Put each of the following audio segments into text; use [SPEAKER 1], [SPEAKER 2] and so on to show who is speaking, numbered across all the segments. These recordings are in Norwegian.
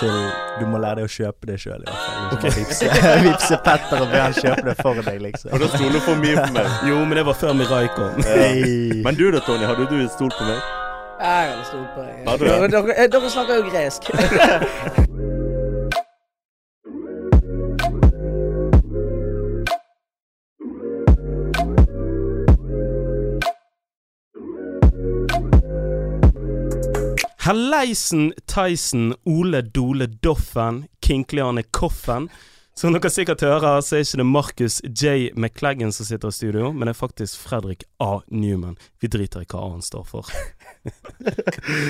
[SPEAKER 1] til Du må lære deg å kjøpe det sjøl, i hvert fall. Du må Vipse, vipse Petter og be han kjøpe det for deg, liksom.
[SPEAKER 2] Har du stolt for mye på meg?
[SPEAKER 3] Jo, men det var før Mirai kom.
[SPEAKER 1] Hey.
[SPEAKER 2] Men du da, Tony, hadde du stolt på meg?
[SPEAKER 4] Jeg hadde stolt på deg.
[SPEAKER 2] Hadde du
[SPEAKER 4] Dere,
[SPEAKER 2] det?
[SPEAKER 4] dere, eh, dere snakker jo gresk.
[SPEAKER 3] Helleisen, Tyson, Ole Dole Doffen, Kinkliane Koffen. Som dere sikkert hører, så er ikke det Marcus J. McClaggan som sitter i studio, men det er faktisk Fredrik A. Newman. Vi driter i hva A-en står for.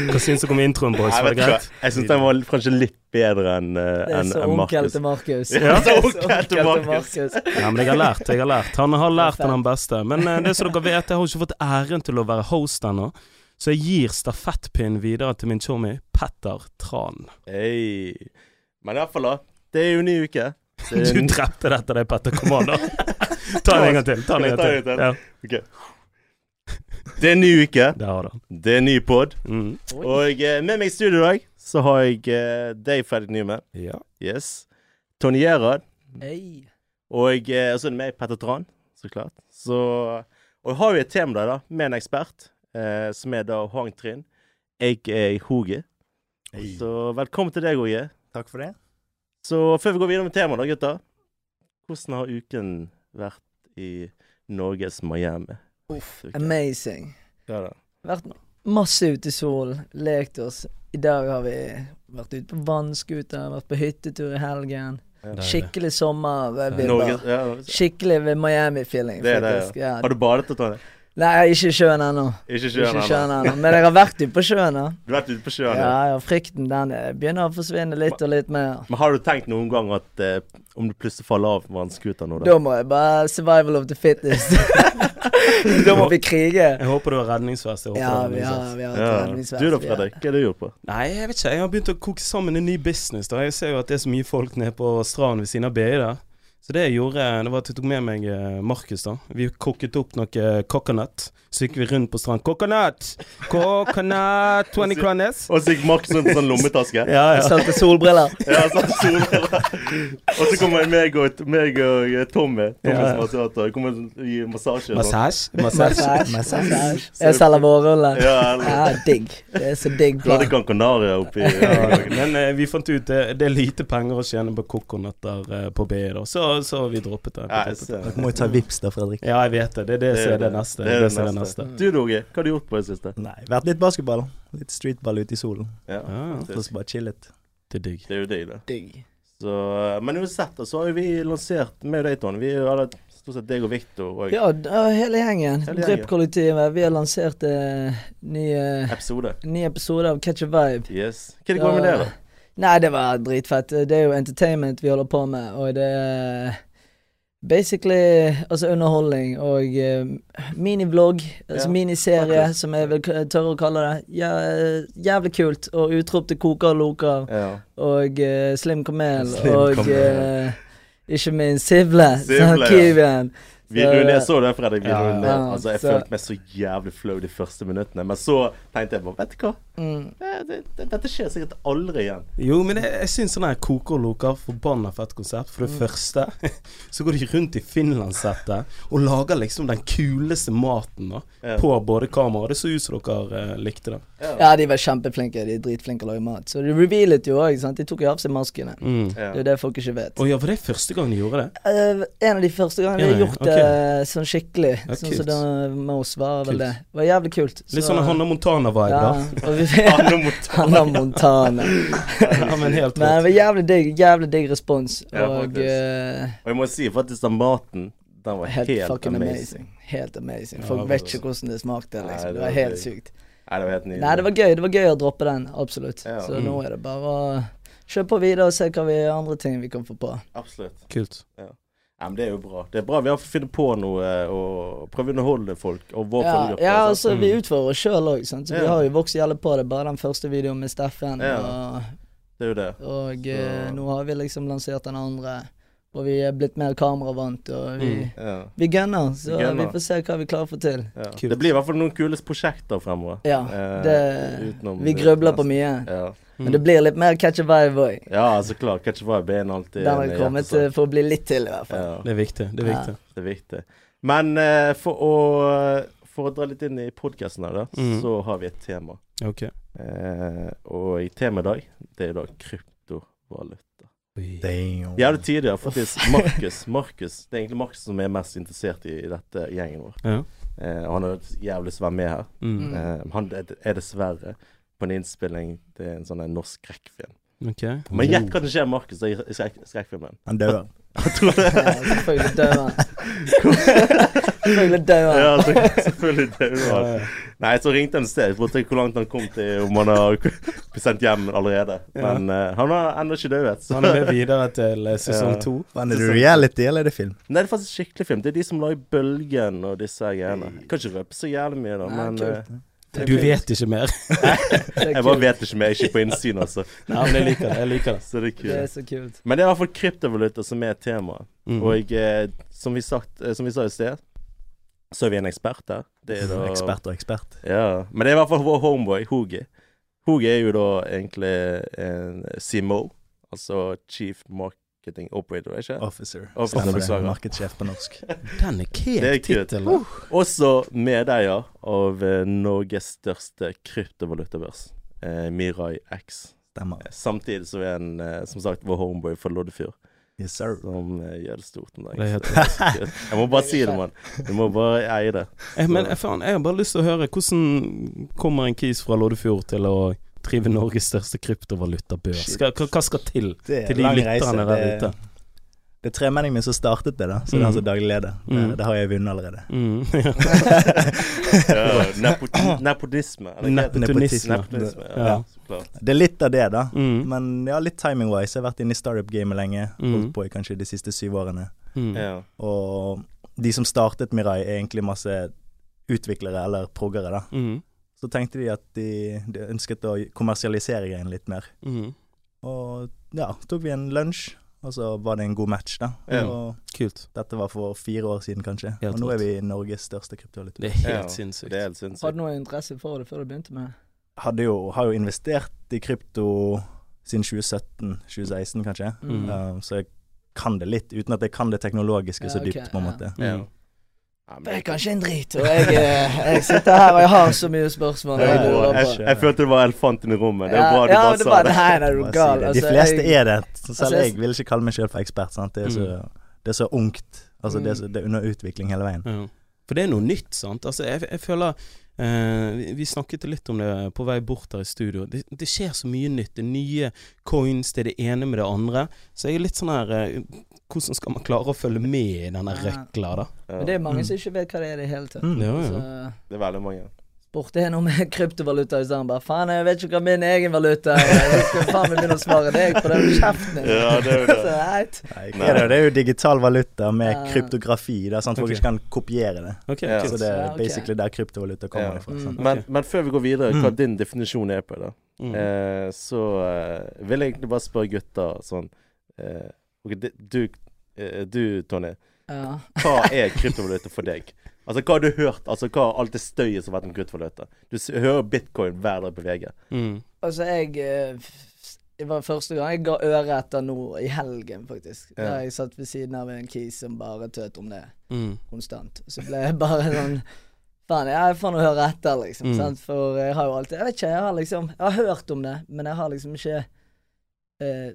[SPEAKER 3] Hva syns dere om introen, boys?
[SPEAKER 2] Jeg
[SPEAKER 3] Var
[SPEAKER 2] vet
[SPEAKER 3] det
[SPEAKER 2] ikke.
[SPEAKER 3] greit?
[SPEAKER 2] Jeg syns den var kanskje litt bedre enn eh,
[SPEAKER 4] Det er
[SPEAKER 2] enn-
[SPEAKER 4] så
[SPEAKER 2] enn
[SPEAKER 4] onkel
[SPEAKER 2] Markus.
[SPEAKER 4] til Markus.
[SPEAKER 2] Ja, så onkel til Markus.
[SPEAKER 4] Markus.
[SPEAKER 3] Ja, men jeg har lært, jeg har lært. Han har lært den han beste. Men eh, det som dere vet, jeg har ikke fått æren til å være host ennå, så jeg gir stafettpinnen videre til min chommy Petter Tran.
[SPEAKER 2] Hey. Men iallfall, da. Det er jo ny uke. Det er
[SPEAKER 3] Du
[SPEAKER 2] en-
[SPEAKER 3] drepte dette, det, Petter. Kom an, da. Ta den en gang til. Ta
[SPEAKER 2] Skal jeg
[SPEAKER 3] den en gang
[SPEAKER 2] ta den
[SPEAKER 3] til.
[SPEAKER 2] en
[SPEAKER 3] Ja,
[SPEAKER 2] Ok. Det er en ny uke.
[SPEAKER 3] det har du.
[SPEAKER 2] Det er en ny pod.
[SPEAKER 3] Mm.
[SPEAKER 2] Og eh, med meg i studio i dag så har jeg eh, deg, Fredrik Nyman.
[SPEAKER 3] Ja.
[SPEAKER 2] Yes. Tony Gerhard.
[SPEAKER 4] Hei.
[SPEAKER 2] Og eh, så er det meg, Petter Tran, så klart. Så, og jeg har jo et tema der, da, med en ekspert, eh, som er da Hong Trinh. Jeg er Hoge.
[SPEAKER 1] Hey.
[SPEAKER 2] Så velkommen til deg, Hoge.
[SPEAKER 1] Takk for det.
[SPEAKER 2] Så før vi går videre med temaet, da, gutter. Hvordan har uken vært i Norges Miami? Uff,
[SPEAKER 4] Amazing.
[SPEAKER 2] ja, da.
[SPEAKER 4] Vært masse ute i solen, lekt oss. I dag har vi vært ute på vannskuter, vært på hyttetur i helgen. Skikkelig
[SPEAKER 2] Norges,
[SPEAKER 4] sommervibber.
[SPEAKER 2] ja,
[SPEAKER 4] Skikkelig ved Miami-feeling,
[SPEAKER 2] det er det,
[SPEAKER 4] faktisk. Ja.
[SPEAKER 2] ja. Har du badet, da, Tony?
[SPEAKER 4] Nei, jeg er ikke i sjøen ennå.
[SPEAKER 2] Ikke sjøen
[SPEAKER 4] Ikke sjøen
[SPEAKER 2] ennå.
[SPEAKER 4] ennå. Men jeg har vært ute på sjøen, da.
[SPEAKER 2] Du har vært ute på sjøen?
[SPEAKER 4] Ja,
[SPEAKER 2] Ja.
[SPEAKER 4] ja, frykten den eh, begynner å forsvinne litt og litt mer.
[SPEAKER 2] Men har du tenkt noen gang at eh, om du plutselig faller av vannskuter nå, da?
[SPEAKER 4] Da må jeg bare survival of the fittest. da må vi krige.
[SPEAKER 3] Jeg håper du har redningsvest. Jeg håper
[SPEAKER 4] Ja,
[SPEAKER 3] du
[SPEAKER 4] vi
[SPEAKER 3] har
[SPEAKER 4] har,
[SPEAKER 3] redningsvest.
[SPEAKER 4] vi har
[SPEAKER 2] Ja.
[SPEAKER 4] trenings-
[SPEAKER 2] Du da,
[SPEAKER 4] vi har-
[SPEAKER 2] Fredrik? Hva er det du gjorde på?
[SPEAKER 3] Nei, jeg vet ikke. Jeg har begynt å koke sammen en ny business. da. Jeg ser jo at det er så mye folk nede på stranden ved siden av BI der. Så det jeg gjorde, det var at jeg tok med meg eh, Markus, da. Vi kokket opp noe eh, coconut. Så gikk vi rundt på stranden. Coconut! Coconut 20 kroner.
[SPEAKER 2] Og så gikk Max rundt med sånn lommetaske.
[SPEAKER 3] Ja,
[SPEAKER 4] Jeg
[SPEAKER 3] ja.
[SPEAKER 4] Solgte solbriller.
[SPEAKER 2] Ja, sånn solbriller. Og så kommer meg og, meg og eh, Tommy, Tommy
[SPEAKER 3] Ja.
[SPEAKER 2] som massatør, kommer og gir massasje. og sånn.
[SPEAKER 3] Massasje. Massasje.
[SPEAKER 4] Massasje. Massasje. Jeg selger vårruller.
[SPEAKER 2] Ja,
[SPEAKER 4] Ja,
[SPEAKER 2] eller-
[SPEAKER 4] digg. Det er så digg.
[SPEAKER 2] Du hadde
[SPEAKER 4] På.
[SPEAKER 2] Gran Canaria oppi
[SPEAKER 3] Ja, Men eh, vi fant ut det, det er lite penger å tjene på coconuter eh, på BI, da. Så, så vi droppet det.
[SPEAKER 2] Nei, så-
[SPEAKER 1] Dere må jo ta vips da, Fredrik.
[SPEAKER 3] Ja, jeg vet det. Det er det som er det neste. Det er det som er det neste.
[SPEAKER 2] Du, Doge, hva har du gjort på det siste?
[SPEAKER 1] Nei, vært litt basketball. Litt streetball ute i solen.
[SPEAKER 2] Ja.
[SPEAKER 3] Ah,
[SPEAKER 1] Og så bare chillet.
[SPEAKER 3] det er digg.
[SPEAKER 2] Det er jo deg, da.
[SPEAKER 4] Digg.
[SPEAKER 2] Så, eh, men uansett, da, så har jo vi lansert med deg, Tone. Vi har hatt stort sett deg og Victor og
[SPEAKER 4] Ja, d- ja, hele gjengen.
[SPEAKER 2] Hele gjengen.
[SPEAKER 4] Drypp-kollektivet. Vi har lansert eh, ny, eh,
[SPEAKER 2] episode.
[SPEAKER 4] ny episode av Catch a Vibe.
[SPEAKER 2] Yes. Hva er det går med
[SPEAKER 4] Ja.
[SPEAKER 2] det, da?
[SPEAKER 4] Nei, det var dritfett. Det er jo entertainment vi holder på med, og det er basically altså underholdning og eh, minivlogg, altså
[SPEAKER 2] Ja,
[SPEAKER 4] miniserie,
[SPEAKER 2] akkurat.
[SPEAKER 4] som jeg vil k- tørre å kalle det. Ja, eh, jævlig kult. Og utrop til koker og loker,
[SPEAKER 2] Ja.
[SPEAKER 4] og eh, Slim Kamel,
[SPEAKER 1] Slim
[SPEAKER 4] og
[SPEAKER 1] Kamel.
[SPEAKER 4] eh, ikke minst Sivle,
[SPEAKER 2] Sivle, ja.
[SPEAKER 4] Kiwien.
[SPEAKER 2] Videoen jeg så den, Fredrik. Videoen
[SPEAKER 4] ja.
[SPEAKER 3] Ja,
[SPEAKER 2] der. Altså, jeg
[SPEAKER 4] Så-
[SPEAKER 2] følte meg så jævlig flau de første minuttene. Men så tenkte jeg bare Vet du hva?
[SPEAKER 4] Mm.
[SPEAKER 2] Eh, det- det- Dette skjer sikkert aldri igjen.
[SPEAKER 3] Jo, men jeg, jeg syns sånn her koker og loker forbanna fett konsept. For det første så går de rundt i finlandssettet og lager liksom den kuleste maten da,
[SPEAKER 2] Ja.
[SPEAKER 3] på både kamera. Det så ut som dere eh, likte det.
[SPEAKER 4] Ja, de var kjempeflinke. De er dritflinke til å lage mat. Så de revealet jo òg, sant. De tok jo av seg maskene.
[SPEAKER 3] Mm.
[SPEAKER 4] Det er jo det folk ikke vet.
[SPEAKER 3] Å ja, var det første gang de gjorde det?
[SPEAKER 4] Eh, en av de første gangene jeg
[SPEAKER 3] Ja,
[SPEAKER 4] har
[SPEAKER 3] ja,
[SPEAKER 4] gjort
[SPEAKER 3] ok.
[SPEAKER 4] det sånn skikkelig.
[SPEAKER 3] Ja,
[SPEAKER 4] sånn
[SPEAKER 3] kult.
[SPEAKER 4] som det med oss var
[SPEAKER 3] Kult.
[SPEAKER 4] vel det. Det var jævlig kult.
[SPEAKER 3] Litt sånn Hanna Montana-vibe,
[SPEAKER 4] ja,
[SPEAKER 3] da.
[SPEAKER 4] og vi,
[SPEAKER 2] Anne mot
[SPEAKER 4] Hanna Montana.
[SPEAKER 3] Ja, men helt
[SPEAKER 4] Men det
[SPEAKER 3] rått.
[SPEAKER 4] var jævlig digg, jævlig digg respons.
[SPEAKER 2] Ja,
[SPEAKER 4] og
[SPEAKER 2] faktisk.
[SPEAKER 4] eh,
[SPEAKER 2] Og jeg må si faktisk den maten, den var
[SPEAKER 4] helt,
[SPEAKER 2] helt,
[SPEAKER 4] fucking
[SPEAKER 2] amazing.
[SPEAKER 4] amazing. Helt amazing.
[SPEAKER 3] Ja,
[SPEAKER 4] Folk
[SPEAKER 3] det var
[SPEAKER 4] vet
[SPEAKER 3] det.
[SPEAKER 4] ikke hvordan det smakte.
[SPEAKER 2] Nei,
[SPEAKER 4] liksom.
[SPEAKER 2] det
[SPEAKER 4] det,
[SPEAKER 2] var
[SPEAKER 4] var helt
[SPEAKER 2] digg.
[SPEAKER 4] sykt.
[SPEAKER 2] Nei, det var helt nydelig.
[SPEAKER 4] Nei, det var gøy. Det var gøy å droppe den. Absolutt.
[SPEAKER 2] Ja.
[SPEAKER 4] Så
[SPEAKER 3] Mm.
[SPEAKER 4] nå er det bare å kjøre på videre og se hva vi andre ting vi kan få på.
[SPEAKER 2] Absolutt.
[SPEAKER 3] Kult.
[SPEAKER 2] Nei, men det er jo bra. Det er bra vi har fått finne på noe og prøve å underholde folk og vår
[SPEAKER 4] Ja,
[SPEAKER 2] følgegruppe.
[SPEAKER 4] ja
[SPEAKER 2] altså.
[SPEAKER 4] altså, vi
[SPEAKER 3] Mm.
[SPEAKER 4] utfordrer oss sjøl òg, sant. Så vi
[SPEAKER 2] Ja.
[SPEAKER 4] har jo vokst jævlig på det. Bare den første videoen med Steffen
[SPEAKER 2] Ja.
[SPEAKER 4] og
[SPEAKER 2] Det er jo det.
[SPEAKER 4] Og eh, nå har vi liksom lansert den andre. Og vi er blitt mer kameravant, og vi,
[SPEAKER 3] Mm.
[SPEAKER 2] Ja.
[SPEAKER 4] vi gunner. Så
[SPEAKER 2] Vi gunner.
[SPEAKER 4] vi får se hva vi klarer å få til.
[SPEAKER 2] Ja.
[SPEAKER 3] Kult.
[SPEAKER 2] Det blir i hvert fall noen kule prosjekter fremover.
[SPEAKER 4] Ja,
[SPEAKER 2] Eh,
[SPEAKER 4] Ah, det
[SPEAKER 2] utenom- eh, altså.
[SPEAKER 4] Vi grubler på mye.
[SPEAKER 2] Ja.
[SPEAKER 4] Men det blir litt mer catch a vibe òg.
[SPEAKER 2] ja, altså, så klart. Catch Vibe er en alltid
[SPEAKER 4] Den har
[SPEAKER 2] en
[SPEAKER 4] kommet
[SPEAKER 2] hjertesak.
[SPEAKER 4] eh, for å bli litt til, i hvert fall.
[SPEAKER 2] Ja,
[SPEAKER 3] Det er viktig. Det er
[SPEAKER 4] Ja.
[SPEAKER 3] viktig.
[SPEAKER 2] det er viktig. Men eh, for, å, for å dra litt inn i podkasten her, da,
[SPEAKER 3] Mm.
[SPEAKER 2] så har vi et tema.
[SPEAKER 3] Ok.
[SPEAKER 2] Eh, og i temaet i dag, det er i dag kryptovaluta.
[SPEAKER 1] Damn.
[SPEAKER 2] Jævlig tidligere, faktisk. Markus. Markus. Det er egentlig Markus som er mest interessert i, i dette gjengen vår.
[SPEAKER 3] Ja.
[SPEAKER 2] Eh, og han har et jævlig lyst til å være med her.
[SPEAKER 3] Mm.
[SPEAKER 2] Eh, han er er dessverre på en innspilling til en sånn en norsk skrekkfilm.
[SPEAKER 3] Ok.
[SPEAKER 2] Men gjett hva som skjer med Markus i i skrek- skrekkfilmen.
[SPEAKER 1] Han dør.
[SPEAKER 2] Jeg tror det.
[SPEAKER 4] Ja, Selvfølgelig dør han.
[SPEAKER 2] Ja,
[SPEAKER 4] Selvfølgelig dør han.
[SPEAKER 2] så, selvfølgelig døde
[SPEAKER 3] Ja,
[SPEAKER 2] han.
[SPEAKER 3] ja.
[SPEAKER 2] Nei, så ringte han et sted. Jeg spurte hvor langt han kom til, om han har blitt sendt hjem allerede.
[SPEAKER 3] Ja.
[SPEAKER 2] Men eh, han har ennå ikke dødd.
[SPEAKER 3] Så
[SPEAKER 2] så-
[SPEAKER 3] han er med videre til eh, sesong
[SPEAKER 2] Ja.
[SPEAKER 3] to.
[SPEAKER 1] Men er det reality, eller er det film?
[SPEAKER 2] Nei, det er faktisk skikkelig film. Det er de som lager Bølgen og disse her greiene. Jeg kan ikke røpe så jævlig mye, da,
[SPEAKER 4] Nei,
[SPEAKER 2] men
[SPEAKER 4] kult.
[SPEAKER 2] eh, det er
[SPEAKER 3] Du
[SPEAKER 2] kult.
[SPEAKER 3] vet ikke mer.
[SPEAKER 4] Det er
[SPEAKER 2] Jeg bare
[SPEAKER 4] kult.
[SPEAKER 2] vet ikke mer. Jeg er ikke på innsyn, altså.
[SPEAKER 3] Nei, men jeg liker det. Jeg liker det.
[SPEAKER 2] Så det er
[SPEAKER 4] Det er
[SPEAKER 2] kult.
[SPEAKER 4] så kult.
[SPEAKER 2] Men det er i hvert fall kryptovaluta som er temaet.
[SPEAKER 3] Mm.
[SPEAKER 2] Og eh, som, vi sagt, eh, som vi sa i sted, så er vi en ekspert der. Det er da
[SPEAKER 1] Ekspert og ekspert.
[SPEAKER 2] Ja. Men det er i hvert fall vår homeboy, Hogi. Hogi er jo da egentlig en CMO, altså Chief Marketing Operator, ikke sant?
[SPEAKER 1] Officer.
[SPEAKER 2] Officer,
[SPEAKER 1] Stemmer det.
[SPEAKER 2] beklager.
[SPEAKER 1] Markedssjef på norsk.
[SPEAKER 3] Den er
[SPEAKER 2] Det er
[SPEAKER 3] kek
[SPEAKER 2] kult.
[SPEAKER 3] tittel.
[SPEAKER 2] Også medeier av eh, Norges største kryptovalutabørs, eh, Mirai X.
[SPEAKER 1] Stemmer.
[SPEAKER 2] Samtidig som er en, eh, som sagt, vår homeboy fra Loddefjord,
[SPEAKER 1] Yes, sir.
[SPEAKER 2] som eh, gjør det stort om dagen.
[SPEAKER 3] Det er helt
[SPEAKER 2] Så kult. Jeg må bare si det, mann. Du må bare eie det.
[SPEAKER 3] Eh, Men eh, faen, jeg har bare lyst til å høre hvordan kommer en kis fra Loddefjord til å drive Norges største kryptovalutabørs?
[SPEAKER 1] Shit.
[SPEAKER 3] Hva, hva hva skal til
[SPEAKER 1] Det
[SPEAKER 3] til de lytterne der
[SPEAKER 1] Det,
[SPEAKER 3] ute?
[SPEAKER 1] det er tremenningen min som startet det, da. Så det er
[SPEAKER 3] Mm.
[SPEAKER 1] han som daglig leder.
[SPEAKER 3] Mm.
[SPEAKER 1] Det, det har jeg vunnet allerede.
[SPEAKER 3] Mm, ja.
[SPEAKER 2] Ja, nepo- Nepotisme. eller hva heter det?
[SPEAKER 3] Nepotisme.
[SPEAKER 2] Nepotisme, ja.
[SPEAKER 3] Ja.
[SPEAKER 2] Så klart.
[SPEAKER 1] Det er litt av det, da.
[SPEAKER 3] Mm,
[SPEAKER 1] Men ja, litt timing-wise. Jeg har vært inne i startup-gamet lenge. Holdt
[SPEAKER 3] Mm.
[SPEAKER 1] på i kanskje de siste syv årene.
[SPEAKER 3] mm.
[SPEAKER 2] Ja.
[SPEAKER 1] Og de som startet Mirai, er egentlig masse utviklere eller proggere, da.
[SPEAKER 3] Mm,
[SPEAKER 1] Så tenkte de at de, de ønsket å kommersialisere greien litt mer.
[SPEAKER 3] mm.
[SPEAKER 1] Og ja, tok vi en lunsj, og så var det en god match, da.
[SPEAKER 2] Ja.
[SPEAKER 1] Og
[SPEAKER 3] Kult.
[SPEAKER 1] dette var for fire år siden, kanskje.
[SPEAKER 3] Helt
[SPEAKER 1] og nå
[SPEAKER 3] rått.
[SPEAKER 1] er vi Norges største kryptovaluta.
[SPEAKER 3] Det er
[SPEAKER 2] Ja,
[SPEAKER 3] helt sinnssykt.
[SPEAKER 2] Det er helt sinnssykt.
[SPEAKER 4] Hadde du noe interesse for det før du begynte med det?
[SPEAKER 1] Hadde jo, har jo investert i krypto siden 2017-2016, kanskje.
[SPEAKER 3] Mm.
[SPEAKER 1] Um, så jeg kan det litt, uten at jeg kan det teknologiske så
[SPEAKER 4] Ja, ok,
[SPEAKER 1] dypt, på en
[SPEAKER 4] ja.
[SPEAKER 1] måte.
[SPEAKER 2] Ja.
[SPEAKER 3] Mm.
[SPEAKER 2] Ja, men-
[SPEAKER 4] Jeg kan ikke en drit, og jeg, eh, jeg sitter her og jeg har så mye spørsmål.
[SPEAKER 2] Det
[SPEAKER 4] Jeg
[SPEAKER 2] er bra.
[SPEAKER 4] lurer
[SPEAKER 2] Jeg,
[SPEAKER 4] på.
[SPEAKER 2] jeg følte det var elefanten i rommet. Det er bra du
[SPEAKER 4] ja,
[SPEAKER 2] bare
[SPEAKER 4] det
[SPEAKER 2] sa
[SPEAKER 4] var-
[SPEAKER 2] det.
[SPEAKER 4] Nei, nei, er du
[SPEAKER 1] Bare si
[SPEAKER 4] gal.
[SPEAKER 1] det.
[SPEAKER 4] Altså,
[SPEAKER 1] De fleste
[SPEAKER 4] jeg, altså,
[SPEAKER 1] er det. Så selv
[SPEAKER 4] jeg-
[SPEAKER 1] jeg vil ikke kalle meg selv for ekspert. Sant? Det, er så, det er så ungt. Altså, det, er så, det er under utvikling hele veien.
[SPEAKER 3] Ja. For det er noe nytt, sant. Altså, jeg, jeg føler eh, vi- Vi snakket litt om det på vei bort her i studio. Det, det skjer så mye nytt. Det er nye coins, det er det ene med det andre. Så jeg er litt sånn her eh, Hvordan skal man klare å følge med i denne
[SPEAKER 4] Ja.
[SPEAKER 3] røkla, da?
[SPEAKER 4] Men det er
[SPEAKER 2] Mm.
[SPEAKER 4] mange som ikke vet hva det er i det hele tatt.
[SPEAKER 1] Mm.
[SPEAKER 3] Det var jo-
[SPEAKER 4] Så
[SPEAKER 2] Det er veldig mange.
[SPEAKER 4] spurte jeg noe med kryptovaluta i stedet. Bare faen, jeg vet ikke hva min egen valuta er. Jeg skal faen meg begynne å svare deg på den kjeften din.
[SPEAKER 2] Ja, det er jo det.
[SPEAKER 4] Så, heit.
[SPEAKER 1] Nei,
[SPEAKER 2] Nei.
[SPEAKER 1] hva er det? det er jo digital valuta med
[SPEAKER 4] Ja.
[SPEAKER 1] kryptografi. Det er sant Folk
[SPEAKER 3] Ok.
[SPEAKER 1] ikke kan kopiere det.
[SPEAKER 3] Ok,
[SPEAKER 2] Ja.
[SPEAKER 1] Så
[SPEAKER 3] kult.
[SPEAKER 1] det
[SPEAKER 4] Ja,
[SPEAKER 1] er
[SPEAKER 4] ok.
[SPEAKER 1] basically der kryptovaluta
[SPEAKER 2] Ja.
[SPEAKER 1] kommer ifra. sånn.
[SPEAKER 4] Mm.
[SPEAKER 1] Sant?
[SPEAKER 2] Men,
[SPEAKER 3] Ok.
[SPEAKER 2] men før vi går videre, hva
[SPEAKER 1] Mm.
[SPEAKER 2] din definisjon er på det,
[SPEAKER 3] Mm.
[SPEAKER 2] eh, så eh, vil jeg egentlig bare spørre gutta sånn eh, ok, de- du, eh, du, Tony,
[SPEAKER 4] Ja.
[SPEAKER 2] hva er kryptovaluta for deg? Altså, hva har du hørt? Altså, hva er alt det støyet som har vært om kryptovaluta? Du s hører bitcoin hver dag på VG.
[SPEAKER 3] Mm.
[SPEAKER 4] Altså, jeg eh, f- Det var første gang jeg ga øre etter nå i helgen, faktisk.
[SPEAKER 2] Ja.
[SPEAKER 4] Da jeg satt ved siden av en kis som bare tøt om det.
[SPEAKER 3] Mm.
[SPEAKER 4] konstant. Så ble jeg bare sånn Faen, jeg får nå høre etter, liksom.
[SPEAKER 3] Mm.
[SPEAKER 4] Sant? For jeg har jo alltid Jeg vet ikke, jeg har liksom Jeg har hørt om det, men jeg har liksom ikke uh,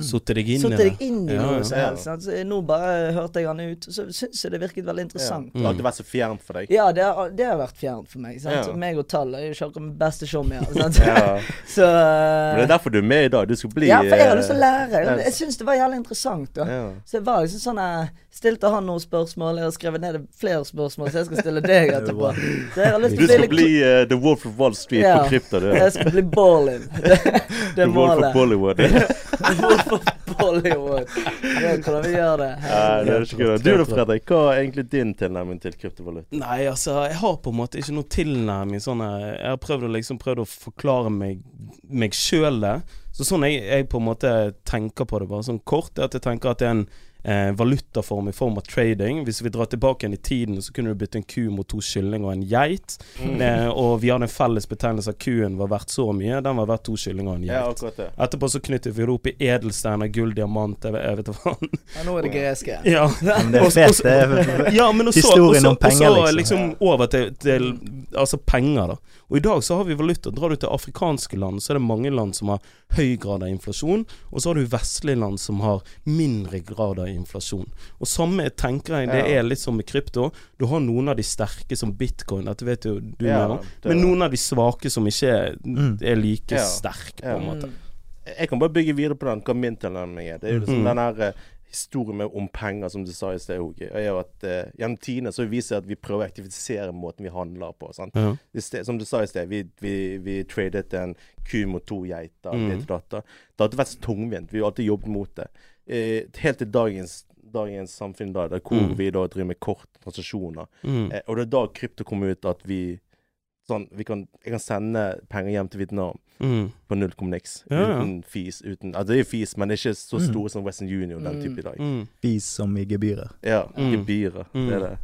[SPEAKER 3] Satte deg inn i
[SPEAKER 4] satt
[SPEAKER 3] det?
[SPEAKER 4] deg inn i
[SPEAKER 3] Ja, ja.
[SPEAKER 4] noe som
[SPEAKER 2] Ja.
[SPEAKER 4] helst. Sant? Så jeg- nå bare hørte jeg han ut, og så syns jeg det virket veldig interessant.
[SPEAKER 2] Det har alltid vært så fjernt for deg.
[SPEAKER 4] Ja, det har, det har vært fjernt for meg. Sant?
[SPEAKER 2] Ja.
[SPEAKER 4] Så Meg og tall er jo ikke akkurat mitt beste showmia. Sant?
[SPEAKER 2] Ja.
[SPEAKER 4] Så eh,
[SPEAKER 2] Men det er derfor du er med i dag. Du skal bli
[SPEAKER 4] Ja, for jeg har
[SPEAKER 2] eh,
[SPEAKER 4] lyst til å lære.
[SPEAKER 2] ja.
[SPEAKER 4] Jeg, jeg syns det var jævlig interessant. da
[SPEAKER 2] ja.
[SPEAKER 4] så jeg var liksom sånn jeg Stilte han noen spørsmål, jeg har skrevet ned flere spørsmål, så jeg skal stille deg etterpå. Så jeg har lyst
[SPEAKER 2] Du
[SPEAKER 4] til å
[SPEAKER 2] skal
[SPEAKER 4] bli
[SPEAKER 2] bli eh, The Wolf of Wall Street
[SPEAKER 4] Ja.
[SPEAKER 2] på krypto. Du.
[SPEAKER 4] Jeg skal bli Ballin. Det, det
[SPEAKER 2] The
[SPEAKER 4] er
[SPEAKER 2] Wolf of
[SPEAKER 4] målet.
[SPEAKER 2] Bollywood.
[SPEAKER 4] Hvorfor Bollywood? Det er Hvordan vi gjør det?
[SPEAKER 2] Nei, det er ikke gøy. Du da,
[SPEAKER 3] Klart det.
[SPEAKER 2] Fredrik, hva er egentlig din tilnærming til kryptovaluta?
[SPEAKER 3] Nei, altså, jeg har på en måte ikke noe tilnærming sånn her. Jeg har prøvd å liksom prøvd å forklare meg, meg sjøl det. Så sånn jeg, jeg på en måte tenker på det, bare sånn kort, er at jeg tenker at det er en, eh, valutaform i form av trading. Hvis vi drar tilbake igjen i tiden, så kunne du bytte en ku mot to kylling og en geit. Eh, og vi hadde en felles betegnelse at kuen var verdt så mye, den var verdt to kyllinger og en
[SPEAKER 2] Ja,
[SPEAKER 3] geit.
[SPEAKER 2] akkurat det.
[SPEAKER 3] Etterpå så knyttet vi det opp i edelsteiner, gull, diamant, jeg vet- jeg vet hva faen.
[SPEAKER 4] Ja, nå er det greske.
[SPEAKER 3] Ja.
[SPEAKER 1] Men det er
[SPEAKER 3] Og- og
[SPEAKER 1] fett,
[SPEAKER 3] så-
[SPEAKER 1] det.
[SPEAKER 3] ja, men også,
[SPEAKER 1] Historien om penger,
[SPEAKER 3] og så
[SPEAKER 1] liksom.
[SPEAKER 3] liksom over til, til altså penger, da. Og i dag så har vi valuta. Drar du til afrikanske land, så er det mange land som har høy grad av inflasjon. Og så har du vestlige land som har mindre grad av inflasjon. Og samme tenker jeg det
[SPEAKER 2] Ja.
[SPEAKER 3] er litt som med krypto. Du har noen av de sterke som bitcoin, dette vet jo du
[SPEAKER 2] Ja,
[SPEAKER 3] mer om.
[SPEAKER 2] det-
[SPEAKER 3] Men noen av de svake som ikke er,
[SPEAKER 1] Mm.
[SPEAKER 3] er like
[SPEAKER 2] Ja.
[SPEAKER 3] sterke, på
[SPEAKER 2] Ja.
[SPEAKER 3] en måte.
[SPEAKER 4] Mm.
[SPEAKER 2] Jeg kan bare bygge videre på den, hva min tilnærming er. Det er jo liksom
[SPEAKER 3] Mm.
[SPEAKER 2] den her eh, historien med om penger, som du sa i sted, Hoki. er jo at eh, gjennom tidene så viser det at vi prøver å aktivisere måten vi handler på. sant?
[SPEAKER 3] Ja.
[SPEAKER 2] I sted, som du sa i sted, vi, vi, vi tradet en ku mot to geiter.
[SPEAKER 3] Mhm.
[SPEAKER 2] ditt og datter. Det har alltid vært så tungvint. Vi har alltid jobbet mot det. Eh, helt til dagens, dagens samfunn, da, der hvor
[SPEAKER 3] Mhm.
[SPEAKER 2] vi da driver med kort transaksjoner.
[SPEAKER 3] Mm.
[SPEAKER 2] Eh, og det er da krypto kom ut at vi sånn, vi kan, Jeg kan sende penger hjem til Vietnam
[SPEAKER 3] Mm.
[SPEAKER 2] på null komma niks.
[SPEAKER 3] Ja, ja.
[SPEAKER 2] Uten fis. Uten, altså det er fis, men det er ikke så
[SPEAKER 1] Mhm.
[SPEAKER 2] store som Western Union og den
[SPEAKER 4] Mm.
[SPEAKER 2] type i dag.
[SPEAKER 3] Mm.
[SPEAKER 1] Fis som i gebyrer.
[SPEAKER 2] Ja,
[SPEAKER 3] Mm.
[SPEAKER 2] gebyrer. Det
[SPEAKER 3] Mm.
[SPEAKER 2] er det.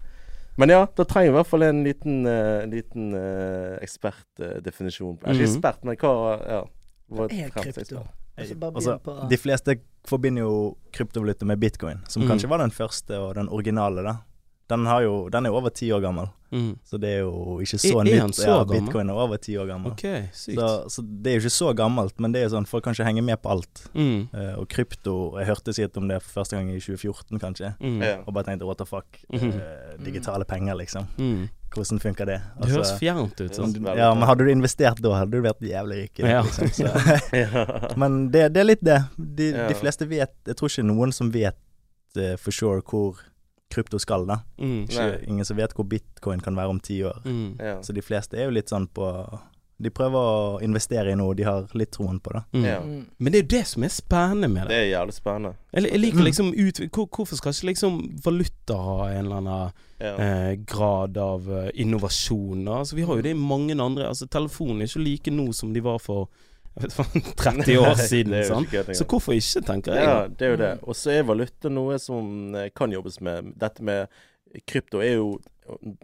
[SPEAKER 2] Men ja, da trenger jeg i hvert fall en liten, eh, en liten eh, ekspertdefinisjon. Uh, ikke
[SPEAKER 3] Mhm.
[SPEAKER 2] ekspert, men hva ja, hva
[SPEAKER 4] Er
[SPEAKER 2] fremst
[SPEAKER 4] krypto.
[SPEAKER 2] ekspert?
[SPEAKER 4] Altså, bare
[SPEAKER 1] Altså,
[SPEAKER 4] begynn på-
[SPEAKER 1] de fleste forbinder jo kryptovaluta med bitcoin, som
[SPEAKER 3] Mm.
[SPEAKER 1] kanskje var den første og den originale, da. Den, har jo, den er jo over ti år gammel,
[SPEAKER 3] Mm.
[SPEAKER 1] så det er jo ikke
[SPEAKER 3] Er-
[SPEAKER 1] så
[SPEAKER 3] er
[SPEAKER 1] nytt.
[SPEAKER 3] han så
[SPEAKER 1] ja,
[SPEAKER 3] gammel?
[SPEAKER 1] bitcoin er over ti år gammel.
[SPEAKER 3] OK, sykt.
[SPEAKER 1] Så, så det er jo ikke så gammelt, men det er jo sånn, folk kan ikke henge med på alt.
[SPEAKER 3] Mm.
[SPEAKER 1] Eh, og krypto, jeg hørte sikkert om det for første gang i 2014, kanskje.
[SPEAKER 3] Mm.
[SPEAKER 2] Ja.
[SPEAKER 1] Og bare tenkte what the fuck,
[SPEAKER 3] Mhm.
[SPEAKER 1] eh, digitale penger, liksom.
[SPEAKER 3] Mm.
[SPEAKER 1] Hvordan funker det? Altså,
[SPEAKER 3] Det høres fjernt ut. Sånn.
[SPEAKER 2] veldig
[SPEAKER 1] ja,
[SPEAKER 2] bra.
[SPEAKER 1] men hadde du investert da, hadde du vært jævlig rik.
[SPEAKER 3] Ja.
[SPEAKER 1] Liksom, så.
[SPEAKER 2] Ja.
[SPEAKER 1] Men det, det er litt det. De,
[SPEAKER 2] Ja.
[SPEAKER 1] de fleste vet Jeg tror ikke noen som vet eh, for sure hvor krypto skal, da.
[SPEAKER 3] Mm.
[SPEAKER 1] Ikke,
[SPEAKER 2] Nei.
[SPEAKER 1] ingen som vet hvor bitcoin kan være om ti år.
[SPEAKER 3] Mm.
[SPEAKER 2] Ja.
[SPEAKER 1] Så de fleste er jo litt sånn på De prøver å investere i noe de har litt troen på, da.
[SPEAKER 3] Mm.
[SPEAKER 2] Ja.
[SPEAKER 4] Mm.
[SPEAKER 3] Men det er jo det som er spennende
[SPEAKER 2] Det
[SPEAKER 3] med det.
[SPEAKER 2] er jævlig spennende.
[SPEAKER 3] Jeg, jeg liker
[SPEAKER 1] Mm.
[SPEAKER 3] liksom ut, hvor, Hvorfor skal ikke liksom valuta ha en eller annen
[SPEAKER 2] Ja.
[SPEAKER 3] eh, grad av eh, innovasjon? da? Altså, vi har jo det i mange andre Altså, telefonen er ikke like nå som de var for jeg vet faen, 30 år siden.
[SPEAKER 2] Det er jo
[SPEAKER 3] sant?
[SPEAKER 2] ikke kødd engang.
[SPEAKER 3] Så hvorfor ikke, tenker jeg.
[SPEAKER 2] Ja, det er jo
[SPEAKER 1] Mm.
[SPEAKER 2] det. Og så er valuta noe som eh, kan jobbes med. Dette med krypto er jo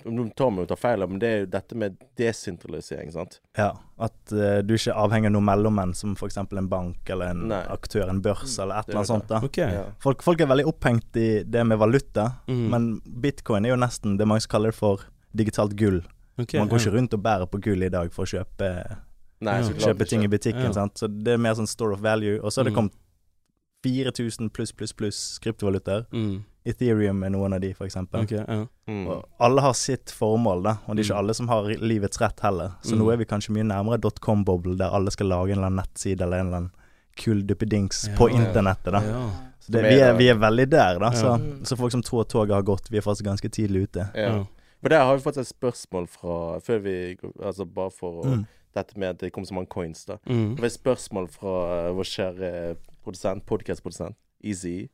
[SPEAKER 2] Nå tar vi jo tar feil, men det er jo dette med desentralisering, sant.
[SPEAKER 1] Ja, At eh, du ikke er avhengig av noen mellommenn, som f.eks. en bank eller en
[SPEAKER 2] Nei.
[SPEAKER 1] aktør, en børs eller et
[SPEAKER 2] Det er
[SPEAKER 1] eller annet sånt. da
[SPEAKER 3] Ok.
[SPEAKER 2] Ja.
[SPEAKER 1] folk, folk er veldig opphengt i det med valuta,
[SPEAKER 3] Mm.
[SPEAKER 1] men bitcoin er jo nesten det mange som kaller det for digitalt gull.
[SPEAKER 3] ok,
[SPEAKER 1] Man går ikke
[SPEAKER 3] ja.
[SPEAKER 1] rundt og bærer på gull i dag for å kjøpe
[SPEAKER 2] Nei,
[SPEAKER 3] Ja.
[SPEAKER 2] så klart
[SPEAKER 1] kjøpe ting i butikken.
[SPEAKER 3] Ja.
[SPEAKER 1] Sant? Så det er mer sånn store of value. Og så har det
[SPEAKER 3] Mm.
[SPEAKER 1] kommet 4000 pluss, pluss, pluss kryptovalutaer.
[SPEAKER 3] mm.
[SPEAKER 1] Ethereum er noen av de, for eksempel.
[SPEAKER 3] Ok, ja.
[SPEAKER 2] Mm.
[SPEAKER 1] Og alle har sitt formål, da. Og det er
[SPEAKER 3] Mm.
[SPEAKER 1] ikke alle som har livets rett heller. Så
[SPEAKER 3] Mm.
[SPEAKER 1] nå er vi kanskje mye nærmere .com-boble, der alle skal lage en eller annen nettside eller en eller annen kul duppedings på
[SPEAKER 3] Ja, ja.
[SPEAKER 1] internettet, da.
[SPEAKER 3] Ja.
[SPEAKER 1] Så det, vi, er, vi er veldig der, da.
[SPEAKER 3] Ja.
[SPEAKER 1] Så,
[SPEAKER 4] Mm.
[SPEAKER 1] så folk som tror toget har gått, vi er faktisk ganske tidlig ute.
[SPEAKER 2] Ja.
[SPEAKER 3] Ja.
[SPEAKER 2] For der har vi fått et spørsmål fra Før vi går- Altså bare for å-
[SPEAKER 1] Mm.
[SPEAKER 2] dette med at det kom så mange coins, da.
[SPEAKER 3] Mm.
[SPEAKER 2] Det var et spørsmål fra eh, vår kjære produsent, podkastprodusent, Easy.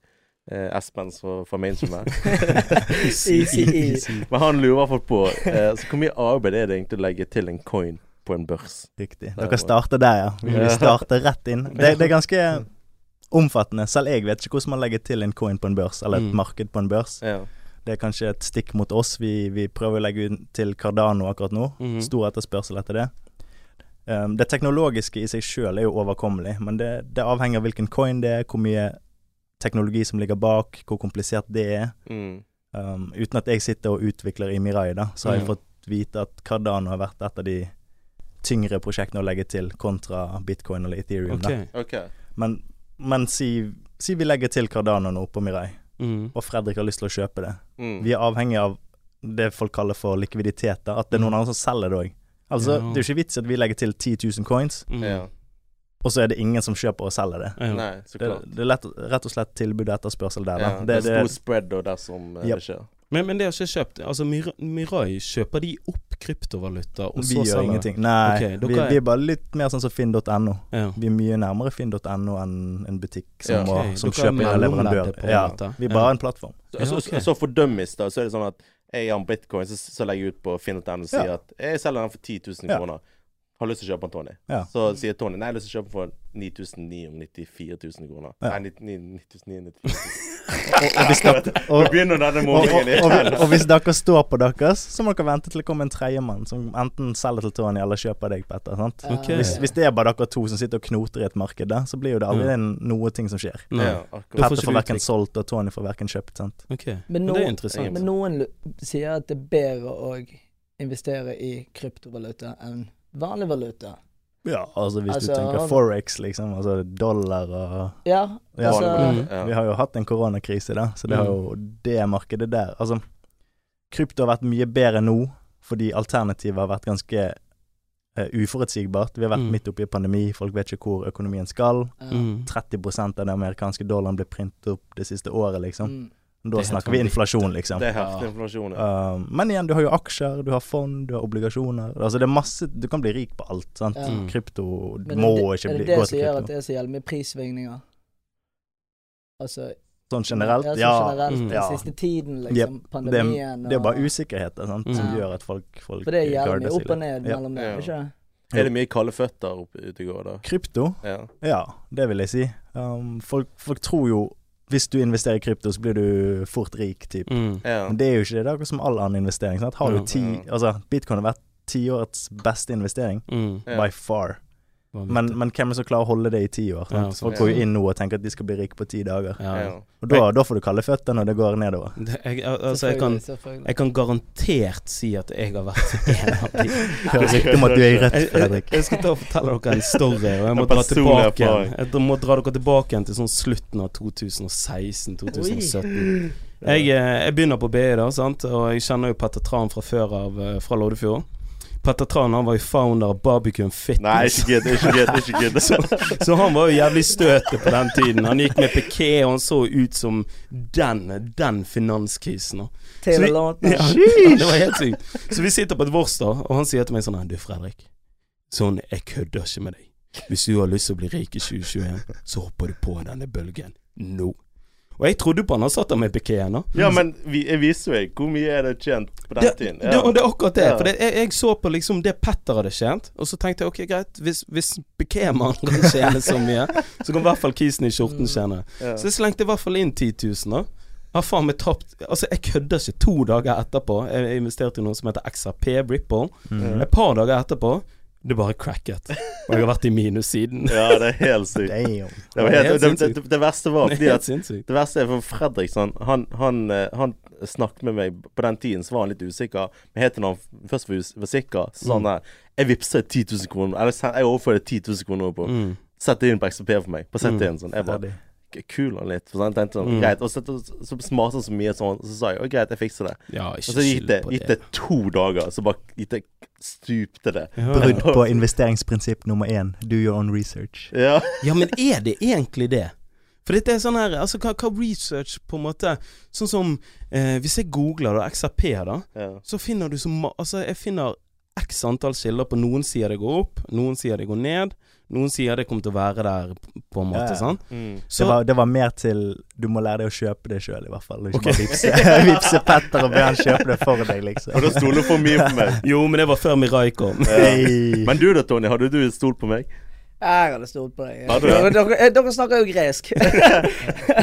[SPEAKER 2] Eh, Espen fra, fra Mainstream her.
[SPEAKER 1] Mm.
[SPEAKER 4] Easy, easy.
[SPEAKER 2] Men han lurer i hvert fall på eh, så hvor mye arbeid er det egentlig å legge til en coin på en børs?
[SPEAKER 1] Riktig.
[SPEAKER 2] var-
[SPEAKER 1] Dere starter der, ja. Vi
[SPEAKER 2] Ja.
[SPEAKER 1] vi starter rett inn. Det, det er ganske omfattende. Selv jeg vet ikke hvordan man legger til en coin på en børs, eller et
[SPEAKER 3] Mm.
[SPEAKER 1] marked på en børs.
[SPEAKER 2] Ja.
[SPEAKER 1] Det er kanskje et stikk mot oss. Vi, vi prøver å legge ut til Cardano akkurat nå.
[SPEAKER 3] Mhm.
[SPEAKER 1] Stor etterspørsel etter det. Um, det teknologiske i seg sjøl er jo overkommelig, men det, det avhenger av hvilken coin det er, hvor mye teknologi som ligger bak, hvor komplisert det er.
[SPEAKER 2] Mm.
[SPEAKER 1] Um, uten at jeg sitter og utvikler i Mirai, da, så har jeg
[SPEAKER 3] Mm.
[SPEAKER 1] fått vite at Cardano har vært et av de tyngre prosjektene å legge til, kontra bitcoin eller ethereum.
[SPEAKER 3] Ok.
[SPEAKER 2] OK.
[SPEAKER 1] Da. Men, men si, si vi legger til Cardano nå på Mirai,
[SPEAKER 3] Mm.
[SPEAKER 1] og Fredrik har lyst til å kjøpe det.
[SPEAKER 2] Mm.
[SPEAKER 1] Vi er avhengig av det folk kaller for likviditet, da, at det er noen andre som selger det òg. Altså,
[SPEAKER 3] Ja.
[SPEAKER 1] Det er jo ikke vits at vi legger til 10 000 coins,
[SPEAKER 3] Mm.
[SPEAKER 2] Ja.
[SPEAKER 1] og så er det ingen som kjøper og selger det.
[SPEAKER 3] Ja.
[SPEAKER 2] Nei, så
[SPEAKER 1] Det,
[SPEAKER 2] klart.
[SPEAKER 1] det er lett, rett og slett tilbud og etterspørsel der, da.
[SPEAKER 2] Ja,
[SPEAKER 1] det,
[SPEAKER 2] det er
[SPEAKER 1] det,
[SPEAKER 2] stor spread da, der som eh,
[SPEAKER 1] Japp.
[SPEAKER 2] det skjer.
[SPEAKER 3] Men, men det har ikke kjøpt Altså Mir- Mirai, kjøper de opp kryptovaluta, og
[SPEAKER 1] vi
[SPEAKER 3] så
[SPEAKER 1] gjør
[SPEAKER 3] selger
[SPEAKER 1] ingenting. Nei,
[SPEAKER 3] Ok, dere
[SPEAKER 1] vi,
[SPEAKER 3] er-
[SPEAKER 1] vi er bare litt mer sånn som finn.no.
[SPEAKER 3] Ja.
[SPEAKER 1] Vi er mye nærmere finn.no enn en butikk som,
[SPEAKER 2] Ja,
[SPEAKER 1] må,
[SPEAKER 3] ok.
[SPEAKER 1] som
[SPEAKER 3] Dere er
[SPEAKER 1] kjøper en leverandør.
[SPEAKER 3] mellomleddet på en
[SPEAKER 1] Ja,
[SPEAKER 3] måte.
[SPEAKER 1] vi er
[SPEAKER 3] Ja.
[SPEAKER 1] bare en plattform.
[SPEAKER 2] Så,
[SPEAKER 3] Ja,
[SPEAKER 2] så,
[SPEAKER 3] ok.
[SPEAKER 2] så for dummies, da, så er det sånn at jeg har en bitcoin, så, så legger jeg ut på Finn.no og sier
[SPEAKER 1] Ja.
[SPEAKER 2] at jeg selger den for 10 000
[SPEAKER 1] Ja.
[SPEAKER 2] kroner. har lyst til å kjøpe en Tony.
[SPEAKER 1] Ja.
[SPEAKER 2] Så sier Tony nei, jeg har lyst til å kjøpe for 9994 000 kroner.
[SPEAKER 1] Ja.
[SPEAKER 2] Nei, 9994
[SPEAKER 1] Og, og, hvis dere,
[SPEAKER 2] Nå
[SPEAKER 1] og,
[SPEAKER 2] begynner denne
[SPEAKER 1] og,
[SPEAKER 2] morgenen
[SPEAKER 1] og,
[SPEAKER 2] igjen.
[SPEAKER 1] og, og hvis dere står på deres, så må dere vente til det kommer en tredjemann som enten selger til Tony eller kjøper deg, Petter. sant?
[SPEAKER 4] Ja,
[SPEAKER 3] Ok.
[SPEAKER 1] Hvis, hvis det er bare dere to som sitter og knoter i et marked, da, så blir jo det aldri noe ting som skjer.
[SPEAKER 3] Nei.
[SPEAKER 2] Ja, akkurat.
[SPEAKER 3] Mm. Da får
[SPEAKER 1] Petter
[SPEAKER 3] ikke
[SPEAKER 1] får
[SPEAKER 3] du
[SPEAKER 1] verken
[SPEAKER 3] uttrykk.
[SPEAKER 1] solgt, og Tony får verken kjøpt. sant?
[SPEAKER 3] Ok,
[SPEAKER 4] Men
[SPEAKER 3] men,
[SPEAKER 4] nå-
[SPEAKER 3] det er interessant.
[SPEAKER 4] Men noen lu- sier at det er bedre å investere i kryptovaluta enn vanlig valuta.
[SPEAKER 1] Ja, altså hvis
[SPEAKER 4] Altså,
[SPEAKER 1] du tenker
[SPEAKER 4] han-
[SPEAKER 1] Forex, liksom. Altså dollar og
[SPEAKER 4] Ja, Mm.
[SPEAKER 1] Ja.
[SPEAKER 4] altså
[SPEAKER 3] Mm.
[SPEAKER 2] Ja.
[SPEAKER 1] Vi har jo hatt en koronakrise, da, så det har jo det markedet der Altså, krypto har vært mye bedre nå, fordi alternativet har vært ganske eh, uforutsigbart. Vi har vært
[SPEAKER 3] Mm.
[SPEAKER 1] midt oppe i pandemi, folk vet ikke hvor økonomien skal.
[SPEAKER 4] ja.
[SPEAKER 3] Mm.
[SPEAKER 1] 30 av den amerikanske dollaren ble printet opp det siste året, liksom.
[SPEAKER 4] Mm.
[SPEAKER 3] Det
[SPEAKER 1] Da
[SPEAKER 3] er helt
[SPEAKER 1] snakker vi
[SPEAKER 3] vanvittig.
[SPEAKER 1] inflasjon, liksom.
[SPEAKER 2] Det er heftig inflasjon. ja.
[SPEAKER 1] Um, men igjen, du har jo aksjer, du har fond, du har obligasjoner. Altså det er masse Du kan bli rik på alt, sant.
[SPEAKER 4] Ja.
[SPEAKER 3] Mm.
[SPEAKER 1] Krypto
[SPEAKER 4] Men
[SPEAKER 1] må
[SPEAKER 4] er det,
[SPEAKER 1] ikke
[SPEAKER 4] er
[SPEAKER 1] bli,
[SPEAKER 4] det det
[SPEAKER 1] gå
[SPEAKER 4] som
[SPEAKER 1] til
[SPEAKER 4] gjør at
[SPEAKER 1] krypto.
[SPEAKER 4] det er så jævlig mye prissvingninger? Altså
[SPEAKER 1] Sånn generelt,
[SPEAKER 4] Ja, sånn
[SPEAKER 1] ja.
[SPEAKER 4] generelt den
[SPEAKER 1] ja.
[SPEAKER 4] siste tiden, liksom. pandemien
[SPEAKER 1] Det er bare
[SPEAKER 4] og-
[SPEAKER 1] usikkerheter sant, som
[SPEAKER 4] Mm.
[SPEAKER 1] gjør at folk, folk
[SPEAKER 4] For det er jævlig
[SPEAKER 1] guarder
[SPEAKER 4] mye
[SPEAKER 1] seg
[SPEAKER 4] opp
[SPEAKER 1] litt.
[SPEAKER 4] og ned
[SPEAKER 1] Ja.
[SPEAKER 4] mellom det, er det ikke det?
[SPEAKER 2] Er det mye kalde føtter oppe ute i går, da?
[SPEAKER 1] Krypto,
[SPEAKER 2] Ja.
[SPEAKER 1] ja, det vil jeg si. Um, folk, folk tror jo hvis du investerer i krypto, så blir du fort rik, typ.
[SPEAKER 3] Mm.
[SPEAKER 2] ja.
[SPEAKER 1] Men det er jo ikke det. Det er akkurat som all annen investering. Sant? Har du
[SPEAKER 3] Ja.
[SPEAKER 1] ti, altså, bitcoin har vært tiårets beste investering,
[SPEAKER 3] Mm.
[SPEAKER 2] Ja.
[SPEAKER 1] by far.
[SPEAKER 3] Vanvittig.
[SPEAKER 1] Men, men hvem er det som klarer å holde det i ti år?
[SPEAKER 3] Ja,
[SPEAKER 1] Sant?
[SPEAKER 3] sant.
[SPEAKER 1] Folk går jo inn nå og tenker at de skal bli rike på ti dager.
[SPEAKER 3] ja.
[SPEAKER 2] Ja.
[SPEAKER 1] Og da, da får du kalde føtter når det går nedover.
[SPEAKER 3] Det, jeg, al- altså, jeg, kan,
[SPEAKER 4] Selvfølgelig,
[SPEAKER 3] jeg kan garantert si at jeg har vært en av de.
[SPEAKER 1] Det er riktig om at du er i rødt,
[SPEAKER 3] Jeg, jeg,
[SPEAKER 1] Fredrik.
[SPEAKER 3] jeg skal ta og fortelle dere en story, og jeg må
[SPEAKER 2] En
[SPEAKER 3] dra
[SPEAKER 2] personlig
[SPEAKER 3] tilbake igjen.
[SPEAKER 2] erfaring.
[SPEAKER 3] Jeg dra- må dra dere tilbake igjen til sånn slutten av 2016-2017. Jeg, eh, jeg begynner på BI, da, sant? og jeg kjenner jo Petter Tran fra før av, eh, fra Loddefjord. Petter Tran han var jo founder av Barbican
[SPEAKER 2] Nei,
[SPEAKER 3] Fitness.
[SPEAKER 2] ikke gidd, ikke gidd, ikke gidd.
[SPEAKER 3] Så han var jo jævlig støtet på den tiden. Han gikk med piké, og han så ut som den, den finanskrisen. da.
[SPEAKER 4] selvfølgelig. Taylor Lautner.
[SPEAKER 3] Ja, ja, det var helt sykt. Så vi sitter på et vors, da, og han sier til meg sånn Nei, du Fredrik. Sånn, jeg kødder ikke med deg. Hvis du har lyst til å bli rik i 2021, så hopper du på denne bølgen nå. Og jeg trodde på han, han satt der med pikeen, da.
[SPEAKER 2] Ja, men vi, jeg viser jo ikke hvor mye er det tjent på den
[SPEAKER 3] Det,
[SPEAKER 2] tiden.
[SPEAKER 3] det, og det er akkurat det.
[SPEAKER 2] Ja.
[SPEAKER 3] For det, jeg, jeg så på liksom det Petter hadde tjent, og så tenkte jeg ok, greit, hvis, hvis Pikemannen kan tjene så mye, så kan i hvert fall kisen i skjorten tjene.
[SPEAKER 2] Mm. Ja.
[SPEAKER 3] Så jeg slengte i hvert fall inn 10 000, da. Har faen meg tapt Altså, jeg kødder ikke. To dager etterpå Jeg investerte i noe som heter XRP Ripple. Et par dager etterpå det bare cracket. Og jeg har vært i minus siden.
[SPEAKER 2] Ja, det er helt sykt.
[SPEAKER 1] Damn.
[SPEAKER 2] Det, var
[SPEAKER 3] Det er
[SPEAKER 2] helt,
[SPEAKER 3] helt
[SPEAKER 2] det, det, det verste var fordi
[SPEAKER 3] Helt
[SPEAKER 2] at
[SPEAKER 3] sinnssykt.
[SPEAKER 2] Det verste er for Fredrik sånn, han, han, eh, han snakket med meg På den tiden så var han litt usikker Men helt til når han først var, us- var sikker Så sa han der Jeg vippset 10 000 kroner Eller sen- jeg overførte 10 000 kroner på
[SPEAKER 3] Mm.
[SPEAKER 2] Sett det inn på XP for meg På sett det inn sånn Jeg bare
[SPEAKER 1] Ferdig.
[SPEAKER 2] k- Kul han litt For sånn, jeg tenkte sånn
[SPEAKER 3] Mm.
[SPEAKER 2] Greit Og så, så, så smarte han så mye sånn Så sa jeg «Å, Greit, jeg fikser det
[SPEAKER 3] Ja,
[SPEAKER 2] Og
[SPEAKER 3] ikke
[SPEAKER 2] så gikk
[SPEAKER 3] skyld
[SPEAKER 2] det,
[SPEAKER 3] på
[SPEAKER 2] gikk det to dager Så bare gikk det Stupte det
[SPEAKER 3] Ja.
[SPEAKER 1] Brudd på investeringsprinsipp nummer én. Do your own research.
[SPEAKER 2] Ja
[SPEAKER 3] Ja, men er det egentlig det? For dette er sånn her Altså, hva, hva research på en måte Sånn som eh, Hvis jeg googler da XRP, da,
[SPEAKER 2] Ja,
[SPEAKER 3] så finner du så ma... Altså, jeg finner x antall kilder på noen sier det går opp, noen sier det går ned, noen sier det kommer til å være der, p- på en måte.
[SPEAKER 1] Ja, ja.
[SPEAKER 3] sant?
[SPEAKER 2] mm.
[SPEAKER 1] Det
[SPEAKER 3] Så
[SPEAKER 1] var, det var mer til du må lære deg å kjøpe det sjøl, i hvert fall. Ikke bare vipse, vipse Petter og be han kjøpe det for deg,
[SPEAKER 2] Og
[SPEAKER 1] liksom.
[SPEAKER 2] da stoler for mye på meg
[SPEAKER 3] Jo, men det var før Mirai kom.
[SPEAKER 1] Hey.
[SPEAKER 2] Men du da, Tony Hadde du stolt på meg?
[SPEAKER 4] Jeg hadde stolt på deg.
[SPEAKER 2] Hadde du
[SPEAKER 4] Dere,
[SPEAKER 2] det?
[SPEAKER 4] dere, dere snakker jo gresk. Altså,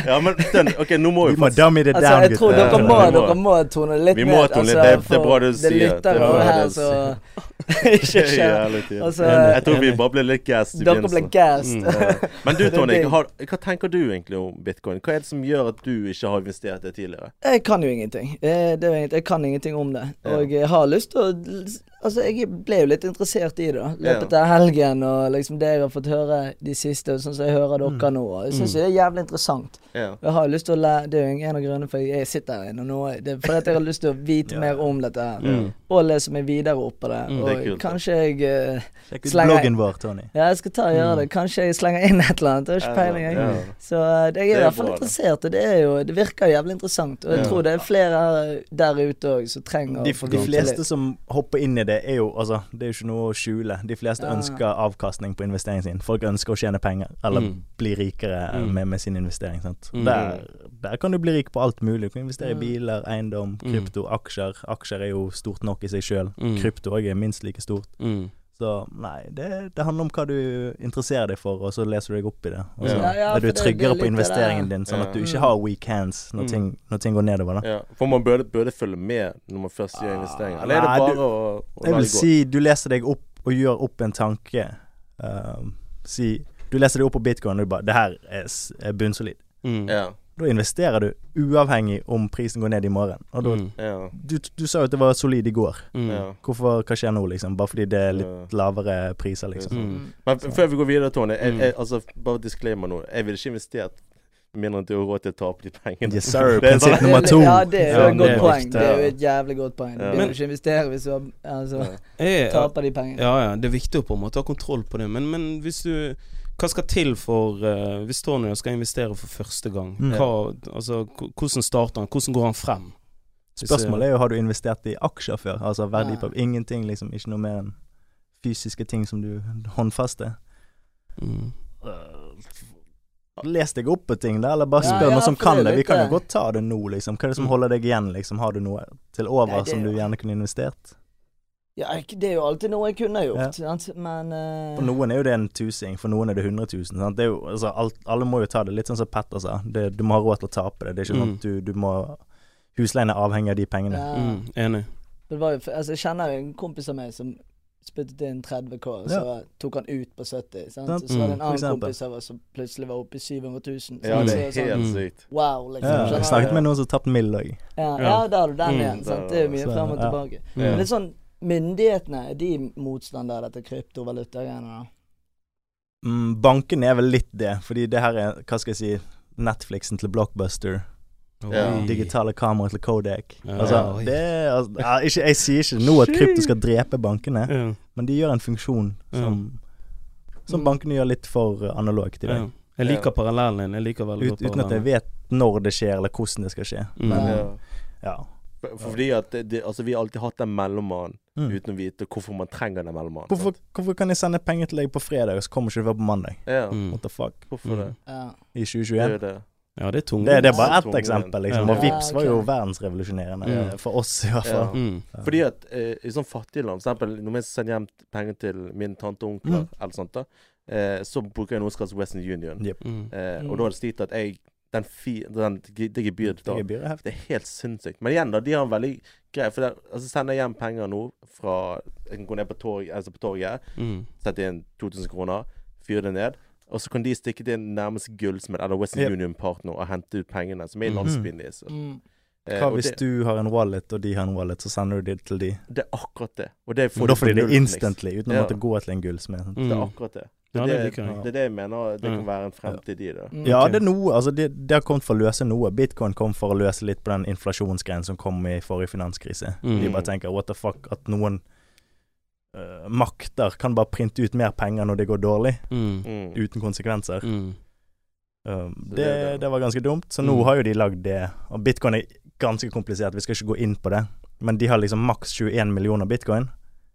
[SPEAKER 2] Ja, men den, ok, nå må
[SPEAKER 1] Vi
[SPEAKER 2] vi
[SPEAKER 1] må dummy det
[SPEAKER 4] Altså,
[SPEAKER 1] down,
[SPEAKER 4] jeg tror dere
[SPEAKER 2] Ja,
[SPEAKER 4] må,
[SPEAKER 2] vi må.
[SPEAKER 4] dere må tone litt
[SPEAKER 2] Vi
[SPEAKER 4] ned. altså,
[SPEAKER 2] må tone litt. Det- det er bra du sier.
[SPEAKER 4] Det lytter
[SPEAKER 2] Det er bra
[SPEAKER 4] her,
[SPEAKER 2] du
[SPEAKER 4] så
[SPEAKER 2] sier.
[SPEAKER 4] Ikke
[SPEAKER 2] faktisk
[SPEAKER 4] skjer.
[SPEAKER 2] jævlig tid.
[SPEAKER 4] Altså,
[SPEAKER 2] Jeg tror vi Mm. bare ble litt gassed i
[SPEAKER 4] dere ble
[SPEAKER 2] begynnelsen.
[SPEAKER 4] gassed.
[SPEAKER 2] Ja. Men du,
[SPEAKER 4] Det er
[SPEAKER 2] Tony,
[SPEAKER 4] digg.
[SPEAKER 2] hva, har- hva tenker du egentlig om bitcoin? Hva er det som gjør at du ikke har investert det tidligere?
[SPEAKER 4] Jeg kan jo ingenting. Eh, Det er jo egentlig, jeg kan ingenting om det.
[SPEAKER 2] Ja.
[SPEAKER 4] Og jeg har lyst til å Altså, jeg ble jo litt interessert i det. da
[SPEAKER 2] Ja.
[SPEAKER 4] Løpet av helgen og liksom det jeg har fått høre de siste, og sånn som jeg hører dere
[SPEAKER 2] Mm.
[SPEAKER 4] nå. og Jeg syns jo det er jævlig interessant.
[SPEAKER 2] Ja.
[SPEAKER 4] Jeg har jo lyst til å lære Det er jo en av grunnene for at jeg sitter her inne nå. Det er fordi at jeg har lyst til å vite
[SPEAKER 1] Ja.
[SPEAKER 4] mer om dette her.
[SPEAKER 3] Mm.
[SPEAKER 4] Og lese meg videre opp på
[SPEAKER 2] Mm.
[SPEAKER 4] det.
[SPEAKER 2] Det er
[SPEAKER 4] og
[SPEAKER 2] kult, da.
[SPEAKER 4] kanskje jeg eh,
[SPEAKER 1] Sjekk ut
[SPEAKER 4] Slenger-
[SPEAKER 1] bloggen vår, Tony.
[SPEAKER 4] Ja, jeg skal ta og gjøre det. Kanskje jeg slenger inn et eller annet. Det har ikke peiling, jeg.
[SPEAKER 2] Mm. Ja.
[SPEAKER 4] Så eh, det- jeg
[SPEAKER 2] Det
[SPEAKER 4] er
[SPEAKER 2] er
[SPEAKER 4] i hvert fall
[SPEAKER 2] bra, det.
[SPEAKER 4] interessert, og det, er jo, det virker jævlig interessant. Og jeg
[SPEAKER 2] Ja.
[SPEAKER 4] tror det er flere her der ute òg som trenger
[SPEAKER 1] De,
[SPEAKER 4] få
[SPEAKER 1] de
[SPEAKER 4] vite
[SPEAKER 1] fleste
[SPEAKER 4] litt.
[SPEAKER 1] som hopper inn i det, er jo altså Det er jo ikke noe å skjule. De fleste
[SPEAKER 4] Ja.
[SPEAKER 1] ønsker avkastning på investeringen sin. Folk ønsker å tjene penger, eller
[SPEAKER 3] Mm.
[SPEAKER 1] bli rikere eh,
[SPEAKER 3] Mm.
[SPEAKER 1] med, med sin investering. Sant?
[SPEAKER 3] Mm.
[SPEAKER 1] Der, der kan du bli rik på alt mulig. Du kan investere i
[SPEAKER 4] Mm.
[SPEAKER 1] biler, eiendom,
[SPEAKER 3] Mm.
[SPEAKER 1] krypto, aksjer. Aksjer er jo stort nok i seg sjøl.
[SPEAKER 3] Mm.
[SPEAKER 1] Krypto òg er minst like stort.
[SPEAKER 3] Mm.
[SPEAKER 1] Så nei, det, det handler om hva du interesserer deg for, og så leser du deg opp i det. Og så
[SPEAKER 2] Ja.
[SPEAKER 4] Ja, ja,
[SPEAKER 1] er du
[SPEAKER 4] for det- det er
[SPEAKER 1] tryggere
[SPEAKER 4] litt
[SPEAKER 1] på
[SPEAKER 4] det
[SPEAKER 1] investeringen
[SPEAKER 4] der.
[SPEAKER 1] din, sånn
[SPEAKER 2] Ja.
[SPEAKER 1] at du
[SPEAKER 4] Mm.
[SPEAKER 1] ikke har weak hands når,
[SPEAKER 3] Mm.
[SPEAKER 1] ting, når ting går nedover. da
[SPEAKER 2] Ja, for man burde, burde følge med når man først gjør
[SPEAKER 1] Ah,
[SPEAKER 2] investeringer. Eller er det
[SPEAKER 1] nei,
[SPEAKER 2] bare
[SPEAKER 1] du-
[SPEAKER 2] å, å
[SPEAKER 1] Jeg
[SPEAKER 2] la
[SPEAKER 1] vil
[SPEAKER 2] det gå?
[SPEAKER 1] si du leser deg opp og gjør opp en tanke. Um, si du leser deg opp på bitcoin og du bare 'Det her er, s- er bunnsolid'.
[SPEAKER 3] Mm.
[SPEAKER 2] Ja,
[SPEAKER 1] Da investerer du uavhengig om prisen går ned i morgen. Og da,
[SPEAKER 3] Mm.
[SPEAKER 2] ja,
[SPEAKER 1] du, du sa jo at det var solid i går.
[SPEAKER 3] Mm.
[SPEAKER 2] ja.
[SPEAKER 1] Hvorfor, hva skjer nå, liksom? Bare fordi det er litt
[SPEAKER 2] Ja.
[SPEAKER 1] lavere priser, liksom.
[SPEAKER 3] Mm.
[SPEAKER 4] Mm.
[SPEAKER 2] Men
[SPEAKER 1] Så.
[SPEAKER 2] før vi går videre, Tony, jeg,
[SPEAKER 3] Mm.
[SPEAKER 2] jeg, altså, bare disclaimer nå. Jeg ville ikke investert med mindre enn at du har råd til å ta opp de pengene.
[SPEAKER 1] Yes, sir.
[SPEAKER 2] Det er
[SPEAKER 1] Prinsipp
[SPEAKER 2] sånn-
[SPEAKER 1] nummer to.
[SPEAKER 4] Ja, det er jo
[SPEAKER 3] Ja,
[SPEAKER 4] et
[SPEAKER 3] det
[SPEAKER 4] godt
[SPEAKER 3] er
[SPEAKER 4] poeng.
[SPEAKER 1] viktig.
[SPEAKER 4] Det er jo
[SPEAKER 2] Ja.
[SPEAKER 4] et jævlig godt poeng.
[SPEAKER 2] Ja.
[SPEAKER 4] Du vil ikke investere hvis du har, altså,
[SPEAKER 2] Ja.
[SPEAKER 3] Jeg,
[SPEAKER 4] taper de pengene.
[SPEAKER 3] ja, ja, det er viktig å på en måte ha kontroll på det, men, men hvis du Hva skal til for eh, Hvis Tony skal investere for første gang,
[SPEAKER 1] Mm.
[SPEAKER 3] hva, altså, h- hvordan starter han? Hvordan går han frem? Hvis, eh,
[SPEAKER 1] Spørsmålet er jo har du investert i aksjer før, altså verdipapir.
[SPEAKER 4] Nei.
[SPEAKER 1] Ingenting, liksom. Ikke noe mer enn fysiske ting som du håndfaster.
[SPEAKER 3] Mm.
[SPEAKER 1] Les deg opp på ting, da, eller bare
[SPEAKER 4] Ja,
[SPEAKER 1] spør
[SPEAKER 4] ja,
[SPEAKER 1] noen som
[SPEAKER 4] for
[SPEAKER 1] kan
[SPEAKER 4] det er
[SPEAKER 1] det. Vi
[SPEAKER 4] litt
[SPEAKER 1] kan jo
[SPEAKER 4] det.
[SPEAKER 1] godt ta det nå, liksom. Hva er det som
[SPEAKER 3] Mm.
[SPEAKER 1] holder deg igjen, liksom? Har du noe til
[SPEAKER 4] Nei,
[SPEAKER 1] over
[SPEAKER 4] det
[SPEAKER 1] som
[SPEAKER 4] er
[SPEAKER 1] du
[SPEAKER 4] jo-
[SPEAKER 1] gjerne kunne investert?
[SPEAKER 4] Ja, ikke- det er jo alltid noe jeg kunne ha
[SPEAKER 1] Ja.
[SPEAKER 4] gjort, sant? men eh,
[SPEAKER 1] For noen er jo det en tusing, for noen er det 100 000. Sant? Det er jo, altså, alt, alle må jo ta det, litt sånn som Petter sa. Det, du må ha råd til å tape det. Det er ikke sånn
[SPEAKER 3] Mm.
[SPEAKER 1] at du, du må Husleien er avhengig av de pengene.
[SPEAKER 4] ja.
[SPEAKER 3] Mm. Enig.
[SPEAKER 4] det var jo, altså, Jeg kjenner jo en kompis av meg som spyttet inn 30 K, og så tok han ut på 70. Sant?
[SPEAKER 1] Sant.
[SPEAKER 4] Så var det
[SPEAKER 3] Mm,
[SPEAKER 4] en
[SPEAKER 1] for
[SPEAKER 4] annen
[SPEAKER 1] eksempel.
[SPEAKER 4] kompis av oss som plutselig var oppe i 700 000. sant?
[SPEAKER 2] ja, det
[SPEAKER 4] Så
[SPEAKER 2] er
[SPEAKER 4] sånn,
[SPEAKER 2] helt
[SPEAKER 3] Mm.
[SPEAKER 2] sykt.
[SPEAKER 4] Wow, liksom.
[SPEAKER 1] Ja,
[SPEAKER 4] skjønner
[SPEAKER 1] jeg
[SPEAKER 4] du?
[SPEAKER 1] snakket med noen som tapte mild òg.
[SPEAKER 4] Ja,
[SPEAKER 3] Ja.
[SPEAKER 4] ja, der har du den
[SPEAKER 3] Mm.
[SPEAKER 4] igjen. Sant? Det er jo mye
[SPEAKER 1] Så,
[SPEAKER 4] frem og
[SPEAKER 1] ja.
[SPEAKER 4] tilbake.
[SPEAKER 3] Mm.
[SPEAKER 4] Men litt sånn, myndighetene, er de motstandere av dette kryptovaluta-greiene? da?
[SPEAKER 1] Mm, banken er vel litt det, fordi det her er, hva skal jeg si, Netflixen til Blockbuster.
[SPEAKER 4] sånn-
[SPEAKER 2] Ja.
[SPEAKER 3] Oi.
[SPEAKER 1] Digitale kameraer til Kodak.
[SPEAKER 3] Ja.
[SPEAKER 1] Altså,
[SPEAKER 3] Oi.
[SPEAKER 1] det er, altså, ja, ikke, jeg sier ikke nå at krypto skal drepe bankene,
[SPEAKER 3] Ja.
[SPEAKER 1] men de gjør en funksjon som, som
[SPEAKER 4] Mm.
[SPEAKER 1] bankene gjør litt for eh, analogt i
[SPEAKER 3] Ja.
[SPEAKER 1] dag.
[SPEAKER 3] Jeg liker parallellen din. Jeg liker veldig
[SPEAKER 1] Ut,
[SPEAKER 3] godt
[SPEAKER 1] uten at jeg
[SPEAKER 3] parallellen.
[SPEAKER 1] vet når det skjer, eller hvordan det skal skje.
[SPEAKER 3] Mm.
[SPEAKER 1] Men
[SPEAKER 2] Ja.
[SPEAKER 1] eh, ja.
[SPEAKER 2] For- Fordi at det, det, altså, vi har alltid hatt den mellommannen
[SPEAKER 1] Mm.
[SPEAKER 2] uten å vite hvorfor man trenger den mellommannen.
[SPEAKER 1] Hvorfor,
[SPEAKER 2] sant?
[SPEAKER 1] hvorfor kan jeg sende penger til deg på fredag, og så kommer ikke det før på mandag?
[SPEAKER 2] Ja,
[SPEAKER 3] Mm.
[SPEAKER 1] What the fuck?
[SPEAKER 2] hvorfor det?
[SPEAKER 4] Ja.
[SPEAKER 1] I
[SPEAKER 2] Det er jo
[SPEAKER 1] 2021?
[SPEAKER 2] det.
[SPEAKER 3] Ja, det er tungt.
[SPEAKER 1] Det, det er bare ett
[SPEAKER 2] Tungvint.
[SPEAKER 1] eksempel, liksom.
[SPEAKER 3] Ja.
[SPEAKER 1] Og Vipps var jo
[SPEAKER 4] Ja, ok.
[SPEAKER 1] verdensrevolusjonerende,
[SPEAKER 3] Mm.
[SPEAKER 1] eh, for oss i hvert fall.
[SPEAKER 2] Ja.
[SPEAKER 3] Mm.
[SPEAKER 2] Fordi at eh, i sånn fattige land, for eksempel når jeg sender hjem penger til min tante og
[SPEAKER 1] Mm.
[SPEAKER 2] onkler, eller sånt da, eh, så bruker jeg noe som kalles Western Union.
[SPEAKER 3] Mm.
[SPEAKER 2] Eh,
[SPEAKER 4] Mm.
[SPEAKER 2] Og da er det slik at jeg Den, fi, den det gebyret
[SPEAKER 1] Det
[SPEAKER 2] da,
[SPEAKER 1] er gebyret er heftig.
[SPEAKER 2] det er helt sinnssykt. Men igjen, da, de har en veldig grei For der, altså sender jeg hjem penger nå fra Jeg kan gå ned på torget, altså på torget
[SPEAKER 3] Mm.
[SPEAKER 2] sette inn 2000 kroner, fyre det ned. Og så kan de stikke til nærmeste gullsmed eller Western
[SPEAKER 1] Yep.
[SPEAKER 2] Union Partner og hente ut pengene, som er i
[SPEAKER 3] Mhm.
[SPEAKER 2] landsbyen deres.
[SPEAKER 4] Mm.
[SPEAKER 2] Eh,
[SPEAKER 1] Hva
[SPEAKER 2] og
[SPEAKER 1] hvis
[SPEAKER 2] det,
[SPEAKER 1] du har en wallet, og de har en wallet, så sender du det til de?
[SPEAKER 2] Det er akkurat det. Og det
[SPEAKER 1] Men da får
[SPEAKER 2] du
[SPEAKER 1] de
[SPEAKER 2] for
[SPEAKER 1] det
[SPEAKER 2] null, liksom.
[SPEAKER 1] instantly, uten å
[SPEAKER 2] Ja.
[SPEAKER 1] måtte gå til en gullsmed.
[SPEAKER 2] Det er
[SPEAKER 3] Mm.
[SPEAKER 2] akkurat det.
[SPEAKER 3] Ja,
[SPEAKER 2] det,
[SPEAKER 3] det
[SPEAKER 2] er-
[SPEAKER 3] liker jeg.
[SPEAKER 2] det er det jeg mener det
[SPEAKER 3] Ja.
[SPEAKER 2] kan være en fremtid i det.
[SPEAKER 4] Mm.
[SPEAKER 1] Ja,
[SPEAKER 3] Ok.
[SPEAKER 1] det er noe. Altså, det, det har kommet for å løse noe. Bitcoin kom for å løse litt på den inflasjonsgreien som kom i forrige finanskrise.
[SPEAKER 3] Mm.
[SPEAKER 1] De bare tenker what the fuck, at noen eh, makter kan bare printe ut mer penger når det går dårlig,
[SPEAKER 3] Mm.
[SPEAKER 2] Mm.
[SPEAKER 1] uten konsekvenser.
[SPEAKER 3] Mm.
[SPEAKER 1] Um,
[SPEAKER 2] Så det
[SPEAKER 1] det,
[SPEAKER 2] er det.
[SPEAKER 1] det var ganske dumt. Så nå
[SPEAKER 3] Mm.
[SPEAKER 1] har jo de lagd det. Og bitcoin er ganske komplisert, vi skal ikke gå inn på det. Men de har liksom maks 21 millioner bitcoin.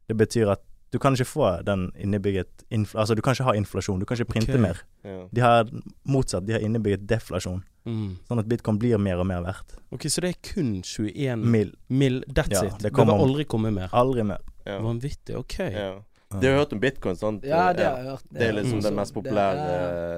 [SPEAKER 1] Det betyr at du kan ikke få den innebygget infl Altså, du kan ikke ha inflasjon, du kan ikke printe
[SPEAKER 3] Ok.
[SPEAKER 1] mer.
[SPEAKER 2] Ja.
[SPEAKER 1] De har motsatt, de har innebygget deflasjon.
[SPEAKER 3] Mm.
[SPEAKER 1] Sånn at bitcoin blir mer og mer verdt.
[SPEAKER 3] Ok, så det er kun 21
[SPEAKER 2] Mm.
[SPEAKER 3] mill.
[SPEAKER 1] Mild.
[SPEAKER 3] That's
[SPEAKER 1] Ja, det
[SPEAKER 3] it. Det
[SPEAKER 1] kommer
[SPEAKER 3] kommer
[SPEAKER 1] om-
[SPEAKER 3] aldri komme mer.
[SPEAKER 1] Aldri mer.
[SPEAKER 2] Ja.
[SPEAKER 3] Vanvittig. Ok.
[SPEAKER 2] Ja. Du har hørt om bitcoin, sant?
[SPEAKER 4] ja, det
[SPEAKER 2] Ja.
[SPEAKER 4] har jeg hørt.
[SPEAKER 2] Det er liksom
[SPEAKER 3] Mm.
[SPEAKER 2] den mest populære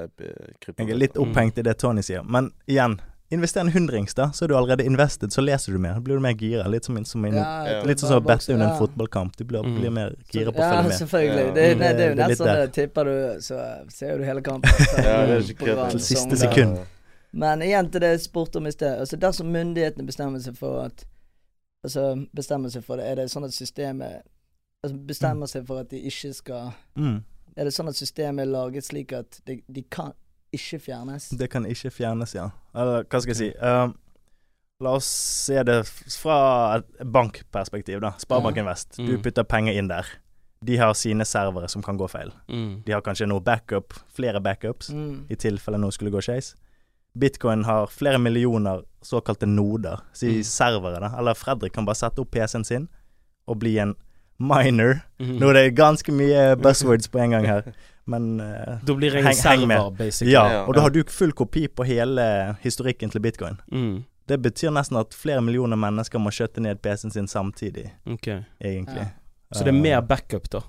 [SPEAKER 2] eh, b- krypto.
[SPEAKER 1] Jeg er litt opphengt i det Tony sier. Men igjen, invester en hundrings, da, så er du allerede invested. Så leser du mer. Da blir du mer gira. Litt som, som inne.
[SPEAKER 2] Ja.
[SPEAKER 1] Litt sånn som å bette under en
[SPEAKER 4] fotball
[SPEAKER 1] fotballkamp. Du blir,
[SPEAKER 3] Mm.
[SPEAKER 1] blir mer gira på å følge
[SPEAKER 4] Ja,
[SPEAKER 1] med.
[SPEAKER 4] selvfølgelig.
[SPEAKER 2] Ja.
[SPEAKER 4] Det, det,
[SPEAKER 3] Mm.
[SPEAKER 4] det er jo
[SPEAKER 1] Det er litt
[SPEAKER 4] nesten
[SPEAKER 1] der.
[SPEAKER 4] det. Tipper du, så ser du hele kampen. Så,
[SPEAKER 2] Ja, det er
[SPEAKER 4] på
[SPEAKER 2] ikke kødd.
[SPEAKER 4] rad,
[SPEAKER 1] Til siste
[SPEAKER 4] sånn, da.
[SPEAKER 1] sekund.
[SPEAKER 4] Men igjen til det jeg spurte om i sted. Altså Dersom myndighetene bestemmer seg for at Altså bestemmer seg for det, er det sånn at systemet Altså bestemmer
[SPEAKER 2] Mm.
[SPEAKER 4] seg for at de ikke skal
[SPEAKER 1] Mm.
[SPEAKER 4] Er det sånn at systemet er laget slik at de, de kan ikke fjernes?
[SPEAKER 1] Det kan ikke fjernes, ja. Eller hva skal jeg si. Um, la oss se det f- fra et bankperspektiv, da. Sparebanken Vest. Du
[SPEAKER 3] Mm.
[SPEAKER 1] putter penger inn der. De har sine servere som kan gå feil.
[SPEAKER 3] Mm.
[SPEAKER 1] De har kanskje noe backup, flere backups,
[SPEAKER 4] Mm.
[SPEAKER 1] i tilfelle noe skulle gå skeis. Bitcoin har flere millioner såkalte noder, si
[SPEAKER 3] Mm.
[SPEAKER 1] servere, da. Eller Fredrik kan bare sette opp PC-en sin og bli en miner.
[SPEAKER 3] Mm.
[SPEAKER 1] Nå er det ganske mye buzzwords på en gang her, men eh,
[SPEAKER 3] Da blir jeg
[SPEAKER 1] Heng-
[SPEAKER 3] en
[SPEAKER 1] heng med.
[SPEAKER 3] server, basically.
[SPEAKER 1] Ja, og da
[SPEAKER 3] Ja.
[SPEAKER 1] har du full kopi på hele historikken til bitcoin.
[SPEAKER 3] Mm.
[SPEAKER 1] Det betyr nesten at flere millioner mennesker må skjøtte ned PC-en sin samtidig,
[SPEAKER 3] Ok.
[SPEAKER 1] egentlig. Eh,
[SPEAKER 4] Ja.
[SPEAKER 3] Eh, Så det er mer backup, da.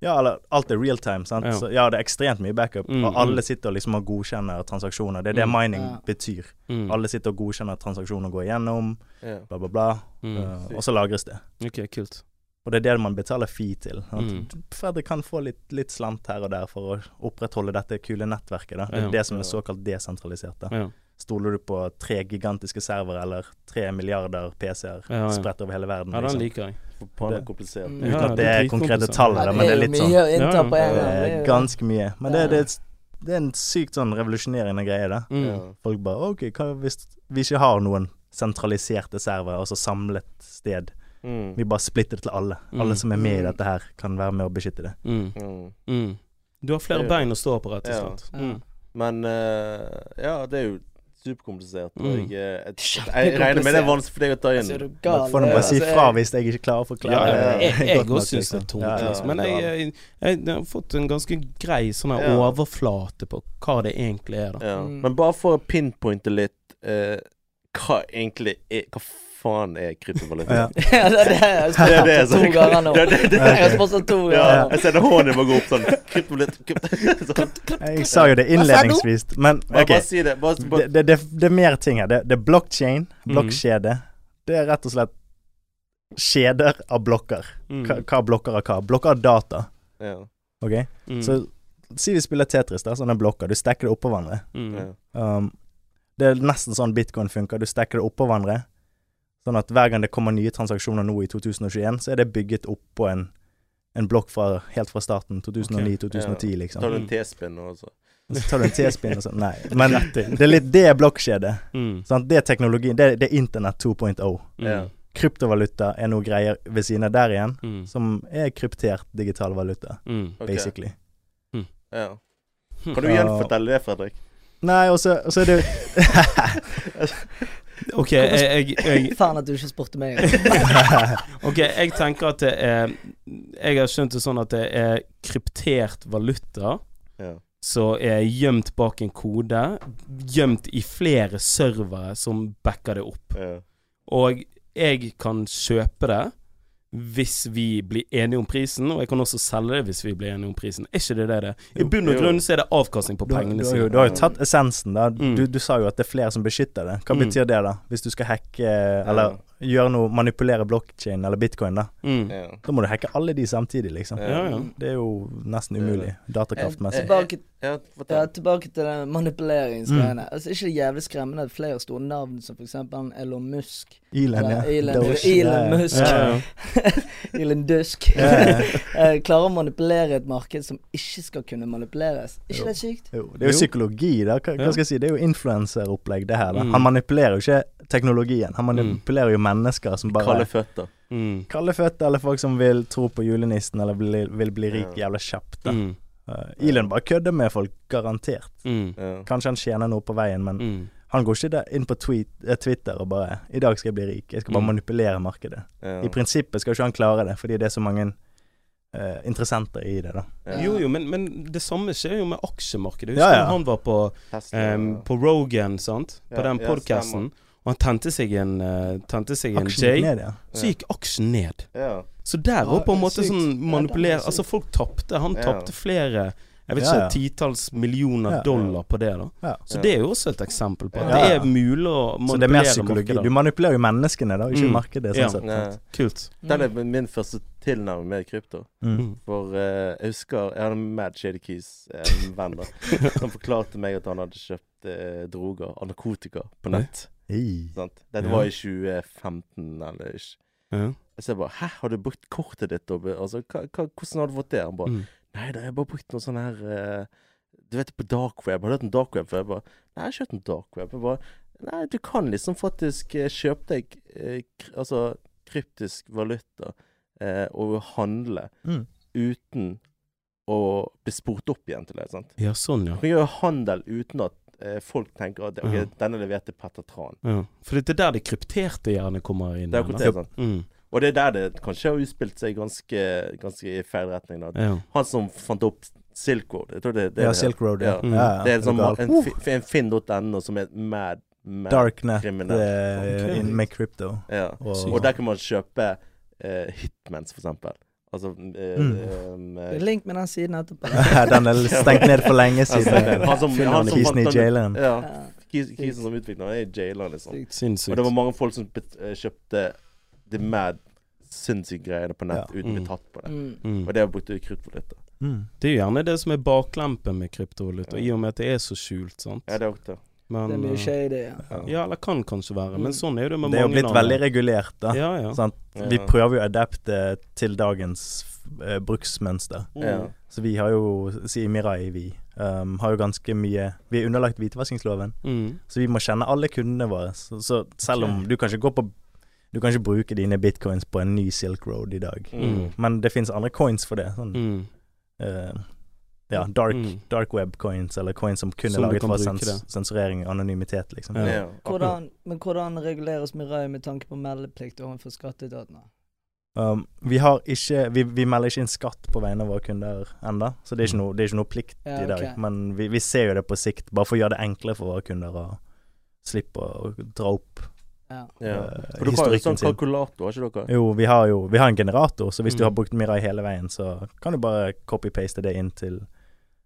[SPEAKER 1] Ja, eller alt er real time, sant.
[SPEAKER 3] Ja.
[SPEAKER 1] Ja, så, ja det er ekstremt mye backup,
[SPEAKER 3] Mm,
[SPEAKER 1] og alle sitter og liksom og godkjenner transaksjoner. Det er det
[SPEAKER 3] Mm.
[SPEAKER 1] mining
[SPEAKER 4] Ja.
[SPEAKER 1] betyr.
[SPEAKER 3] Mm.
[SPEAKER 1] Alle sitter og godkjenner transaksjoner, går igjennom,
[SPEAKER 2] Ja.
[SPEAKER 1] bla, bla, bla.
[SPEAKER 3] Mm.
[SPEAKER 1] eh, og så lagres det.
[SPEAKER 3] Ok, kult.
[SPEAKER 1] Og det er det man betaler fee til. sant?
[SPEAKER 3] Mm.
[SPEAKER 1] Fredrik kan få litt, litt slant her og der for å opprettholde dette kule nettverket. Da. Det er
[SPEAKER 3] Ja.
[SPEAKER 1] det som er
[SPEAKER 2] Ja.
[SPEAKER 1] såkalt desentralisert. Da.
[SPEAKER 3] Ja.
[SPEAKER 1] Stoler du på tre gigantiske servere eller tre milliarder PC-er
[SPEAKER 3] Ja, ja.
[SPEAKER 1] spredt over hele verden?
[SPEAKER 3] ja, den
[SPEAKER 1] liksom?
[SPEAKER 3] liker jeg.
[SPEAKER 2] Faen, det
[SPEAKER 1] Det-
[SPEAKER 2] er komplisert.
[SPEAKER 4] Mm.
[SPEAKER 1] Uten
[SPEAKER 3] Ja,
[SPEAKER 1] at
[SPEAKER 3] det
[SPEAKER 1] det
[SPEAKER 3] er
[SPEAKER 1] er konkrete
[SPEAKER 3] dritkomplisert.
[SPEAKER 1] tall,
[SPEAKER 3] Ja,
[SPEAKER 1] da, men det er litt sånn.
[SPEAKER 4] mye å innta på
[SPEAKER 1] Det
[SPEAKER 4] en
[SPEAKER 1] er
[SPEAKER 4] gang. det er jo-
[SPEAKER 1] ganske mye. Men det,
[SPEAKER 4] Ja.
[SPEAKER 1] det, det er en sykt sånn revolusjonerende greie, det.
[SPEAKER 3] Mm.
[SPEAKER 2] Ja.
[SPEAKER 1] Folk bare OK, hva hvis vi ikke har noen sentraliserte servere, altså samlet sted?
[SPEAKER 2] Mm.
[SPEAKER 1] Vi bare splitter det til alle.
[SPEAKER 3] Mm.
[SPEAKER 1] Alle som er med i
[SPEAKER 4] Mm.
[SPEAKER 1] dette her, kan være med å beskytte det.
[SPEAKER 3] Mm.
[SPEAKER 2] Mm.
[SPEAKER 3] Mm. Du har flere
[SPEAKER 2] Det-
[SPEAKER 3] bein å stå på, rett og
[SPEAKER 2] Ja.
[SPEAKER 3] slett.
[SPEAKER 4] Ja.
[SPEAKER 3] Mm.
[SPEAKER 2] Men eh, ja, det er jo superkomplisert. Og
[SPEAKER 3] Mm.
[SPEAKER 2] jeg, eh, jeg, jeg regner med det er vanskelig for deg å ta
[SPEAKER 4] Altså, er
[SPEAKER 2] inn.
[SPEAKER 4] du
[SPEAKER 1] Da
[SPEAKER 4] gal?
[SPEAKER 1] får du bare si
[SPEAKER 4] Altså, jeg-
[SPEAKER 1] fra hvis jeg ikke klarer å
[SPEAKER 3] Ja,
[SPEAKER 1] forklare
[SPEAKER 3] ja,
[SPEAKER 2] ja.
[SPEAKER 1] det
[SPEAKER 3] jeg- jeg
[SPEAKER 1] godt nok,
[SPEAKER 3] òg syns det er
[SPEAKER 1] liksom.
[SPEAKER 3] tungt,
[SPEAKER 1] Ja, ja, ja.
[SPEAKER 3] liksom. men jeg, jeg, jeg, har fått en ganske grei sånn her
[SPEAKER 2] Ja.
[SPEAKER 3] overflate på hva det egentlig er, da.
[SPEAKER 2] Ja.
[SPEAKER 4] Mm.
[SPEAKER 2] Men bare for å pinpointe litt eh, hva egentlig er Hva faen er kryptovaluta?
[SPEAKER 1] Ja.
[SPEAKER 4] Ja, det er det jeg har spurt
[SPEAKER 2] Det er det
[SPEAKER 4] om
[SPEAKER 2] som-
[SPEAKER 4] to ganger nå.
[SPEAKER 2] Det er det- det-
[SPEAKER 4] Jeg har spurt om to
[SPEAKER 2] Ja,
[SPEAKER 4] ganger.
[SPEAKER 2] jeg ser når hånden din bare går opp sånn. Kryptovaluta krypt- sånn.
[SPEAKER 1] Jeg sa jo det innledningsvis, men
[SPEAKER 2] Bare,
[SPEAKER 1] OK.
[SPEAKER 2] bare si det. Bare,
[SPEAKER 1] Det,
[SPEAKER 2] Altså, bare, Mhm.
[SPEAKER 1] det, det, det er mer ting her. Det, det er blokkjede. Blokkjede. Det er rett og slett kjeder av blokker. Hva,
[SPEAKER 2] Mhm.
[SPEAKER 3] Mm.
[SPEAKER 1] hva blokker av hva? Blokker av data.
[SPEAKER 2] ja,
[SPEAKER 1] OK?
[SPEAKER 2] Mhm.
[SPEAKER 3] Mm.
[SPEAKER 1] Så si vi spiller Tetris, da. Sånne blokker. Du stekker det oppå hverandre.
[SPEAKER 2] ja.
[SPEAKER 3] mm.
[SPEAKER 1] Um, det er nesten sånn bitcoin funker. Du stekker det oppå hverandre. Sånn at hver gang det kommer nye transaksjoner nå i 2021, så er det bygget oppå en, en blokk fra, helt fra starten. 2009-2010, liksom.
[SPEAKER 2] Tar du en T-spinn nå, så
[SPEAKER 1] Og Så tar du en T-spinn og sånn. Nei. Men
[SPEAKER 3] Rett inn.
[SPEAKER 1] det er litt det blokkjedet.
[SPEAKER 3] Mm.
[SPEAKER 1] Sant? Det er teknologien. Det, det er internett 2.0.
[SPEAKER 2] Ja.
[SPEAKER 1] Kryptovaluta er noe greier ved siden av der igjen,
[SPEAKER 3] Mm.
[SPEAKER 1] som er kryptert digital valuta,
[SPEAKER 3] Mm.
[SPEAKER 2] Ok.
[SPEAKER 1] basically.
[SPEAKER 2] ja. Kan du gjenfortelle det, Fredrik?
[SPEAKER 1] Nei, og så og så er det
[SPEAKER 3] OK, jeg, jeg, jeg,
[SPEAKER 4] Faen at du ikke spurte meg.
[SPEAKER 3] ok, jeg tenker at det er Jeg har skjønt det sånn at det er kryptert valuta
[SPEAKER 2] Ja.
[SPEAKER 3] som er gjemt bak en kode, gjemt i flere servere som backer det opp.
[SPEAKER 2] ja.
[SPEAKER 3] Og jeg kan kjøpe det hvis vi blir enige om prisen, og jeg kan også selge det hvis vi blir enige om prisen. Er ikke det det det er? I
[SPEAKER 2] Jo,
[SPEAKER 3] bunn og
[SPEAKER 2] jo.
[SPEAKER 3] grunn så er det avkastning på
[SPEAKER 1] Du, har- du,
[SPEAKER 3] pengene
[SPEAKER 1] har jo-
[SPEAKER 3] sine.
[SPEAKER 1] du har jo tatt essensen, da.
[SPEAKER 3] Mm.
[SPEAKER 1] Du, du sa jo at det er flere som beskytter det. Hva
[SPEAKER 3] Mm.
[SPEAKER 1] betyr det, da? Hvis du skal hacke eller gjøre noe, manipulere blokkjede eller bitcoin, da.
[SPEAKER 3] Mm.
[SPEAKER 2] ja.
[SPEAKER 1] Da må du hacke alle de samtidig, liksom.
[SPEAKER 3] Ja, ja.
[SPEAKER 1] Det er jo nesten
[SPEAKER 2] Det er
[SPEAKER 1] umulig, datakraftmessig.
[SPEAKER 4] Tilbake,
[SPEAKER 2] ja
[SPEAKER 4] ja,
[SPEAKER 2] fortell.
[SPEAKER 4] tilbake til den manipuleringsgreiene.
[SPEAKER 1] Mm.
[SPEAKER 4] Altså, ikke det jævlig skremmende at flere store navn, som for eksempel Elon Musk
[SPEAKER 1] Elon, ja.
[SPEAKER 4] Ja, Elon-
[SPEAKER 1] Doge,
[SPEAKER 4] Elon
[SPEAKER 1] ja, ja.
[SPEAKER 4] Musk.
[SPEAKER 1] Ja, ja.
[SPEAKER 4] Elon Dusk
[SPEAKER 1] Ja,
[SPEAKER 4] eh, klarer å manipulere et marked som ikke skal kunne manipuleres.
[SPEAKER 1] Jo.
[SPEAKER 4] ikke det sykt?
[SPEAKER 1] Jo, det er jo
[SPEAKER 3] Jo.
[SPEAKER 1] psykologi, da. Hva,
[SPEAKER 3] Ja.
[SPEAKER 1] hva skal jeg si? Det er jo influenseropplegg, det her. da
[SPEAKER 3] Mm.
[SPEAKER 1] Han manipulerer jo ikke teknologien. Han manipulerer jo mennesker som bare Kalde,
[SPEAKER 2] Kalde føtter.
[SPEAKER 3] Mm.
[SPEAKER 1] føtter, eller folk som vil tro på julenissen, eller vil, vil bli rik
[SPEAKER 2] Ja.
[SPEAKER 1] jævla kjapt. da
[SPEAKER 3] Mm.
[SPEAKER 1] Eh, Elon bare kødder med folk, garantert.
[SPEAKER 3] Mm.
[SPEAKER 2] Ja.
[SPEAKER 1] Kanskje han tjener noe på veien, men
[SPEAKER 3] Mm.
[SPEAKER 1] han går ikke der inn på tweet, eh, Twitter og bare 'I dag skal jeg bli rik. Jeg skal bare
[SPEAKER 3] Mm.
[SPEAKER 1] manipulere markedet'.
[SPEAKER 2] Ja.
[SPEAKER 1] I prinsippet skal jo ikke han klare det, fordi det er så mange eh, interessenter i det, da.
[SPEAKER 2] Ja.
[SPEAKER 3] Jo, jo, men, men det samme skjer jo med aksjemarkedet. Husker
[SPEAKER 1] Ja, ja.
[SPEAKER 3] du han var på,
[SPEAKER 2] Tesla,
[SPEAKER 3] ehm,
[SPEAKER 2] ja.
[SPEAKER 3] på Rogan, sant? På
[SPEAKER 2] Ja,
[SPEAKER 3] den
[SPEAKER 2] ja,
[SPEAKER 3] podcasten. og han tente seg en, eh, tente seg en
[SPEAKER 1] Aksjen gikk
[SPEAKER 3] J,
[SPEAKER 1] ned, ja.
[SPEAKER 3] så gikk aksjen ned.
[SPEAKER 2] Ja.
[SPEAKER 3] Så
[SPEAKER 4] Ja,
[SPEAKER 3] der var på en
[SPEAKER 4] det er
[SPEAKER 3] måte
[SPEAKER 4] sykt.
[SPEAKER 3] sånn
[SPEAKER 4] Ja,
[SPEAKER 3] manipuler...
[SPEAKER 4] det er sykt.
[SPEAKER 3] Altså, folk tapte. Han
[SPEAKER 2] Ja.
[SPEAKER 3] tapte flere jeg vet
[SPEAKER 1] Ja,
[SPEAKER 3] ikke,
[SPEAKER 1] ja.
[SPEAKER 3] titalls millioner
[SPEAKER 1] Ja, ja.
[SPEAKER 3] dollar på det, da.
[SPEAKER 1] Ja.
[SPEAKER 3] Så
[SPEAKER 2] Ja.
[SPEAKER 3] det er jo også et eksempel på at
[SPEAKER 1] Ja, ja.
[SPEAKER 3] det er mulig å manipulere
[SPEAKER 1] Så det er mer psykologi.
[SPEAKER 3] markedet.
[SPEAKER 1] Du manipulerer jo menneskene, da, ikke
[SPEAKER 3] Mm.
[SPEAKER 1] markedet.
[SPEAKER 3] Ja.
[SPEAKER 1] sånn sett.
[SPEAKER 2] Ja.
[SPEAKER 3] Kult.
[SPEAKER 2] Den
[SPEAKER 4] Mm.
[SPEAKER 2] er min første tilnærming med krypto.
[SPEAKER 1] Mm.
[SPEAKER 2] For eh, jeg husker Jeg hadde en mad shady keys en venn da som forklarte meg at han hadde kjøpt eh, droger og narkotika på nett.
[SPEAKER 1] Ei.
[SPEAKER 2] Sant? Dette
[SPEAKER 3] Ja.
[SPEAKER 2] var i 2015 eller ikke.
[SPEAKER 3] Ja.
[SPEAKER 2] Så jeg bare Hæ, har du brukt kortet ditt? Og, be- altså, hva, hva, hvordan har du fått det? Han bare
[SPEAKER 3] Mm.
[SPEAKER 2] Nei da, jeg har bare brukt noe sånn her eh, Du vet på dark web. Har du hørt om dark web før? Jeg bare Nei, jeg har ikke hørt om dark web. Jeg bare Nei, du kan liksom faktisk eh, kjøpe deg eh, kr- altså kryptisk valuta eh, og handle
[SPEAKER 1] Mm.
[SPEAKER 2] uten å bli spurt opp igjen til det. sant?
[SPEAKER 3] ja, sånn, ja.
[SPEAKER 2] Du kan gjøre handel uten at eh, folk tenker at
[SPEAKER 3] Ja.
[SPEAKER 2] ok, denne leverte Petter Tran.
[SPEAKER 3] ja. For det er der det krypterte gjerne kommer inn.
[SPEAKER 2] Det er
[SPEAKER 3] igjen,
[SPEAKER 2] akkurat
[SPEAKER 3] da.
[SPEAKER 2] det, sant?
[SPEAKER 3] Mm.
[SPEAKER 2] Og det er der det kanskje har utspilt seg ganske, ganske i feil retning. da.
[SPEAKER 3] Ja.
[SPEAKER 2] Han som fant opp Silk Road. Jeg tror det, det, er
[SPEAKER 1] Ja,
[SPEAKER 2] det.
[SPEAKER 1] Silk Road, ja.
[SPEAKER 2] Ja.
[SPEAKER 1] ja. ja,
[SPEAKER 2] det er sånn,
[SPEAKER 1] gal.
[SPEAKER 2] en, fi- en finn.no som er mad, mad
[SPEAKER 1] Darknet
[SPEAKER 2] kriminell.
[SPEAKER 1] eh,
[SPEAKER 3] Ok.
[SPEAKER 1] in- med crypto.
[SPEAKER 2] Ja.
[SPEAKER 1] Og,
[SPEAKER 3] Sykt.
[SPEAKER 2] Og der kan man kjøpe eh, hitmans, for eksempel. Altså eh,
[SPEAKER 1] Mm.
[SPEAKER 2] eh,
[SPEAKER 4] Det er Link med den siden etterpå.
[SPEAKER 1] Den er stengt ned for lenge
[SPEAKER 2] Altså,
[SPEAKER 1] siden.
[SPEAKER 2] han som-
[SPEAKER 1] Finner
[SPEAKER 2] han
[SPEAKER 1] han
[SPEAKER 2] som
[SPEAKER 1] kisen i
[SPEAKER 2] fant den-
[SPEAKER 1] jaileren.
[SPEAKER 2] Ja.
[SPEAKER 4] Ja,
[SPEAKER 2] Kis- Kisen som utviklet den, er i jailer, liksom.
[SPEAKER 4] sykt.
[SPEAKER 3] Sinnssykt.
[SPEAKER 2] Og det var mange folk som bet- eh, kjøpte de mad sinnssyke greiene på nett
[SPEAKER 1] Ja.
[SPEAKER 2] uten å bli
[SPEAKER 3] Mm.
[SPEAKER 2] tatt på det.
[SPEAKER 4] Mm.
[SPEAKER 3] Mm.
[SPEAKER 2] Og det har brukt krutt på dette.
[SPEAKER 1] Mm.
[SPEAKER 3] Det er jo gjerne det som er baklempen med kryptovaluta, i og med at det er så skjult, sant.
[SPEAKER 2] Ja, det er også det.
[SPEAKER 3] Men,
[SPEAKER 4] Det er mye
[SPEAKER 3] eh,
[SPEAKER 4] shady. Ja.
[SPEAKER 3] Ja, eller kan kanskje være, men
[SPEAKER 4] Mm.
[SPEAKER 3] sånn er det jo med
[SPEAKER 1] Det er jo
[SPEAKER 3] mange
[SPEAKER 1] blitt
[SPEAKER 3] navn.
[SPEAKER 1] veldig regulert, da.
[SPEAKER 3] Ja, ja.
[SPEAKER 1] Sant?
[SPEAKER 2] Ja.
[SPEAKER 1] Vi prøver jo å adapte til dagens eh, bruksmønster.
[SPEAKER 2] Ja.
[SPEAKER 1] Så vi har jo, sier Mirai vi, ehm, har jo ganske mye Vi er underlagt hvitvaskingsloven,
[SPEAKER 3] Mm.
[SPEAKER 1] så vi må kjenne alle kundene våre. Så, så selv om du kan ikke gå på Du kan ikke bruke dine bitcoins på en ny Silk Road i dag.
[SPEAKER 2] Mm.
[SPEAKER 1] Men det fins andre coins for det. Sånn,
[SPEAKER 3] Mm.
[SPEAKER 1] eh, ja, dark,
[SPEAKER 3] Mm.
[SPEAKER 1] dark web coins, eller coins som kun er
[SPEAKER 3] Som du
[SPEAKER 1] laget
[SPEAKER 3] kan
[SPEAKER 1] for
[SPEAKER 3] bruke
[SPEAKER 1] sens
[SPEAKER 3] det.
[SPEAKER 1] sensurering og anonymitet, liksom.
[SPEAKER 3] Ja.
[SPEAKER 2] Ja.
[SPEAKER 4] Hvordan, men hvordan reguleres Mirai med tanke på meldeplikt overfor skatteetatene?
[SPEAKER 1] Um, vi har ikke vi, vi melder ikke inn skatt på vegne av våre kunder enda så det er
[SPEAKER 3] Mm.
[SPEAKER 1] ikke noe, det er ikke noe plikt
[SPEAKER 4] Ja,
[SPEAKER 1] i dag.
[SPEAKER 4] ok.
[SPEAKER 1] Men vi, vi ser jo det på sikt, bare for å gjøre det enklere for våre kunder å slippe å dra opp
[SPEAKER 4] Ja.
[SPEAKER 2] Ja.
[SPEAKER 1] eh,
[SPEAKER 2] For dere har jo
[SPEAKER 1] historikken
[SPEAKER 2] sånn
[SPEAKER 1] sin.
[SPEAKER 2] kalkulator, har ikke dere?
[SPEAKER 1] Jo, vi har jo vi har en generator, så hvis
[SPEAKER 3] Mm.
[SPEAKER 1] du har brukt Mirai hele veien, så kan du bare copy-paste det inn til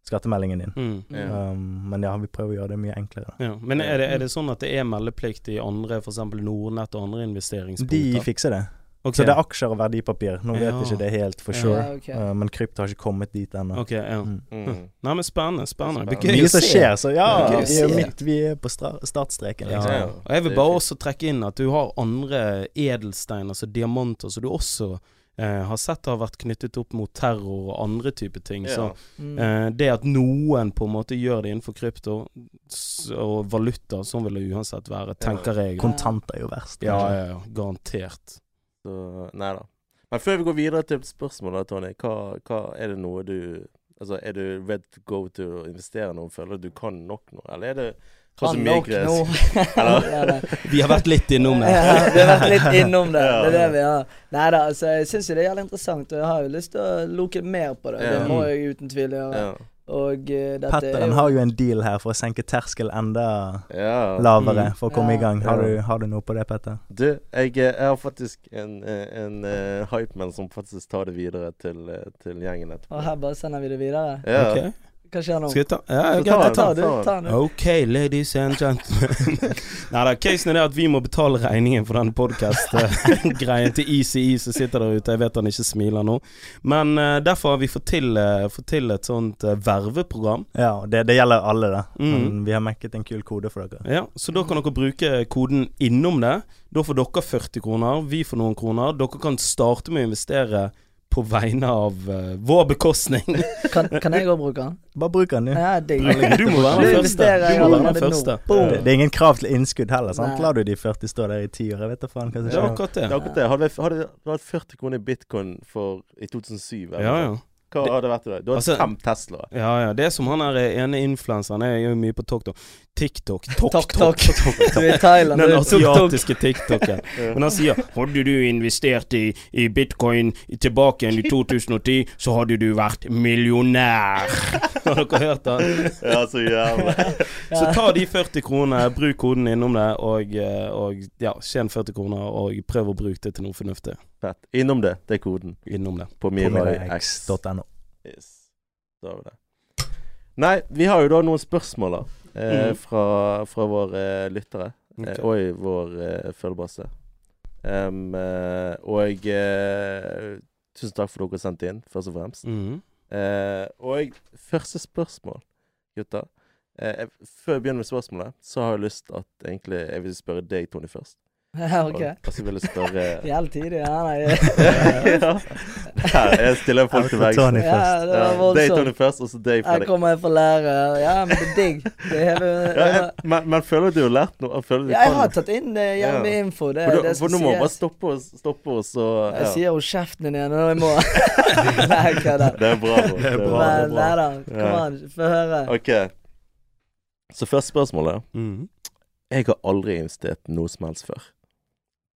[SPEAKER 1] skattemeldingen din.
[SPEAKER 3] Mm.
[SPEAKER 2] Ja.
[SPEAKER 1] Um, men ja, vi prøver å gjøre det mye enklere.
[SPEAKER 3] Ja. Men er det, er det sånn at det er meldeplikt i andre, f.eks. Nordnett og andre investeringspunkter?
[SPEAKER 1] De fikser det.
[SPEAKER 3] Ok.
[SPEAKER 1] Så det er aksjer og verdipapir. Nå vet
[SPEAKER 3] Ja.
[SPEAKER 1] jeg ikke det helt for
[SPEAKER 3] Ja.
[SPEAKER 1] sure,
[SPEAKER 4] Ja, ok.
[SPEAKER 1] uh, men krypto har ikke kommet dit ennå.
[SPEAKER 3] Ok, ja.
[SPEAKER 1] Mm.
[SPEAKER 2] Mm.
[SPEAKER 3] Nei, men spennende. spennende. Det
[SPEAKER 2] Det er
[SPEAKER 3] blir gøy
[SPEAKER 1] Mye
[SPEAKER 3] å
[SPEAKER 1] som
[SPEAKER 3] se.
[SPEAKER 1] skjer, så ja.
[SPEAKER 4] Det er gøy å
[SPEAKER 1] Vi er
[SPEAKER 4] se.
[SPEAKER 1] jo midt, vi er på stra- startstreken,
[SPEAKER 3] Ja.
[SPEAKER 1] liksom.
[SPEAKER 2] Ja.
[SPEAKER 3] Og jeg vil bare også trekke inn at du har andre edelsteiner, altså diamanter, som du også eh, har sett har vært knyttet opp mot terror og andre typer ting. Så
[SPEAKER 2] Ja.
[SPEAKER 4] Mm.
[SPEAKER 3] Eh, det at noen på en måte gjør det innenfor krypto s- og valuta, sånn vil det uansett være, tenker jeg.
[SPEAKER 4] Kon-
[SPEAKER 1] Kontanter er jo verst.
[SPEAKER 3] Ja, ja, ja. Garantert.
[SPEAKER 2] Så nei da. Men før vi går videre til spørsmålet, Tony, hva, hva er det noe du Altså, er du ready to go til å investere noe? Føler du du kan nok nå, eller er det sånn som
[SPEAKER 4] Kan nok
[SPEAKER 2] Migres?
[SPEAKER 4] nå.
[SPEAKER 2] Eller?
[SPEAKER 4] Ja, det-
[SPEAKER 3] Vi har vært litt innom det.
[SPEAKER 4] Ja, vi har vært litt innom det.
[SPEAKER 2] Ja.
[SPEAKER 4] Det er det vi har. Nei da, altså, jeg syns jo det er jævlig interessant, og jeg har jo lyst til å loke mer på det.
[SPEAKER 2] Ja.
[SPEAKER 4] Det må jeg uten tvil gjøre.
[SPEAKER 2] Ja.
[SPEAKER 4] Og eh, dette
[SPEAKER 1] Petter
[SPEAKER 4] er
[SPEAKER 1] han
[SPEAKER 4] jo
[SPEAKER 1] har jo en deal her for å senke terskel enda
[SPEAKER 2] ja.
[SPEAKER 1] lavere
[SPEAKER 3] Mm.
[SPEAKER 1] for å komme
[SPEAKER 4] Ja.
[SPEAKER 1] i gang. Har du,
[SPEAKER 2] Ja.
[SPEAKER 1] har du noe på det, Petter?
[SPEAKER 2] Du, jeg, eh, jeg har faktisk en, eh, en eh, hypeman som faktisk tar det videre til, eh, til gjengen etterpå.
[SPEAKER 4] Og her bare sender vi det videre.
[SPEAKER 2] Ja.
[SPEAKER 3] Ok.
[SPEAKER 4] Hva skjer nå?
[SPEAKER 3] Skal jeg ta? Ja,
[SPEAKER 2] Så
[SPEAKER 3] jeg kan
[SPEAKER 2] tar
[SPEAKER 4] Jeg
[SPEAKER 3] ta.
[SPEAKER 4] tar du, ta den.
[SPEAKER 3] Ok, ladies and gentlemen. Nei da, casen er det at vi må betale regningen for den podkast-greien til ECE som sitter der ute. Jeg vet han ikke smiler nå. Men eh, derfor har vi fått til, eh, fått til et sånt eh, verveprogram.
[SPEAKER 1] Ja, og det, det gjelder alle, da.
[SPEAKER 3] Mm.
[SPEAKER 1] Men vi har mekket en kul kode for dere.
[SPEAKER 3] Ja, så da kan dere bruke koden innom det. Da får dere 40 kroner, vi får noen kroner. Dere kan starte med å investere på vegne av eh, vår bekostning.
[SPEAKER 4] Kan, kan jeg òg bruke den?
[SPEAKER 1] Bare bruk den, du.
[SPEAKER 4] Ja, digg.
[SPEAKER 3] Du må
[SPEAKER 4] Du
[SPEAKER 3] være den første.
[SPEAKER 4] investerer
[SPEAKER 3] Du
[SPEAKER 4] i
[SPEAKER 3] må være
[SPEAKER 4] allerede
[SPEAKER 3] den
[SPEAKER 4] nå.
[SPEAKER 3] første.
[SPEAKER 4] Boom.
[SPEAKER 1] Det, det er ingen krav til innskudd heller. sant?
[SPEAKER 4] Nei.
[SPEAKER 1] Lar du de 40 stå der i ti år? Jeg vet da faen hva som
[SPEAKER 3] Det er
[SPEAKER 1] skjer.
[SPEAKER 3] akkurat
[SPEAKER 2] Det er
[SPEAKER 3] det.
[SPEAKER 2] akkurat det. Hadde vi hadde vi hatt 40 kroner i bitcoin for, i 2007, eller
[SPEAKER 3] Ja,
[SPEAKER 2] noe
[SPEAKER 3] ja.
[SPEAKER 2] sånt, hva hadde det vært i dag? Du hadde
[SPEAKER 3] Altså-
[SPEAKER 2] fem Teslaer.
[SPEAKER 3] Ja, ja. Det er som han der ene influenseren Jeg gjør mye på TikTok. TikTok.
[SPEAKER 4] Tok, tok.
[SPEAKER 3] TikTok.
[SPEAKER 4] Du er i Thailand.
[SPEAKER 3] Den
[SPEAKER 4] du er tok, tok.
[SPEAKER 3] asiatiske TikToken. Men han sier 'Hadde du investert i, i bitcoin tilbake igjen i 2010, så hadde du vært millionær'. Har dere hørt det?
[SPEAKER 2] Ja, så jævlig.
[SPEAKER 3] Så ta de 40 kronene, bruk koden innom det, og, eh, og ja, tjen 40 kroner, og prøv å bruke det til noe fornuftig
[SPEAKER 2] Fett. Innom det. Det er koden
[SPEAKER 3] innom det.
[SPEAKER 2] på MiraX.
[SPEAKER 1] Promillex.no.
[SPEAKER 2] Yes. Da har vi det. Nei, vi har jo da noen spørsmål da eh,
[SPEAKER 3] Mhm.
[SPEAKER 2] fra, fra våre lyttere. Eh,
[SPEAKER 3] Ok.
[SPEAKER 2] og i vår eh, følgebase. Em, eh, og eh, tusen takk for dere har sendt inn, først og fremst.
[SPEAKER 3] Mhm.
[SPEAKER 2] Eh, og første spørsmål, gutter. Eh, jeg- før jeg begynner med spørsmålet, så har jeg lyst at egentlig Jeg vil spørre deg, Tony, først.
[SPEAKER 4] Ja, ok.
[SPEAKER 2] Og, og så vil jeg spørre
[SPEAKER 4] Jævlig tidlig. Ja, nei.
[SPEAKER 2] Ja. Her, Jeg stiller folk til
[SPEAKER 1] Out for Tony
[SPEAKER 2] veggs.
[SPEAKER 4] Ja,
[SPEAKER 1] først.
[SPEAKER 4] det var
[SPEAKER 2] Deg, Tony,
[SPEAKER 4] voldsomt.
[SPEAKER 2] først, og så deg,
[SPEAKER 4] Her
[SPEAKER 2] Fredrik.
[SPEAKER 4] kommer jeg for lære. Ja, men det er digg. Det er
[SPEAKER 2] Ja, jeg,
[SPEAKER 4] hele
[SPEAKER 2] men, men føler du du har lært noe? Føler du
[SPEAKER 4] Ja, jeg
[SPEAKER 2] kan-
[SPEAKER 4] har tatt inn eh, jævlig mye info. Det
[SPEAKER 2] for,
[SPEAKER 4] er
[SPEAKER 2] du,
[SPEAKER 4] det
[SPEAKER 2] for
[SPEAKER 4] som
[SPEAKER 2] nå må man bare
[SPEAKER 4] sies.
[SPEAKER 2] stoppe oss, stoppe oss og
[SPEAKER 4] Jeg
[SPEAKER 2] ja.
[SPEAKER 4] sier jo kjeften din igjen når jeg må. Nei, jeg kødder.
[SPEAKER 2] Det er bra. bro.
[SPEAKER 1] Det er bra, det er
[SPEAKER 4] Men
[SPEAKER 1] bra.
[SPEAKER 4] nei da, kom
[SPEAKER 2] Ja.
[SPEAKER 4] an, få høre.
[SPEAKER 2] OK. Så første spørsmålet.
[SPEAKER 3] Mhm.
[SPEAKER 2] Jeg har aldri investert noe som helst før.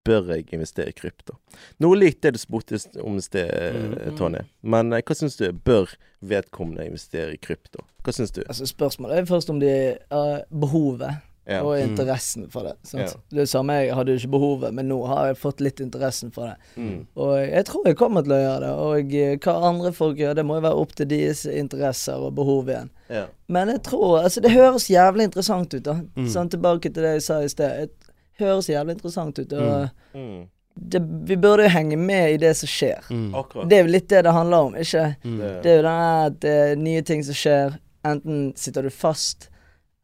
[SPEAKER 2] Bør jeg investere i krypto? Noe likt det du spurte om i sted, eh,
[SPEAKER 4] Mhm.
[SPEAKER 2] Tony. Men eh, hva syns du? Bør vedkommende investere i krypto? Hva syns du?
[SPEAKER 4] Altså Spørsmålet er først om de har behovet.
[SPEAKER 2] Ja.
[SPEAKER 4] og
[SPEAKER 3] Mm.
[SPEAKER 4] interessen for det. Sant? Det er det samme, jeg hadde jo ikke behovet, men nå har jeg fått litt interessen for det.
[SPEAKER 2] Mm.
[SPEAKER 4] Og jeg tror jeg kommer til å gjøre det. Og eh, hva andre folk gjør, det må jo være opp til deres interesser og behov igjen.
[SPEAKER 2] ja.
[SPEAKER 4] Men jeg tror Altså, det høres jævlig interessant ut, da.
[SPEAKER 2] Mm.
[SPEAKER 4] Sånn tilbake til det jeg sa i sted. Det høres jævlig interessant ut. Og
[SPEAKER 2] Mm.
[SPEAKER 4] det, vi burde jo henge med i det som skjer.
[SPEAKER 3] Mm.
[SPEAKER 2] Akkurat.
[SPEAKER 4] Det er jo litt det det handler om, ikke?
[SPEAKER 2] Det-
[SPEAKER 4] Det er jo det at det er nye ting som skjer. Enten sitter du fast,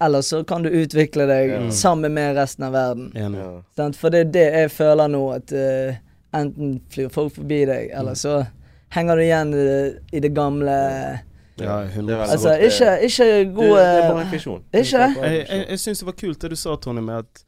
[SPEAKER 4] eller så kan du utvikle deg
[SPEAKER 2] Ja.
[SPEAKER 4] sammen med resten av verden.
[SPEAKER 3] Enig.
[SPEAKER 2] ja.
[SPEAKER 4] Sant? For det er det jeg føler nå, at eh, enten flyr folk forbi deg,
[SPEAKER 2] Mm.
[SPEAKER 4] eller så henger du igjen i det, i det gamle
[SPEAKER 3] Ja, 100
[SPEAKER 2] veldig
[SPEAKER 4] Altså,
[SPEAKER 2] godt, det-
[SPEAKER 4] ikke,
[SPEAKER 2] Du,
[SPEAKER 4] ikke
[SPEAKER 2] det
[SPEAKER 4] god
[SPEAKER 2] er bare
[SPEAKER 4] eh,
[SPEAKER 2] refleksjon.
[SPEAKER 4] Ikke det?
[SPEAKER 3] Jeg, jeg, jeg syns det var kult det du sa, Tony, med at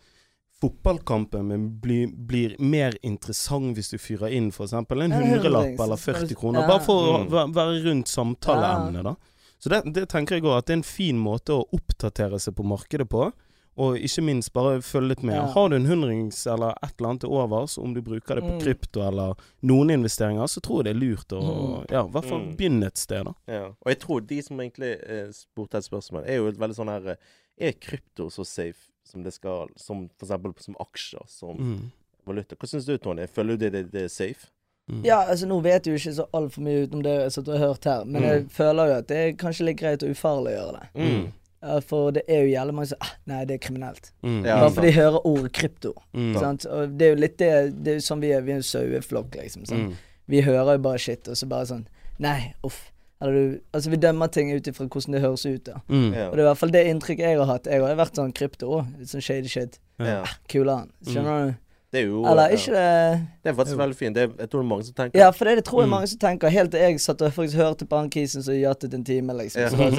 [SPEAKER 3] fotballkampen min blir, blir mer interessant hvis du fyrer inn f.eks. en
[SPEAKER 4] Ja,
[SPEAKER 3] hundrelapp
[SPEAKER 4] hundrings.
[SPEAKER 3] eller 40
[SPEAKER 4] Ja.
[SPEAKER 3] kroner, bare for å
[SPEAKER 2] Mm.
[SPEAKER 3] væ- være rundt samtaleemnet, da. Så det, det tenker jeg òg, at det er en fin måte å oppdatere seg på markedet på. Og ikke minst bare følge litt med.
[SPEAKER 4] Ja.
[SPEAKER 3] Har du en hundrings eller et eller annet til overs, om du bruker det på
[SPEAKER 4] Mm.
[SPEAKER 3] krypto eller noen investeringer, så tror jeg det er lurt å ja, i hvert fall
[SPEAKER 2] Mm.
[SPEAKER 3] begynne et sted, da.
[SPEAKER 2] Ja. Og jeg tror de som egentlig eh, spurte et spørsmål, er jo et veldig sånn her eh, Er krypto så safe som det skal, som for eksempel som aksjer, som
[SPEAKER 3] Mm.
[SPEAKER 2] valuta? Hva syns du, Tony? Føler du det, det, det er safe?
[SPEAKER 3] Mm.
[SPEAKER 4] Ja, altså Nå vet jeg jo ikke så altfor mye utenom det jeg satt og hørt her, men jeg føler jo at det er kanskje litt greit og ufarlig å gjøre det.
[SPEAKER 2] Mm.
[SPEAKER 4] Ja, For det er jo jævlig mange som ah, Nei, det er kriminelt.
[SPEAKER 3] Mm.
[SPEAKER 2] Ja,
[SPEAKER 4] Bare
[SPEAKER 2] sant.
[SPEAKER 4] fordi Sånn, de hører ordet krypto.
[SPEAKER 3] Mm.
[SPEAKER 4] Sant? Og det er jo litt det Det er jo sånn vi er. Vi er en saueflokk, liksom. Sant?
[SPEAKER 3] Mm.
[SPEAKER 4] Vi hører jo bare shit, og så bare sånn Nei, uff. Eller du Altså, vi dømmer ting ut ifra hvordan det høres ut, da.
[SPEAKER 3] Mm.
[SPEAKER 2] Ja.
[SPEAKER 4] Og det er i hvert fall det inntrykket jeg har hatt. Jeg har jo vært sånn krypto òg. Litt sånn shady shit.
[SPEAKER 2] Ja.
[SPEAKER 4] Kulere. Skjønner du?
[SPEAKER 2] Det er jo
[SPEAKER 4] Eller
[SPEAKER 2] Mm. ja.
[SPEAKER 4] ikke det
[SPEAKER 2] Det er faktisk veldig fint. Det er, jeg tror det er mange som tenker
[SPEAKER 4] Ja, for det, er det
[SPEAKER 2] Mm.
[SPEAKER 4] tror jeg mange som tenker. Helt til jeg satt og faktisk hørte på han kisen som jattet en time, liksom. Så var det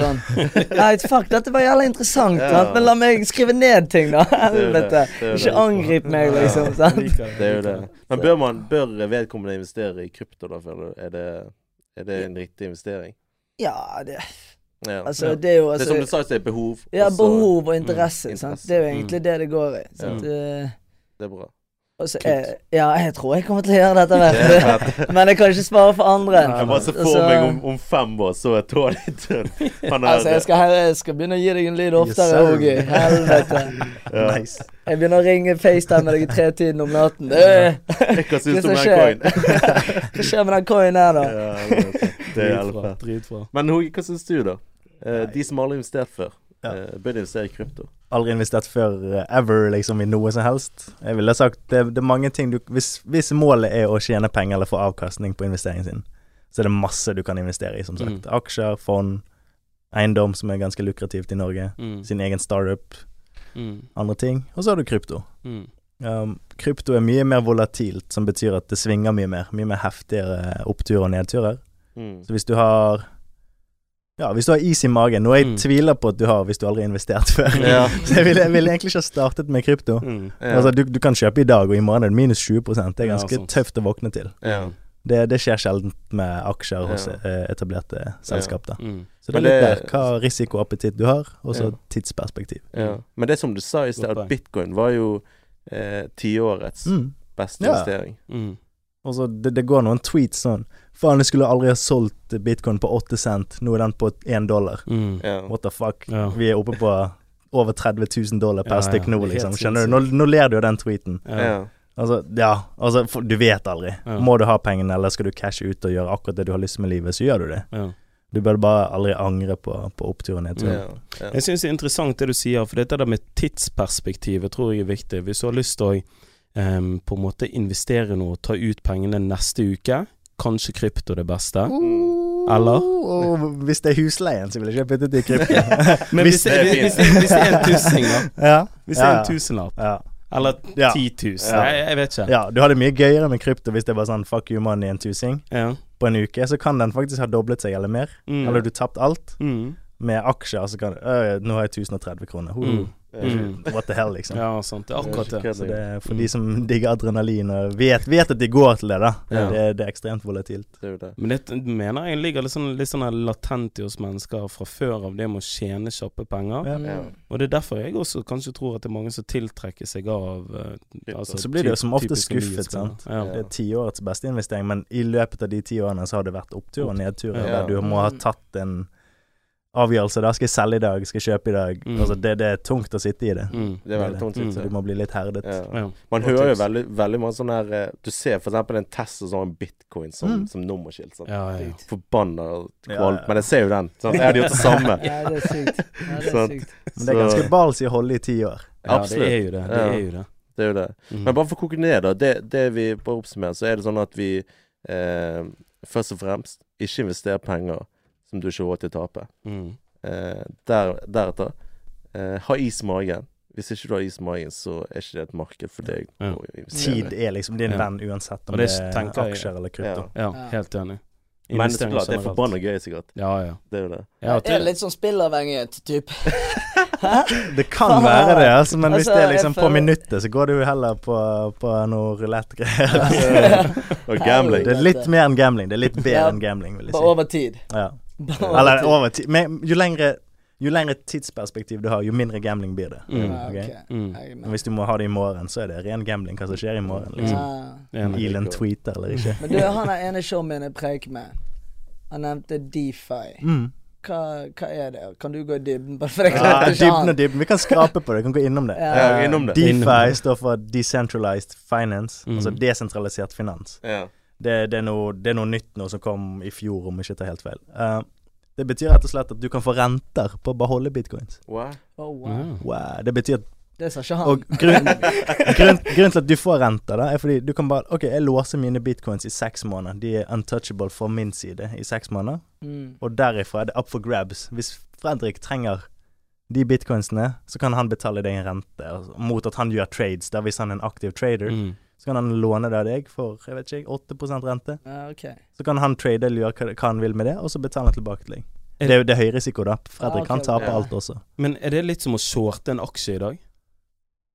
[SPEAKER 4] sånn Nei, fuck, dette var jævla interessant,
[SPEAKER 2] Ja.
[SPEAKER 4] sant? men la meg skrive ned ting, da.
[SPEAKER 2] er jo det.
[SPEAKER 4] Helvete.
[SPEAKER 2] Det er jo det.
[SPEAKER 4] Ikke angrip meg, liksom.
[SPEAKER 3] Jeg
[SPEAKER 4] sant?
[SPEAKER 3] liker
[SPEAKER 2] Det er jo
[SPEAKER 3] jeg liker
[SPEAKER 2] det. Men bør, man, bør vedkommende investere i krypto, da, føler du? Er det, er det en riktig investering?
[SPEAKER 4] Ja, det,
[SPEAKER 2] Ja.
[SPEAKER 4] altså, det er jo
[SPEAKER 2] det er som
[SPEAKER 4] altså
[SPEAKER 2] du sa, det er behov.
[SPEAKER 4] Ja,
[SPEAKER 2] og så-
[SPEAKER 4] behov og interesse.
[SPEAKER 2] Mm,
[SPEAKER 4] sant?
[SPEAKER 2] interesse.
[SPEAKER 4] Det er jo egentlig det det går i. Sant? Eh,
[SPEAKER 2] Det er bra.
[SPEAKER 4] og så
[SPEAKER 3] Kult.
[SPEAKER 4] er- ja, jeg tror jeg kommer til å gjøre dette hvert.
[SPEAKER 2] Jeg
[SPEAKER 4] Men jeg kan ikke svare for andre.
[SPEAKER 3] Nei.
[SPEAKER 2] bare ser for
[SPEAKER 4] Altså-
[SPEAKER 2] meg om, om fem år, så er Tony død. Han er
[SPEAKER 4] Altså, jeg skal, jeg skal begynne å gi deg en lyd
[SPEAKER 1] Yes,
[SPEAKER 4] oftere,
[SPEAKER 1] sir.
[SPEAKER 4] Åge. Helvete.
[SPEAKER 2] Ja.
[SPEAKER 1] Nice.
[SPEAKER 4] Jeg begynner å ringe FaceTime med deg i tretiden om natten. Øh,
[SPEAKER 2] Hva syns du om
[SPEAKER 4] Hva
[SPEAKER 2] den
[SPEAKER 4] skjer?
[SPEAKER 2] coin?
[SPEAKER 4] Hva skjer med den coinen her, da?
[SPEAKER 2] Ja, det det er
[SPEAKER 3] Dritbra,
[SPEAKER 2] alfa.
[SPEAKER 3] Dritbra.
[SPEAKER 2] Men Hoge, hva syns du, da? Eh, De som aldri har investert før,
[SPEAKER 1] Ja.
[SPEAKER 2] eh, bør de investere i krypto?
[SPEAKER 1] Aldri investert før eh, ever, liksom, i noe som helst. Jeg ville sagt det, det er mange ting du hvis, hvis målet er å tjene penger eller få avkastning på investeringen sin, så er det masse du kan investere i, som sagt.
[SPEAKER 2] Mm.
[SPEAKER 1] Aksjer, fond, eiendom, som er ganske lukrativt i Norge.
[SPEAKER 3] Mm.
[SPEAKER 1] Sin egen startup,
[SPEAKER 3] Mm.
[SPEAKER 1] andre ting. Og så har du krypto.
[SPEAKER 3] Mm.
[SPEAKER 1] Um, krypto er mye mer volatilt, som betyr at det svinger mye mer. Mye mer heftigere oppturer og nedturer.
[SPEAKER 2] Mm.
[SPEAKER 1] Så hvis du har Ja, hvis du har is i magen, noe jeg
[SPEAKER 3] Mm.
[SPEAKER 1] tviler på at du har hvis du aldri har investert før.
[SPEAKER 2] Ja.
[SPEAKER 1] Så jeg ville, jeg ville egentlig ikke ha startet med krypto.
[SPEAKER 3] Mm.
[SPEAKER 2] Ja.
[SPEAKER 1] Altså, du, du kan kjøpe i dag, og i morgen er det minus 20 Det er
[SPEAKER 3] Ja,
[SPEAKER 1] ganske
[SPEAKER 3] sant.
[SPEAKER 1] tøft å våkne til.
[SPEAKER 2] Ja.
[SPEAKER 3] Mm.
[SPEAKER 1] Det, det skjer sjelden med aksjer hos
[SPEAKER 2] Ja.
[SPEAKER 1] eh, etablerte selskap, da.
[SPEAKER 3] Mm.
[SPEAKER 1] Så det
[SPEAKER 2] Men
[SPEAKER 1] er litt der
[SPEAKER 2] det-
[SPEAKER 1] hva risikoappetitt du har, og så
[SPEAKER 2] Ja.
[SPEAKER 1] tidsperspektiv.
[SPEAKER 2] Ja. Men det som du sa i sted,
[SPEAKER 3] Godt
[SPEAKER 2] at
[SPEAKER 3] poeng.
[SPEAKER 2] bitcoin var jo eh, tiårets
[SPEAKER 1] Mm.
[SPEAKER 2] beste
[SPEAKER 1] Ja.
[SPEAKER 2] investering.
[SPEAKER 3] Mm.
[SPEAKER 1] Og så det, det går noen tweets sånn Faen, jeg skulle aldri ha solgt bitcoin på 8 cent, nå er den på 1 dollar.
[SPEAKER 3] Mm.
[SPEAKER 2] Ja.
[SPEAKER 1] What the fuck?
[SPEAKER 3] Ja.
[SPEAKER 1] Vi er oppe på over 30 000 dollar per
[SPEAKER 3] Ja, ja.
[SPEAKER 1] stykk nå,
[SPEAKER 3] Helt
[SPEAKER 1] liksom.
[SPEAKER 3] sinnssykt.
[SPEAKER 1] Skjønner du? Nå, nå ler du av den tweeten.
[SPEAKER 3] Ja.
[SPEAKER 1] Altså, ja. Altså, for, du vet aldri.
[SPEAKER 3] Ja.
[SPEAKER 1] Må du ha pengene, eller skal du cashe ut og gjøre akkurat det du har lyst med livet, så gjør du det.
[SPEAKER 3] Ja.
[SPEAKER 1] Du bør bare aldri angre på, på opptur og nedtur.
[SPEAKER 2] Ja. Ja.
[SPEAKER 3] Jeg syns det er interessant det du sier, for dette der med tidsperspektivet tror jeg er viktig. Hvis du har lyst til å em, på en måte investere noe, ta ut pengene neste uke, kanskje krypto det beste. Eller?
[SPEAKER 1] Og hvis det er husleien, så vil jeg ikke bytte til krypto.
[SPEAKER 3] Men hvis, det,
[SPEAKER 2] det er
[SPEAKER 3] hvis, det, hvis det er en tussing, da.
[SPEAKER 1] ja.
[SPEAKER 3] Hvis det er
[SPEAKER 1] Ja,
[SPEAKER 3] en
[SPEAKER 1] ja.
[SPEAKER 3] tusenlapp.
[SPEAKER 1] Ja.
[SPEAKER 3] Eller
[SPEAKER 1] Ja.
[SPEAKER 3] 10 000.
[SPEAKER 1] Ja.
[SPEAKER 3] Jeg, jeg vet ikke.
[SPEAKER 1] ja, du har det mye gøyere med krypto hvis det er bare sånn fuck you money, en tusing
[SPEAKER 3] Ja.
[SPEAKER 1] på en uke. Så kan den faktisk ha doblet seg eller mer.
[SPEAKER 3] Mm.
[SPEAKER 1] Eller du tapt alt.
[SPEAKER 3] Mm.
[SPEAKER 1] Med aksjer så kan du øh, Nå har jeg 1030 kroner. Ho,
[SPEAKER 3] Mm.
[SPEAKER 2] Ja.
[SPEAKER 1] What the hell, liksom.
[SPEAKER 3] Ja, sant. Det er akkurat det.
[SPEAKER 1] Så det er for
[SPEAKER 3] Mm.
[SPEAKER 1] de som digger adrenalin og vet, vet at de går til det, da.
[SPEAKER 2] Ja.
[SPEAKER 1] Det, det er ekstremt volatilt.
[SPEAKER 2] Det er jo det.
[SPEAKER 3] Men det mener jeg ligger litt sånn, litt sånn her latent i oss mennesker fra før av det med å tjene kjappe penger.
[SPEAKER 4] Mm.
[SPEAKER 1] Ja.
[SPEAKER 2] Ja.
[SPEAKER 3] Og det er derfor jeg også kanskje tror at det er mange som tiltrekker seg av eh, altså,
[SPEAKER 1] Så blir de jo
[SPEAKER 3] typ-
[SPEAKER 1] som ofte
[SPEAKER 3] typiske
[SPEAKER 1] skuffet, sant?
[SPEAKER 3] nyhetskanal.
[SPEAKER 1] Det er tiårets beste
[SPEAKER 4] Mm.
[SPEAKER 1] investering, men i løpet av de ti årene så har det vært opptur og nedtur,
[SPEAKER 3] Ja.
[SPEAKER 1] der du må ha tatt en avgjørelse, da. Skal jeg selge i dag? Skal jeg kjøpe i dag?
[SPEAKER 3] Mm.
[SPEAKER 1] Altså, det, det er tungt å sitte i det.
[SPEAKER 3] Mm.
[SPEAKER 2] Det er veldig tungt.
[SPEAKER 3] Mm.
[SPEAKER 2] synes
[SPEAKER 1] Så
[SPEAKER 2] jeg.
[SPEAKER 1] du må bli litt herdet.
[SPEAKER 2] Ja.
[SPEAKER 3] Ja.
[SPEAKER 2] Man
[SPEAKER 1] Og
[SPEAKER 2] hører jo
[SPEAKER 1] tips.
[SPEAKER 2] veldig, veldig mange sånne her eh, Du ser for eksempel en Tesla som har en bitcoin som,
[SPEAKER 1] Mm.
[SPEAKER 2] som nummerskilt. Sånn.
[SPEAKER 3] Ja, ja.
[SPEAKER 2] Forbanna
[SPEAKER 1] Ja,
[SPEAKER 2] kvalm.
[SPEAKER 1] ja.
[SPEAKER 2] Men jeg ser jo den. Sant? Jeg hadde gjort det samme.
[SPEAKER 4] Ja, det er sykt. Ja, det er
[SPEAKER 2] Sant.
[SPEAKER 4] sykt.
[SPEAKER 1] Men det er ganske ballsy å holde i ti år.
[SPEAKER 3] ja, det
[SPEAKER 2] Absolutt.
[SPEAKER 3] er jo det. Det
[SPEAKER 2] Ja.
[SPEAKER 3] er jo det.
[SPEAKER 2] Det er jo det.
[SPEAKER 3] Mm.
[SPEAKER 2] Men bare for å koke ned, da. Det, det vi bare oppsummerer, så er det sånn at vi eh, først og fremst ikke investerer penger som du ikke har råd til å tape.
[SPEAKER 3] Mm.
[SPEAKER 2] Eh, der, deretter eh, ha is i magen. Hvis ikke du har is i magen, så er ikke det et marked for deg.
[SPEAKER 3] Ja.
[SPEAKER 2] å investere.
[SPEAKER 1] Tid er liksom din
[SPEAKER 3] Ja.
[SPEAKER 1] venn uansett om
[SPEAKER 3] Og det
[SPEAKER 1] det er
[SPEAKER 3] tenker jeg-
[SPEAKER 1] aksjer eller
[SPEAKER 2] Ja.
[SPEAKER 1] krypto.
[SPEAKER 3] Ja,
[SPEAKER 4] Ja.
[SPEAKER 3] helt enig.
[SPEAKER 2] Men det er så klart, det er
[SPEAKER 3] generelt.
[SPEAKER 2] forbanna gøy, sikkert.
[SPEAKER 3] Ja, ja.
[SPEAKER 2] Det er jo det.
[SPEAKER 3] Ja,
[SPEAKER 4] Det er
[SPEAKER 3] til,
[SPEAKER 4] litt sånn spillavhengighet, typ.
[SPEAKER 1] Det kan være det, altså, men hvis
[SPEAKER 4] Altså,
[SPEAKER 1] det er liksom
[SPEAKER 4] jeg
[SPEAKER 1] på
[SPEAKER 4] føler-
[SPEAKER 1] minuttet, så går det jo heller på, på noe rulett-greier. Altså,
[SPEAKER 2] Og gambling.
[SPEAKER 1] Det er litt mer enn gambling. Det er litt bedre
[SPEAKER 4] Altså, Ja.
[SPEAKER 1] enn gambling, vil jeg
[SPEAKER 4] Bare
[SPEAKER 1] si.
[SPEAKER 4] over tid.
[SPEAKER 1] Ja.
[SPEAKER 4] Bare over
[SPEAKER 1] Eller
[SPEAKER 4] tid.
[SPEAKER 1] over tid. Men jo lengre, jo lengre tidsperspektiv du har, jo mindre gambling blir det.
[SPEAKER 3] Mm.
[SPEAKER 4] Ja,
[SPEAKER 1] ok?
[SPEAKER 4] ok.
[SPEAKER 3] mm.
[SPEAKER 4] Jeg er med.
[SPEAKER 1] Men hvis du må ha det i morgen, så er det ren gambling hva som skjer i morgen.
[SPEAKER 3] Mm.
[SPEAKER 1] Liksom.
[SPEAKER 4] Ja.
[SPEAKER 1] Om
[SPEAKER 3] Enig.
[SPEAKER 1] Elon tweeter eller ikke.
[SPEAKER 4] Ah. Men du, han der ene showmien jeg preik med, han nevnte Defi.
[SPEAKER 1] Mm.
[SPEAKER 4] Hva, hva er det? Kan du gå i dybden på det? For det
[SPEAKER 1] Ja,
[SPEAKER 4] klarte ikke
[SPEAKER 1] dybden
[SPEAKER 4] han.
[SPEAKER 1] og dybden. Vi kan skrape på det. Vi kan gå innom det.
[SPEAKER 4] Ja.
[SPEAKER 2] Ja, innom det.
[SPEAKER 1] DeFi står for Decentralized Finance,
[SPEAKER 3] Mm.
[SPEAKER 1] altså desentralisert finans.
[SPEAKER 2] Ja.
[SPEAKER 1] Det, det, er noe, det er noe nytt nå som kom i fjor, om jeg ikke tar helt feil. Eh, det betyr rett og slett at du kan få renter på å beholde bitcoins.
[SPEAKER 2] Wow.
[SPEAKER 4] Å, Oh, wow.
[SPEAKER 3] Ja.
[SPEAKER 1] Wow. Det betyr at
[SPEAKER 4] Det sa ikke han.
[SPEAKER 1] Og grunn, grunn, grunnen til at du får renter, da, er fordi du kan bare OK, jeg låser mine bitcoins i seks måneder. De er untouchable fra min side i seks måneder.
[SPEAKER 4] Mm.
[SPEAKER 1] Og derifra er det up for grabs. Hvis Fredrik trenger de bitcoinsene, så kan han betale deg en rente altså, mot at han gjør trades. Der hvis han er en aktiv trader,
[SPEAKER 3] Mm.
[SPEAKER 1] så kan han låne det av deg for jeg vet ikke, 8 rente.
[SPEAKER 4] Ja, ok.
[SPEAKER 1] Så kan han trade eller gjøre hva- hva han vil med det, og så betaler han tilbake til deg.
[SPEAKER 3] Er-
[SPEAKER 1] Det er jo det er høy risiko, da.
[SPEAKER 4] Ah,
[SPEAKER 1] Fredrik
[SPEAKER 4] ok,
[SPEAKER 1] kan tape
[SPEAKER 2] ja.
[SPEAKER 1] alt også.
[SPEAKER 3] Men er det litt som å shorte en aksje i dag?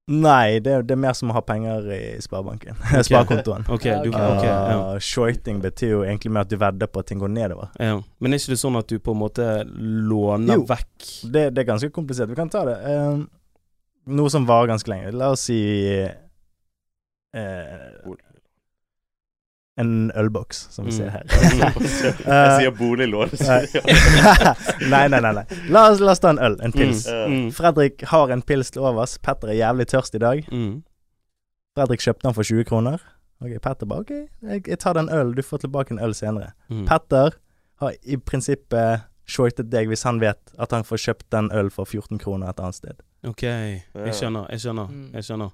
[SPEAKER 1] Nei, det er, det er mer som å ha penger i sparebanken. Sparekontoen.
[SPEAKER 3] OK, du,
[SPEAKER 4] Ja,
[SPEAKER 3] ok, ja.
[SPEAKER 1] Ah, shorting betyr jo egentlig mer at du vedder på at ting går nedover.
[SPEAKER 3] Ja. Men er ikke det sånn at du på en måte låner
[SPEAKER 1] Jo.
[SPEAKER 3] vekk
[SPEAKER 1] Det, det er ganske komplisert. Vi kan ta det. eh, noe som varer ganske lenge. La oss si eh, en ølboks, som vi
[SPEAKER 3] Mm.
[SPEAKER 1] ser her.
[SPEAKER 2] Jeg sier boliglån.
[SPEAKER 1] Eh, nei, nei, nei. nei. La, oss, la oss ta en øl, en pils.
[SPEAKER 3] Mm.
[SPEAKER 1] Fredrik har en pils til overs. Petter er jævlig tørst i dag.
[SPEAKER 3] Mm.
[SPEAKER 1] Fredrik kjøpte den for 20 kroner. Ok, Petter bare OK, jeg, jeg tar den ølen. Du får tilbake en øl senere.
[SPEAKER 3] Mm.
[SPEAKER 1] Petter har i prinsippet shortet deg hvis han vet at han får kjøpt den øl for 14 kroner et annet sted.
[SPEAKER 3] OK, jeg skjønner, jeg skjønner.
[SPEAKER 4] Mm.
[SPEAKER 3] Jeg skjønner.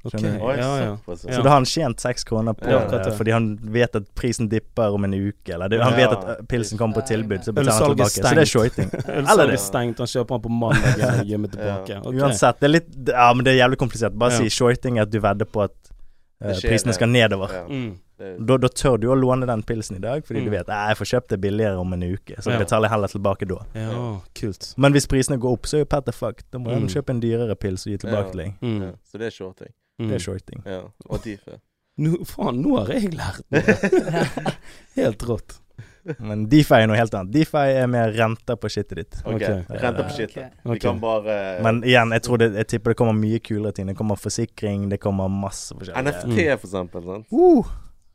[SPEAKER 3] Ok,
[SPEAKER 1] Skjønner jeg.
[SPEAKER 2] Oi,
[SPEAKER 3] ja, ja.
[SPEAKER 2] såpass,
[SPEAKER 1] Så
[SPEAKER 3] Ja.
[SPEAKER 1] da har han tjent seks kroner på
[SPEAKER 2] Ja,
[SPEAKER 1] det,
[SPEAKER 3] akkurat det.
[SPEAKER 1] fordi han vet at prisen dipper om en uke, eller det, han
[SPEAKER 2] Ja.
[SPEAKER 1] vet at ø, pilsen kommer på
[SPEAKER 4] Ja,
[SPEAKER 1] tilbud, så
[SPEAKER 4] jeg
[SPEAKER 1] betaler han
[SPEAKER 3] Ølsalget
[SPEAKER 1] tilbake. Så det er
[SPEAKER 3] stengt.
[SPEAKER 1] shorting.
[SPEAKER 3] Ølsalget
[SPEAKER 1] det-
[SPEAKER 3] er stengt, han kjøper den på mandag og gir meg tilbake. Ok.
[SPEAKER 1] Uansett, det er litt det- Ja, men det er jævlig komplisert. Bare
[SPEAKER 3] Ja.
[SPEAKER 1] si shorting er at du vedder på at ø,
[SPEAKER 2] Det skjer,
[SPEAKER 1] prisene
[SPEAKER 2] det.
[SPEAKER 1] skal nedover.
[SPEAKER 2] Ja.
[SPEAKER 3] Mm.
[SPEAKER 2] Det er-
[SPEAKER 1] Da, da tør du å låne den pilsen i dag, fordi
[SPEAKER 3] Mm.
[SPEAKER 1] du vet at jeg får kjøpt det billigere om en uke, så
[SPEAKER 3] Ja.
[SPEAKER 1] betaler jeg heller tilbake da.
[SPEAKER 3] Ja, kult.
[SPEAKER 1] Men hvis prisene går opp, så er jo Petter fucked. Da må han
[SPEAKER 3] Mm.
[SPEAKER 1] kjøpe en dyrere pils og gi tilbake
[SPEAKER 2] Ja.
[SPEAKER 1] til deg.
[SPEAKER 3] Mm.
[SPEAKER 2] ja. Så det er shorting.
[SPEAKER 1] Det
[SPEAKER 3] Mm.
[SPEAKER 1] er shorting.
[SPEAKER 2] Ja. Og Difi.
[SPEAKER 3] Nå, faen, nå har jeg lært noe. Helt rått.
[SPEAKER 1] Men Defi er noe helt annet. Defi er mer renter på shitet ditt.
[SPEAKER 2] OK.
[SPEAKER 3] Ok.
[SPEAKER 2] Renter på
[SPEAKER 4] Ja,
[SPEAKER 2] shit.
[SPEAKER 4] ok.
[SPEAKER 2] Vi
[SPEAKER 3] Ok.
[SPEAKER 2] kan bare
[SPEAKER 1] Men igjen, jeg tror det, jeg tipper det kommer mye kulere ting. Det kommer forsikring, det kommer masse forskjellige
[SPEAKER 2] NFT, for eksempel. Sant?
[SPEAKER 1] Uh,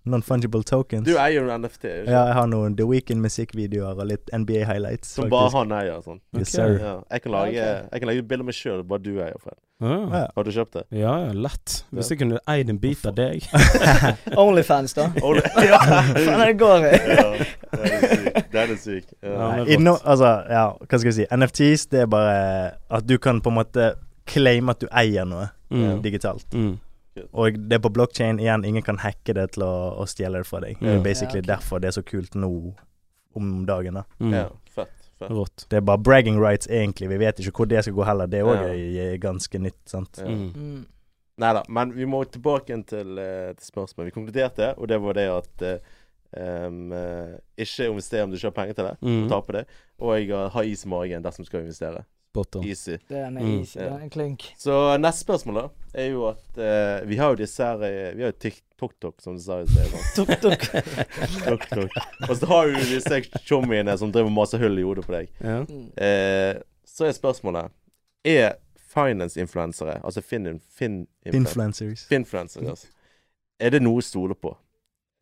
[SPEAKER 1] Non-fungible tokens.
[SPEAKER 2] Du eier jo en NFT, ikke?
[SPEAKER 1] ja, jeg har noen The Weekend-musikkvideoer og litt NBA highlights.
[SPEAKER 2] som
[SPEAKER 1] faktisk.
[SPEAKER 2] bare han eier. Sånn.
[SPEAKER 1] Yes,
[SPEAKER 3] Ok.
[SPEAKER 1] sir.
[SPEAKER 2] Ja. Jeg kan lage
[SPEAKER 4] Ja, ok.
[SPEAKER 2] Jeg kan lage bilder av meg sjøl, bare du eier, Fred.
[SPEAKER 3] Ja,
[SPEAKER 1] Ja.
[SPEAKER 2] Har du kjøpt det?
[SPEAKER 3] ja, ja, lett. Hvis jeg kunne eid en bit av deg.
[SPEAKER 4] Onlyfans, da.
[SPEAKER 2] Oh, det- ja.
[SPEAKER 4] Faen, det går i.
[SPEAKER 2] ja. Den er syk. Den er syk. Ja.
[SPEAKER 3] Ja, men-
[SPEAKER 1] Inno, altså, ja, hva skal jeg si. NFTs, det er bare at du kan på en måte claime at du eier noe
[SPEAKER 3] Mm.
[SPEAKER 1] digitalt.
[SPEAKER 3] Mm.
[SPEAKER 1] Og det er på blockchain igjen, ingen kan hacke det til å, å stjele det fra deg. Det er
[SPEAKER 3] Ja.
[SPEAKER 1] basically
[SPEAKER 4] Ja, ok.
[SPEAKER 1] derfor det er så kult nå om dagen, da.
[SPEAKER 3] Mm.
[SPEAKER 2] ja. Fett. Fett.
[SPEAKER 3] Rått.
[SPEAKER 1] Det er bare bragging rights, egentlig. Vi vet ikke hvor det skal gå heller. Det òg
[SPEAKER 2] Ja.
[SPEAKER 1] er er ganske nytt, sant.
[SPEAKER 2] Ja.
[SPEAKER 3] Mm.
[SPEAKER 4] Mm.
[SPEAKER 2] Nei da, men vi må tilbake igjen til, eh, til spørsmålet. Vi konkluderte, og det var det at eh, em, eh, Ikke investere om du ikke har penger til det.
[SPEAKER 3] Mm.
[SPEAKER 2] Tape det. Og jeg har- ha is i magen dersom du skal investere.
[SPEAKER 3] Spot on.
[SPEAKER 2] Easy.
[SPEAKER 4] Det er en
[SPEAKER 3] Mm.
[SPEAKER 4] easy, det er en klink.
[SPEAKER 2] Så neste spørsmål, da, er jo at eh, Vi har jo disse her eh, Vi har jo Tik- TokTok, som du sa i sted. sant?
[SPEAKER 4] Tok, tok.
[SPEAKER 2] TokTok. Og så har du disse tjommiene som driver og maser hull i hodet på deg.
[SPEAKER 3] Ja.
[SPEAKER 4] Mm.
[SPEAKER 2] Eh, så er spørsmålet Er finance-influensere, altså fin... fin
[SPEAKER 1] Influencers.
[SPEAKER 2] Finfluencer, altså. Er det noe å stole på?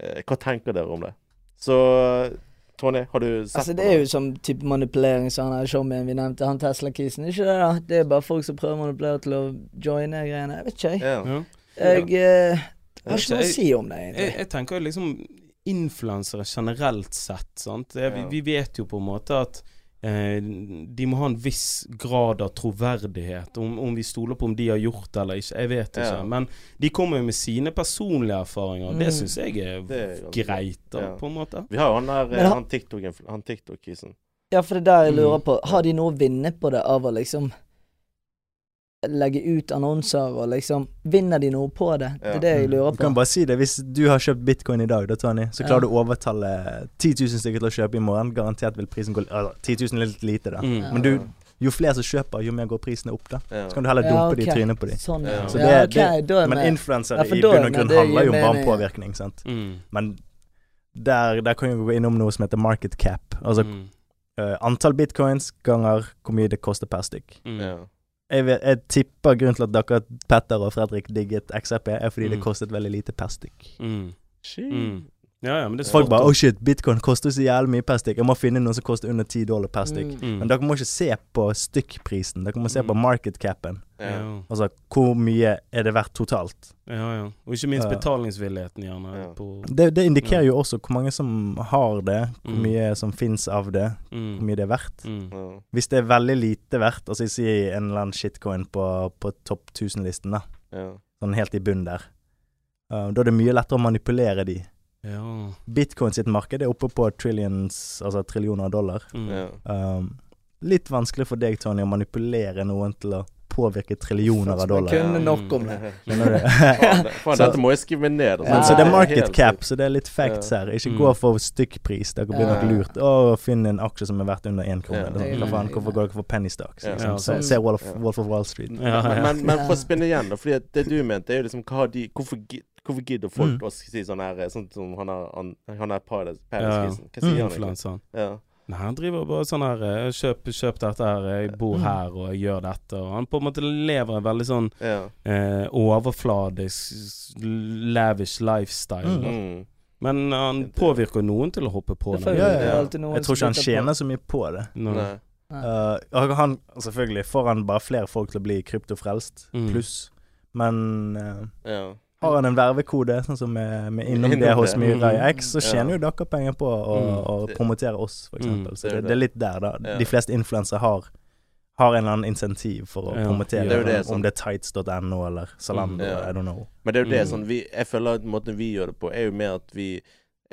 [SPEAKER 2] Eh, hva tenker dere om det? Så Tony, har du sett
[SPEAKER 4] Altså,
[SPEAKER 2] på
[SPEAKER 4] det er jo som type manipulering, som han her showmanen vi nevnte, han Tesla-kisen. Ikke det, da? Det er bare folk som prøver å manipulere til å joine greiene. Jeg vet ikke, jeg.
[SPEAKER 2] Ja.
[SPEAKER 3] Ja.
[SPEAKER 4] Jeg eh, har ikke noe å
[SPEAKER 3] Jeg-
[SPEAKER 4] si om det,
[SPEAKER 3] Jeg,
[SPEAKER 4] egentlig.
[SPEAKER 3] jeg tenker jo liksom influensere generelt sett, sant. Det, vi,
[SPEAKER 2] Ja.
[SPEAKER 3] vi vet jo på en måte at eh, de må ha en viss grad av troverdighet. Om, om vi stoler på om de har gjort det eller ikke, jeg vet ikke.
[SPEAKER 2] Ja.
[SPEAKER 3] Men de kommer jo med sine personlige erfaringer.
[SPEAKER 4] Mm.
[SPEAKER 3] Det syns jeg er,
[SPEAKER 2] Det er ganske-
[SPEAKER 3] greit, da,
[SPEAKER 2] ja.
[SPEAKER 3] på en måte.
[SPEAKER 2] Vi har jo han der, eh,
[SPEAKER 4] Men han-
[SPEAKER 2] han TikTok-influ- han TikTok-kisen.
[SPEAKER 4] Ja, for det er der jeg lurer
[SPEAKER 3] Mm.
[SPEAKER 4] på. Har de noe å vinne på det av å liksom legge ut annonser og liksom Vinner de noe på det? Det
[SPEAKER 2] Ja.
[SPEAKER 4] er det jeg
[SPEAKER 1] Mm.
[SPEAKER 4] lurer
[SPEAKER 1] Du
[SPEAKER 4] på.
[SPEAKER 1] kan bare si det. Hvis du har kjøpt bitcoin i dag, da, Tony, så
[SPEAKER 4] Ja.
[SPEAKER 1] klarer du å overtale 10 000 stykker til å kjøpe i morgen. Garantert vil prisen gå altså, 10 000 er litt lite, da.
[SPEAKER 3] Mm.
[SPEAKER 4] Ja.
[SPEAKER 1] Men du, jo flere som kjøper, jo mer går prisene opp, da.
[SPEAKER 2] Ja.
[SPEAKER 1] Så kan du heller
[SPEAKER 4] Ja,
[SPEAKER 1] dumpe
[SPEAKER 4] ok.
[SPEAKER 1] de i trynet på de.
[SPEAKER 4] Sånn, ja.
[SPEAKER 2] Ja.
[SPEAKER 1] Så
[SPEAKER 4] ja,
[SPEAKER 1] det-
[SPEAKER 4] ok,
[SPEAKER 1] det-
[SPEAKER 4] da er jeg
[SPEAKER 1] Men
[SPEAKER 4] med.
[SPEAKER 1] influensere
[SPEAKER 4] Ja, for
[SPEAKER 1] i
[SPEAKER 4] da-
[SPEAKER 1] bunn og
[SPEAKER 4] men
[SPEAKER 1] grunn
[SPEAKER 4] det gir
[SPEAKER 1] handler jo bare om
[SPEAKER 4] mening.
[SPEAKER 1] påvirkning, sant.
[SPEAKER 3] Mm.
[SPEAKER 1] Men der, der kan vi gå innom noe som heter market cap. Altså
[SPEAKER 3] Mm.
[SPEAKER 1] eh, antall bitcoins ganger hvor mye det koster per stykk.
[SPEAKER 3] Mm.
[SPEAKER 2] Ja.
[SPEAKER 1] Jeg, vet, jeg tipper grunnen til at dere, Petter og Fredrik digget XRP, er fordi det
[SPEAKER 3] Mm.
[SPEAKER 1] kostet veldig lite per stykk.
[SPEAKER 3] Mm.
[SPEAKER 2] Shit.
[SPEAKER 3] Mm. Ja, ja, men det er
[SPEAKER 1] Folk
[SPEAKER 3] smart,
[SPEAKER 1] bare
[SPEAKER 3] da.
[SPEAKER 1] 'oh shit, bitcoin koster så jævlig mye per stykk', jeg må finne noe som koster under 10 dollar per stykk.
[SPEAKER 4] Mm.
[SPEAKER 3] Mm.
[SPEAKER 1] Men dere må ikke se på stykkprisen, dere må se på
[SPEAKER 3] Mm.
[SPEAKER 1] market capen.
[SPEAKER 2] Ja.
[SPEAKER 3] ja.
[SPEAKER 1] Altså hvor mye er det verdt totalt.
[SPEAKER 3] ja, ja. Og ikke minst
[SPEAKER 1] Ja.
[SPEAKER 3] betalingsvilligheten, gjerne.
[SPEAKER 2] Ja.
[SPEAKER 3] På,
[SPEAKER 1] Det, det indikerer
[SPEAKER 3] Ja.
[SPEAKER 1] jo også hvor mange som har det, hvor
[SPEAKER 3] Mm.
[SPEAKER 1] mye som fins av det, hvor
[SPEAKER 3] mm.
[SPEAKER 1] mye det er verdt.
[SPEAKER 3] Mm.
[SPEAKER 2] Ja.
[SPEAKER 1] Hvis det er veldig lite verdt, altså jeg sier en eller annen shitcoin på, på topp 1000-listen, da,
[SPEAKER 2] Ja.
[SPEAKER 1] sånn helt i bunnen der, uh, da er det mye lettere å manipulere de.
[SPEAKER 3] Ja.
[SPEAKER 1] Bitcoin sitt marked er oppe på trillions, altså trillioner av dollar.
[SPEAKER 3] Mm.
[SPEAKER 2] Ja.
[SPEAKER 1] Um, litt vanskelig for deg, Tony, å manipulere noen til å påvirke trillioner av
[SPEAKER 4] Jeg
[SPEAKER 1] dollar. Mm.
[SPEAKER 4] kunne nok om det.
[SPEAKER 1] Skjønner du?
[SPEAKER 2] Faen, det- faen,
[SPEAKER 1] Så-
[SPEAKER 2] dette må jeg skrive meg ned. altså.
[SPEAKER 1] Men så
[SPEAKER 4] Ja,
[SPEAKER 1] det er
[SPEAKER 4] ja,
[SPEAKER 1] market
[SPEAKER 2] helt
[SPEAKER 1] cap,
[SPEAKER 2] sykt.
[SPEAKER 1] så det er litt facts her. Ikke
[SPEAKER 3] Mm.
[SPEAKER 1] gå for stykkpris. Dere blir nok
[SPEAKER 4] Ja.
[SPEAKER 1] lurt. Å, finn en aksje som er verdt under én krone.
[SPEAKER 2] Ja.
[SPEAKER 1] Eller sånn, Hva faen,
[SPEAKER 3] Mm.
[SPEAKER 1] hvorfor går dere for penny stocks?
[SPEAKER 2] Ja.
[SPEAKER 1] Liksom.
[SPEAKER 3] Ja, altså.
[SPEAKER 1] Se-
[SPEAKER 4] sant.
[SPEAKER 1] Se Wall of,
[SPEAKER 2] Ja.
[SPEAKER 1] Wolf of Wall Street.
[SPEAKER 3] Ja, ja.
[SPEAKER 2] Men, men, men for å
[SPEAKER 4] Ja.
[SPEAKER 2] spinne igjen, da. Fordi at det du mente, er jo liksom hva har de, hvorfor, gi- hvorfor gidder
[SPEAKER 1] Mm.
[SPEAKER 2] folk å si sånn her eh, Sånn som han er, han, han er Paradise
[SPEAKER 3] Ja, ja.
[SPEAKER 2] Paradise-krisen. Hva sier han egentlig?
[SPEAKER 3] Influenseren.
[SPEAKER 2] Ja.
[SPEAKER 3] Nei, han driver bare sånn her eh, kjøp, kjøp dette her, eh, jeg bor
[SPEAKER 1] Mm.
[SPEAKER 3] her og jeg gjør dette. Og han på en måte lever en veldig sånn
[SPEAKER 2] ja.
[SPEAKER 3] eh, overfladisk, lavish lifestyle.
[SPEAKER 1] Mm.
[SPEAKER 3] da.
[SPEAKER 2] Mm.
[SPEAKER 3] Men han påvirker noen til å hoppe på
[SPEAKER 4] Selvfølgelig,
[SPEAKER 1] Ja,
[SPEAKER 3] den.
[SPEAKER 1] ja,
[SPEAKER 4] det er
[SPEAKER 1] ja.
[SPEAKER 4] alltid noen
[SPEAKER 1] Jeg tror ikke
[SPEAKER 4] som
[SPEAKER 1] han
[SPEAKER 4] sitter på-
[SPEAKER 1] tjener så mye på det.
[SPEAKER 3] Nå.
[SPEAKER 2] Nei.
[SPEAKER 1] Uh, og han, selvfølgelig får han bare flere folk til å bli kryptofrelst,
[SPEAKER 3] Mm.
[SPEAKER 1] pluss. Men uh,
[SPEAKER 2] Ja.
[SPEAKER 1] har han en vervekode, sånn som med, med innom
[SPEAKER 2] Innom
[SPEAKER 1] det hos
[SPEAKER 2] det.
[SPEAKER 1] Myra i
[SPEAKER 3] Mm.
[SPEAKER 1] X, så
[SPEAKER 2] Ja.
[SPEAKER 1] tjener jo dere penger på å,
[SPEAKER 3] Mm.
[SPEAKER 1] å promotere oss, for
[SPEAKER 3] Mm.
[SPEAKER 1] eksempel. Så
[SPEAKER 2] Det er
[SPEAKER 1] det,
[SPEAKER 2] det.
[SPEAKER 1] det er litt der, da.
[SPEAKER 2] Ja.
[SPEAKER 1] De fleste influensere har, har en eller annen insentiv for å
[SPEAKER 3] Ja.
[SPEAKER 1] promotere,
[SPEAKER 3] Det er jo
[SPEAKER 2] det,
[SPEAKER 1] om
[SPEAKER 2] sant.
[SPEAKER 1] det er tights.no eller Zalando,
[SPEAKER 2] Mm. Ja.
[SPEAKER 1] I don't know.
[SPEAKER 2] Men det er jo det
[SPEAKER 3] Mm.
[SPEAKER 2] sånn vi, Jeg føler at måten vi gjør det på, er jo mer at vi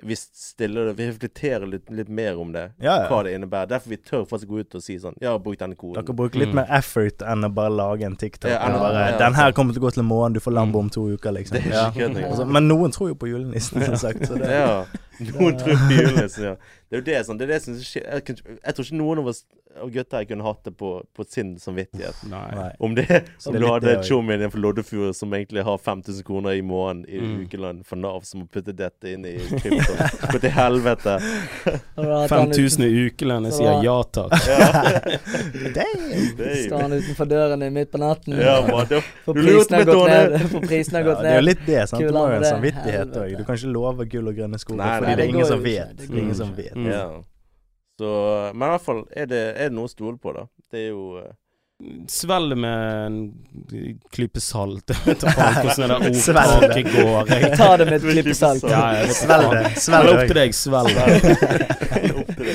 [SPEAKER 2] vi stiller det, vi reflekterer litt, litt mer om det,
[SPEAKER 1] Ja, ja.
[SPEAKER 2] hva det innebærer. Derfor vi tør faktisk gå ut og si sånn Ja, bruk denne koden.
[SPEAKER 1] Dere bruker litt
[SPEAKER 3] Mm.
[SPEAKER 1] mer effort enn å bare lage en TikTok.
[SPEAKER 2] Ja,
[SPEAKER 1] enn å
[SPEAKER 2] ja,
[SPEAKER 1] bare,
[SPEAKER 2] ja,
[SPEAKER 1] 'Den her
[SPEAKER 2] sant.
[SPEAKER 1] kommer til å gå til månen, du får Lambo
[SPEAKER 3] Mm.
[SPEAKER 1] om to uker', liksom.
[SPEAKER 2] Det er
[SPEAKER 1] Ja.
[SPEAKER 2] ikke kødd engang.
[SPEAKER 1] Altså, men noen tror jo på julenissen, som sagt. Så det,
[SPEAKER 2] Ja. Noen tror på julenissen, ja. Det er jo det sånn, det er det som skjer. Jeg, kan ikke- jeg tror ikke noen av oss og gutta her kunne hatt det på, på sin samvittighet.
[SPEAKER 3] Nei.
[SPEAKER 1] Nei.
[SPEAKER 2] Om, det,
[SPEAKER 1] Så det er
[SPEAKER 2] om du
[SPEAKER 1] litt
[SPEAKER 2] hadde
[SPEAKER 1] det
[SPEAKER 2] en
[SPEAKER 1] også.
[SPEAKER 2] tjommin innenfor Loddefjord som egentlig har 5000 kroner i måneden i
[SPEAKER 3] Mm.
[SPEAKER 2] ukelønn for Nav, som må putte dette inn i krypto. Gå til helvete.
[SPEAKER 4] Har du hatt han
[SPEAKER 3] 5000
[SPEAKER 4] uten-
[SPEAKER 3] i ukelønn, jeg
[SPEAKER 4] Så
[SPEAKER 3] sier
[SPEAKER 4] da-
[SPEAKER 3] ja takk.
[SPEAKER 1] Damn.
[SPEAKER 2] Det er
[SPEAKER 4] Står
[SPEAKER 2] jo
[SPEAKER 4] han utenfor døren din midt på natten?
[SPEAKER 2] Ja, man, det,
[SPEAKER 4] For
[SPEAKER 2] Du lurte
[SPEAKER 4] prisen har
[SPEAKER 2] meg,
[SPEAKER 4] gått
[SPEAKER 2] Tone.
[SPEAKER 4] ned. For prisen har
[SPEAKER 1] Ja,
[SPEAKER 4] gått
[SPEAKER 1] det er jo
[SPEAKER 4] ned.
[SPEAKER 1] litt det, sant. Du må
[SPEAKER 4] Kulene
[SPEAKER 1] jo ha en
[SPEAKER 4] det.
[SPEAKER 1] samvittighet
[SPEAKER 4] Helvete.
[SPEAKER 1] òg. Du kan ikke love gull og grønne skoger,
[SPEAKER 2] Nei,
[SPEAKER 1] fordi
[SPEAKER 2] nei,
[SPEAKER 1] det
[SPEAKER 2] det
[SPEAKER 1] er ingen
[SPEAKER 4] går
[SPEAKER 1] som
[SPEAKER 4] jo ikke.
[SPEAKER 1] vet.
[SPEAKER 4] Det
[SPEAKER 1] Det er ingen
[SPEAKER 3] går
[SPEAKER 1] som
[SPEAKER 4] ikke.
[SPEAKER 1] vet.
[SPEAKER 3] Mm.
[SPEAKER 2] ja. Så Men i hvert fall, er det, er det noe å stole på, da? Det er jo eh,
[SPEAKER 3] Svelg med en klype salt. Jeg vet da faen hvordan det der
[SPEAKER 1] Svelg det.
[SPEAKER 3] ordtaket går. Jeg.
[SPEAKER 4] Ta det med et klipp salt.
[SPEAKER 3] Ja, jeg vet da
[SPEAKER 1] Svelg
[SPEAKER 3] faen.
[SPEAKER 1] det.
[SPEAKER 3] Det
[SPEAKER 1] Svelg
[SPEAKER 3] er opp
[SPEAKER 1] det.
[SPEAKER 3] til deg, svelg.
[SPEAKER 2] opp til deg.
[SPEAKER 3] Men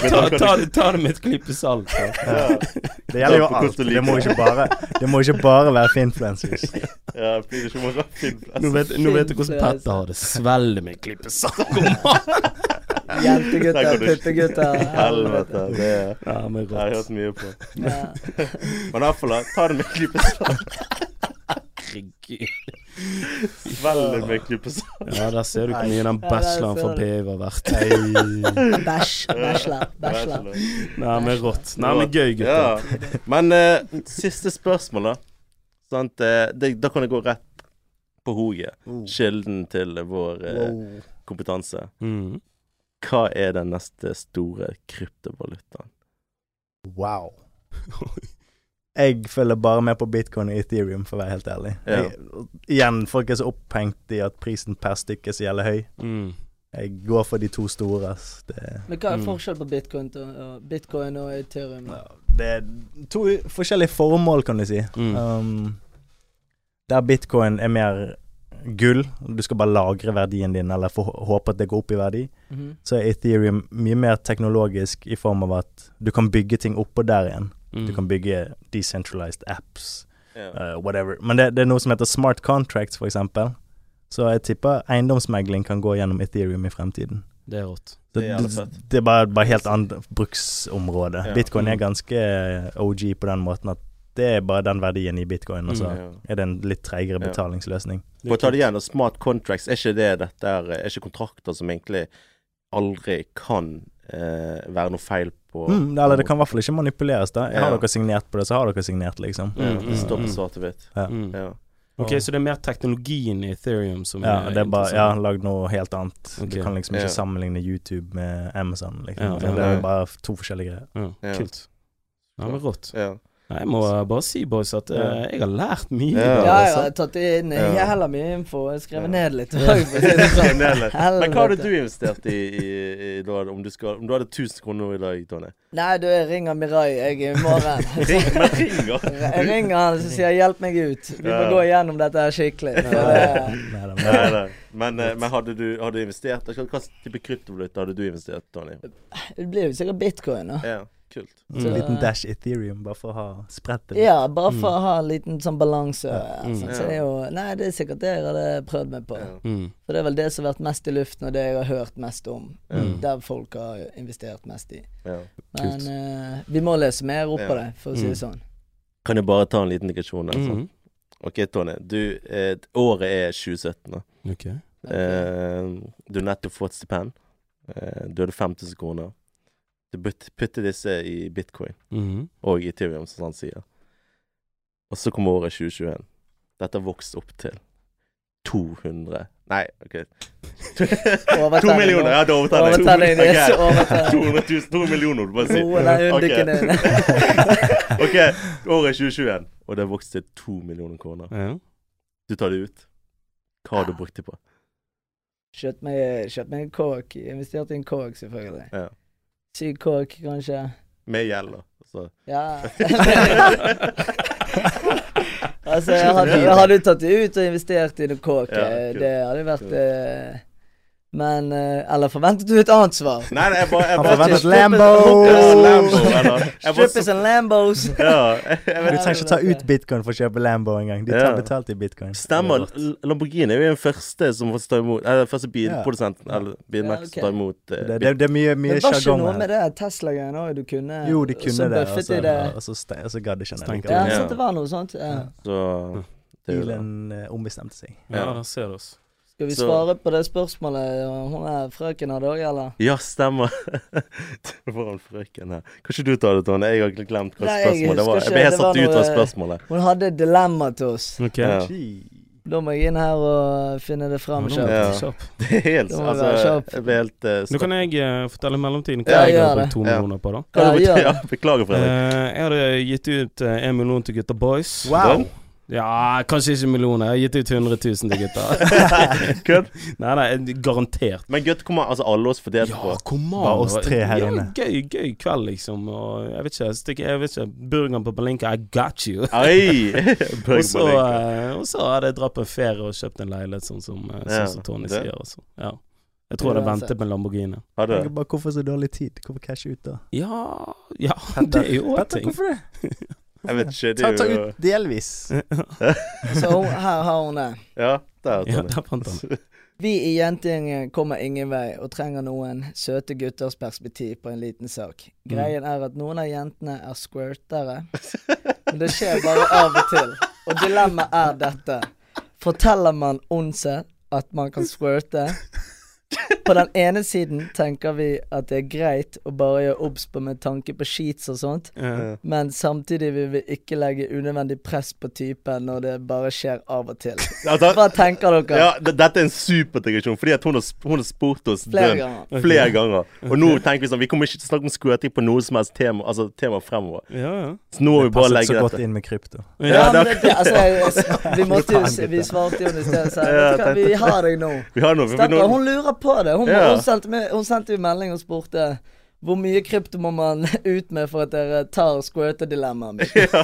[SPEAKER 3] ta, ta, det- ta det med et klype salt. da.
[SPEAKER 2] Ja.
[SPEAKER 1] Det gjelder jo
[SPEAKER 2] Takk
[SPEAKER 1] alt.
[SPEAKER 2] for hvordan du
[SPEAKER 1] Det må
[SPEAKER 2] liker
[SPEAKER 1] ikke bare, det må ikke bare være for influencers.
[SPEAKER 2] Ja, jeg blir ikke bare
[SPEAKER 3] Nå
[SPEAKER 2] filmpress.
[SPEAKER 3] vet, nå vet du hvordan Petter har det. Svelg med et klype salt. Kom an!
[SPEAKER 2] Der
[SPEAKER 4] Jentegutter,
[SPEAKER 2] går det-
[SPEAKER 4] puttegutter.
[SPEAKER 2] Helvete. Det er-
[SPEAKER 3] Ja, men
[SPEAKER 2] det har jeg
[SPEAKER 3] rått.
[SPEAKER 2] hørt mye på.
[SPEAKER 4] Ja.
[SPEAKER 2] Men i hvert fall, da, ta det med klypesalt.
[SPEAKER 3] Herregud.
[SPEAKER 2] Svelg det med klypesalt.
[SPEAKER 3] Ja, der ser du hvor mye den
[SPEAKER 4] Ja, der
[SPEAKER 3] bacheloren
[SPEAKER 4] ser
[SPEAKER 3] fra
[SPEAKER 4] du.
[SPEAKER 3] PI har vært.
[SPEAKER 4] Bæsj. Bachelor. Bachelor.
[SPEAKER 3] Nei, men rått. Nei, men gøy, gutter.
[SPEAKER 2] Ja. Men eh, siste spørsmål, da. Sant? eh, det, da kan jeg gå rett på hoget. Kilden til vår eh, kompetanse.
[SPEAKER 3] Mm.
[SPEAKER 2] Hva er den neste store kryptovalutaen?
[SPEAKER 1] Wow. Jeg følger bare med på bitcoin og ethereum, for å være helt ærlig.
[SPEAKER 2] Ja.
[SPEAKER 1] Jeg, igjen, folk er så opphengt i at prisen per stykke er så jævlig høy.
[SPEAKER 3] Mm.
[SPEAKER 1] Jeg går for de to store. ass. Det,
[SPEAKER 4] Men hva er
[SPEAKER 3] Mm.
[SPEAKER 4] forskjellen på bitcoin, til, og- bitcoin og ethereum?
[SPEAKER 1] ja, det er to forskjellige formål, kan du si.
[SPEAKER 3] Mm.
[SPEAKER 1] Um, der bitcoin er mer gull, du skal bare lagre verdien din eller få, håpe at det går opp i verdi,
[SPEAKER 4] Mhm.
[SPEAKER 1] så er ethereum mye mer teknologisk i form av at du kan bygge ting oppå der igjen.
[SPEAKER 3] Mm.
[SPEAKER 1] Du kan bygge decentralized apps.
[SPEAKER 2] Ja.
[SPEAKER 1] Eh, whatever. Men det, det er noe som heter smart contracts, for eksempel. Så jeg tipper eiendomsmegling kan gå gjennom Ethereum i fremtiden.
[SPEAKER 3] Det er rått.
[SPEAKER 1] Så
[SPEAKER 2] Det er jævlig fett.
[SPEAKER 1] det er bare, bare helt annet bruksområde.
[SPEAKER 2] Ja.
[SPEAKER 1] Bitcoin er
[SPEAKER 3] Mm.
[SPEAKER 1] ganske OG på den måten at det er bare den verdien i bitcoin, og så
[SPEAKER 2] Ja.
[SPEAKER 1] er det en litt treigere
[SPEAKER 2] Mm. Ja.
[SPEAKER 1] betalingsløsning.
[SPEAKER 2] For å ta det igjen, og smart contracts, er ikke det dette er, er ikke kontrakter som egentlig aldri kan eh, være noe feil på
[SPEAKER 1] Mm, eller det kan i hvert fall ikke manipuleres, da.
[SPEAKER 2] Ja.
[SPEAKER 1] Har dere signert på det, så har dere signert, liksom.
[SPEAKER 2] ja, Det står på
[SPEAKER 3] Mm, mm.
[SPEAKER 2] svart-hvitt.
[SPEAKER 3] Mm.
[SPEAKER 2] Ja.
[SPEAKER 3] Ok, så det er mer teknologien i Ethereum som
[SPEAKER 1] Ja, det er bare ja,
[SPEAKER 3] interessant.
[SPEAKER 1] lagd noe helt annet.
[SPEAKER 3] Ok.
[SPEAKER 1] Du kan liksom ikke
[SPEAKER 2] Ja.
[SPEAKER 1] sammenligne YouTube med Amazon, liksom.
[SPEAKER 3] Ja,
[SPEAKER 1] Så
[SPEAKER 3] ja,
[SPEAKER 1] det er
[SPEAKER 2] ja.
[SPEAKER 1] bare to forskjellige greier.
[SPEAKER 3] Ja,
[SPEAKER 2] Ja.
[SPEAKER 3] Kult. Ja, men rått.
[SPEAKER 2] Ja.
[SPEAKER 3] Nei, jeg må bare si, boys, at eh,
[SPEAKER 2] Ja.
[SPEAKER 3] jeg har lært mye. altså.
[SPEAKER 2] Ja.
[SPEAKER 3] bare,
[SPEAKER 4] Ja, ja, jeg
[SPEAKER 3] sant?
[SPEAKER 4] har tatt inn
[SPEAKER 2] Ja.
[SPEAKER 4] jævla mye info. Jeg skrev
[SPEAKER 2] Ja.
[SPEAKER 4] ned litt. sånn.
[SPEAKER 2] Skrev ned litt. Men hva hadde
[SPEAKER 4] Helvete.
[SPEAKER 2] du investert i, i, i da, om, du skal, om du hadde 1000 kroner i dag, Tonje?
[SPEAKER 4] Nei, du, jeg ringer Mirai jeg i morgen.
[SPEAKER 2] Ring, men ringer!
[SPEAKER 4] Jeg ringer han og sier jeg, 'hjelp meg ut'. Vi må
[SPEAKER 2] Ja.
[SPEAKER 4] gå igjennom dette her skikkelig. for det-
[SPEAKER 1] Neida, men-
[SPEAKER 2] Nei, nei. Men, eh, men hadde, du, hadde du investert? Hva hva type kryptovaluta hadde du investert, Tonje?
[SPEAKER 4] Det blir jo sikkert bitcoin. da.
[SPEAKER 2] Ja, kult.
[SPEAKER 1] Så en
[SPEAKER 4] Så-
[SPEAKER 1] Mm. liten dash Ethereum, bare for å ha spredt det litt.
[SPEAKER 4] Ja, bare for å ha en liten sånn balanse. Altså,
[SPEAKER 2] Mm.
[SPEAKER 4] så det er jo, nei, det er sikkert det jeg hadde prøvd meg på.
[SPEAKER 2] Ja.
[SPEAKER 3] Mm.
[SPEAKER 4] For det er vel det som har vært mest i luften, og det jeg har hørt mest om.
[SPEAKER 3] Mm.
[SPEAKER 4] Der folk har investert mest i.
[SPEAKER 2] Ja.
[SPEAKER 4] Men
[SPEAKER 3] Kult.
[SPEAKER 4] eh, vi må lese mer opp på
[SPEAKER 2] Ja.
[SPEAKER 4] det, for å si det
[SPEAKER 3] Mm.
[SPEAKER 4] sånn.
[SPEAKER 2] Kan jeg bare ta en liten digresjon? Altså?
[SPEAKER 3] Mm.
[SPEAKER 2] Ok, Tonje. Du, eh, året er 2017. da.
[SPEAKER 3] Ok.
[SPEAKER 2] Eh, du har nettopp fått stipend. Eh, du hadde 5000 kroner. Du putt- putter disse i bitcoin
[SPEAKER 3] Mhm.
[SPEAKER 2] og i Ethereum, som han sier. Og så kommer året 2021. Dette har vokst opp til 200 Nei, OK. To
[SPEAKER 4] Overtenning.
[SPEAKER 2] millioner! Ja, det overtar jeg.
[SPEAKER 4] Overtenning, yes, overtenning.
[SPEAKER 2] 200 000, 2 millioner, du bare sier.
[SPEAKER 4] Roe deg
[SPEAKER 2] Ok.
[SPEAKER 4] unna dine.
[SPEAKER 2] OK, året er 2021, og det har vokst til 2 millioner kroner.
[SPEAKER 3] Ja.
[SPEAKER 2] Du tar det ut. Hva har du brukt det på?
[SPEAKER 4] Kjøpt meg, kjøpt meg en kåk. Investert i en kåk, selvfølgelig.
[SPEAKER 2] Ja.
[SPEAKER 4] Syk kåk, kanskje.
[SPEAKER 2] Med gjeld, da. Så.
[SPEAKER 4] Ja. altså, hadde, hadde du tatt det ut og investert i noe kåk,
[SPEAKER 2] Ja,
[SPEAKER 4] eh,
[SPEAKER 2] kult.
[SPEAKER 4] det hadde jo vært
[SPEAKER 2] Kult.
[SPEAKER 4] eh, Men eh, Eller forventet du et annet svar?
[SPEAKER 2] Nei, nei, jeg bare, jeg
[SPEAKER 1] Han
[SPEAKER 2] bare
[SPEAKER 1] forventet
[SPEAKER 4] Kjøpes-
[SPEAKER 1] Lambo!
[SPEAKER 2] Ja, Lambo, eller? Jeg bare
[SPEAKER 4] Strippers and Lambos.
[SPEAKER 2] Ja, jeg
[SPEAKER 1] Du
[SPEAKER 2] vet
[SPEAKER 1] trenger ikke ta ut bitcoin for å kjøpe Lambo engang. De tar
[SPEAKER 2] Ja.
[SPEAKER 1] betalt i bitcoin.
[SPEAKER 2] Stemmer. L- Lamborghini er jo den første som får ta imot Eller den første bilprodusenten
[SPEAKER 1] Ja.
[SPEAKER 2] eller bilmerket som
[SPEAKER 4] Ja,
[SPEAKER 2] tar
[SPEAKER 4] ok.
[SPEAKER 2] imot eh,
[SPEAKER 1] Det, det, det er mye, mye
[SPEAKER 4] Det var ikke noe
[SPEAKER 1] sjargong
[SPEAKER 4] med
[SPEAKER 1] her.
[SPEAKER 4] det Tesla-greiene òg, du kunne
[SPEAKER 1] Jo, de
[SPEAKER 4] så
[SPEAKER 1] kunne det, altså. og
[SPEAKER 4] bøffet
[SPEAKER 1] så,
[SPEAKER 4] de det.
[SPEAKER 1] og så, ste- og så gadd ikke han
[SPEAKER 3] Stengte
[SPEAKER 4] Ja,
[SPEAKER 1] likevel.
[SPEAKER 2] Ja.
[SPEAKER 4] sant det var noe sånt. Ja.
[SPEAKER 2] bil, så det er jo det.
[SPEAKER 1] Bilen eh, ombestemte seg.
[SPEAKER 3] Ja,
[SPEAKER 2] Ja.
[SPEAKER 3] der ser du oss.
[SPEAKER 4] Skal vi
[SPEAKER 2] Så-
[SPEAKER 4] svare på det spørsmålet hun er frøken hadde òg, eller?
[SPEAKER 2] Ja, stemmer. Foran frøken her. Kan ikke du ta det, Tone? Jeg har egentlig glemt hva
[SPEAKER 4] Nei,
[SPEAKER 2] spørsmålet
[SPEAKER 4] jeg husker
[SPEAKER 2] var.
[SPEAKER 4] ikke.
[SPEAKER 2] Jeg ble helt
[SPEAKER 4] Det var
[SPEAKER 2] satt ut av
[SPEAKER 4] noe-
[SPEAKER 2] spørsmålet.
[SPEAKER 4] Hun hadde et dilemma til oss.
[SPEAKER 3] Ok.
[SPEAKER 2] Ja.
[SPEAKER 4] Da må jeg inn her og finne det
[SPEAKER 3] Ja,
[SPEAKER 4] fram
[SPEAKER 3] nå må
[SPEAKER 4] sjøl.
[SPEAKER 2] Ja.
[SPEAKER 3] vi kjapp.
[SPEAKER 2] Det er helt
[SPEAKER 4] Det må
[SPEAKER 2] Altså,
[SPEAKER 4] være kjapt.
[SPEAKER 2] jeg ble helt eh,
[SPEAKER 3] Nå
[SPEAKER 2] stopp.
[SPEAKER 3] kan jeg eh, fortelle i mellomtiden hva
[SPEAKER 2] Ja,
[SPEAKER 3] jeg har
[SPEAKER 4] gjør
[SPEAKER 3] brukt to
[SPEAKER 2] Ja.
[SPEAKER 3] millioner på. da
[SPEAKER 2] Kan du-
[SPEAKER 4] Ja, gjør det.
[SPEAKER 2] Ja, beklager, Fredrik.
[SPEAKER 3] Eh, Jeg hadde gitt ut eh, en million til gutta boys.
[SPEAKER 1] Wow!
[SPEAKER 3] Ja, kanskje ikke millioner. Jeg har gitt ut 100 000 til gutta.
[SPEAKER 2] Kødd?
[SPEAKER 3] nei, nei, garantert.
[SPEAKER 2] Men gutt, kommer altså alle oss fordelt på?
[SPEAKER 3] Ja, kom an.
[SPEAKER 1] Bare oss tre her
[SPEAKER 3] ja,
[SPEAKER 1] inne.
[SPEAKER 3] Gøy, gøy kveld, liksom. Og jeg vet ikke, stikke, jeg vet ikke Burgeren på Berlinka, I got you.
[SPEAKER 2] Ei!
[SPEAKER 3] Og så, eh, og så hadde jeg dratt på en ferie og kjøpt en leilighet, sånn som, eh,
[SPEAKER 2] Ja,
[SPEAKER 3] sånn som Tony
[SPEAKER 2] det.
[SPEAKER 3] sier. Også. Ja. Jeg tror jeg hadde
[SPEAKER 4] Uansett.
[SPEAKER 3] ventet med Lamborghini.
[SPEAKER 2] Har du?
[SPEAKER 1] Jeg Bare, hvorfor så dårlig tid? Hvorfor cashe ut da?
[SPEAKER 3] Ja, ja det er jo òg
[SPEAKER 1] Petter,
[SPEAKER 3] ting.
[SPEAKER 1] hvorfor det?
[SPEAKER 2] Jeg vet ikke, det
[SPEAKER 1] Ta, ta
[SPEAKER 2] er jo
[SPEAKER 1] ut delvis.
[SPEAKER 4] Så hun, her har hun det.
[SPEAKER 2] Ja, der,
[SPEAKER 3] Ja,
[SPEAKER 2] Tone.
[SPEAKER 3] der fant han.
[SPEAKER 4] Vi i jentegjengen kommer ingen vei og trenger noen søte gutters perspektiv på en liten sak. Greien er at noen av jentene er squirtere, men det skjer bare av og til. Og dilemmaet er dette. Forteller man Onze at man kan squirte? På den ene siden tenker vi at det er greit å bare gjøre obs på med tanke på sheets og sånt,
[SPEAKER 2] Eh,
[SPEAKER 3] Ja.
[SPEAKER 4] men samtidig vil vi ikke legge unødvendig press på typen når det bare skjer av og til. Hva
[SPEAKER 2] Altså,
[SPEAKER 4] tenker dere?
[SPEAKER 2] ja, d- dette er en superdigresjon, fordi at hun har, sp- hun har spurt oss
[SPEAKER 4] Flere
[SPEAKER 2] den
[SPEAKER 4] ganger.
[SPEAKER 2] flere ganger. Og nå tenker vi sånn Vi kommer ikke til å snakke om squirting på noe som helst tema, altså, tema fremover.
[SPEAKER 3] Ja, ja.
[SPEAKER 2] Så nå må vi bare
[SPEAKER 1] Passet
[SPEAKER 2] legge
[SPEAKER 1] så godt
[SPEAKER 2] dette.
[SPEAKER 1] inn med krypto.
[SPEAKER 4] Ja,
[SPEAKER 2] Ja,
[SPEAKER 4] men det, det, altså, jeg, vi måtte jo, se- vi svarte jo i sted, så jeg,
[SPEAKER 2] Ja,
[SPEAKER 4] vet du hva, vi har deg nå.
[SPEAKER 2] Vi har noe. Vi,
[SPEAKER 4] Stakkar,
[SPEAKER 2] nå
[SPEAKER 4] hun lurer på det. Hun,
[SPEAKER 2] Ja.
[SPEAKER 4] hun, sendte meg, hun sendte jo melding og spurte hvor mye krypto må man ut med for at dere tar squirter-dilemmaet mitt.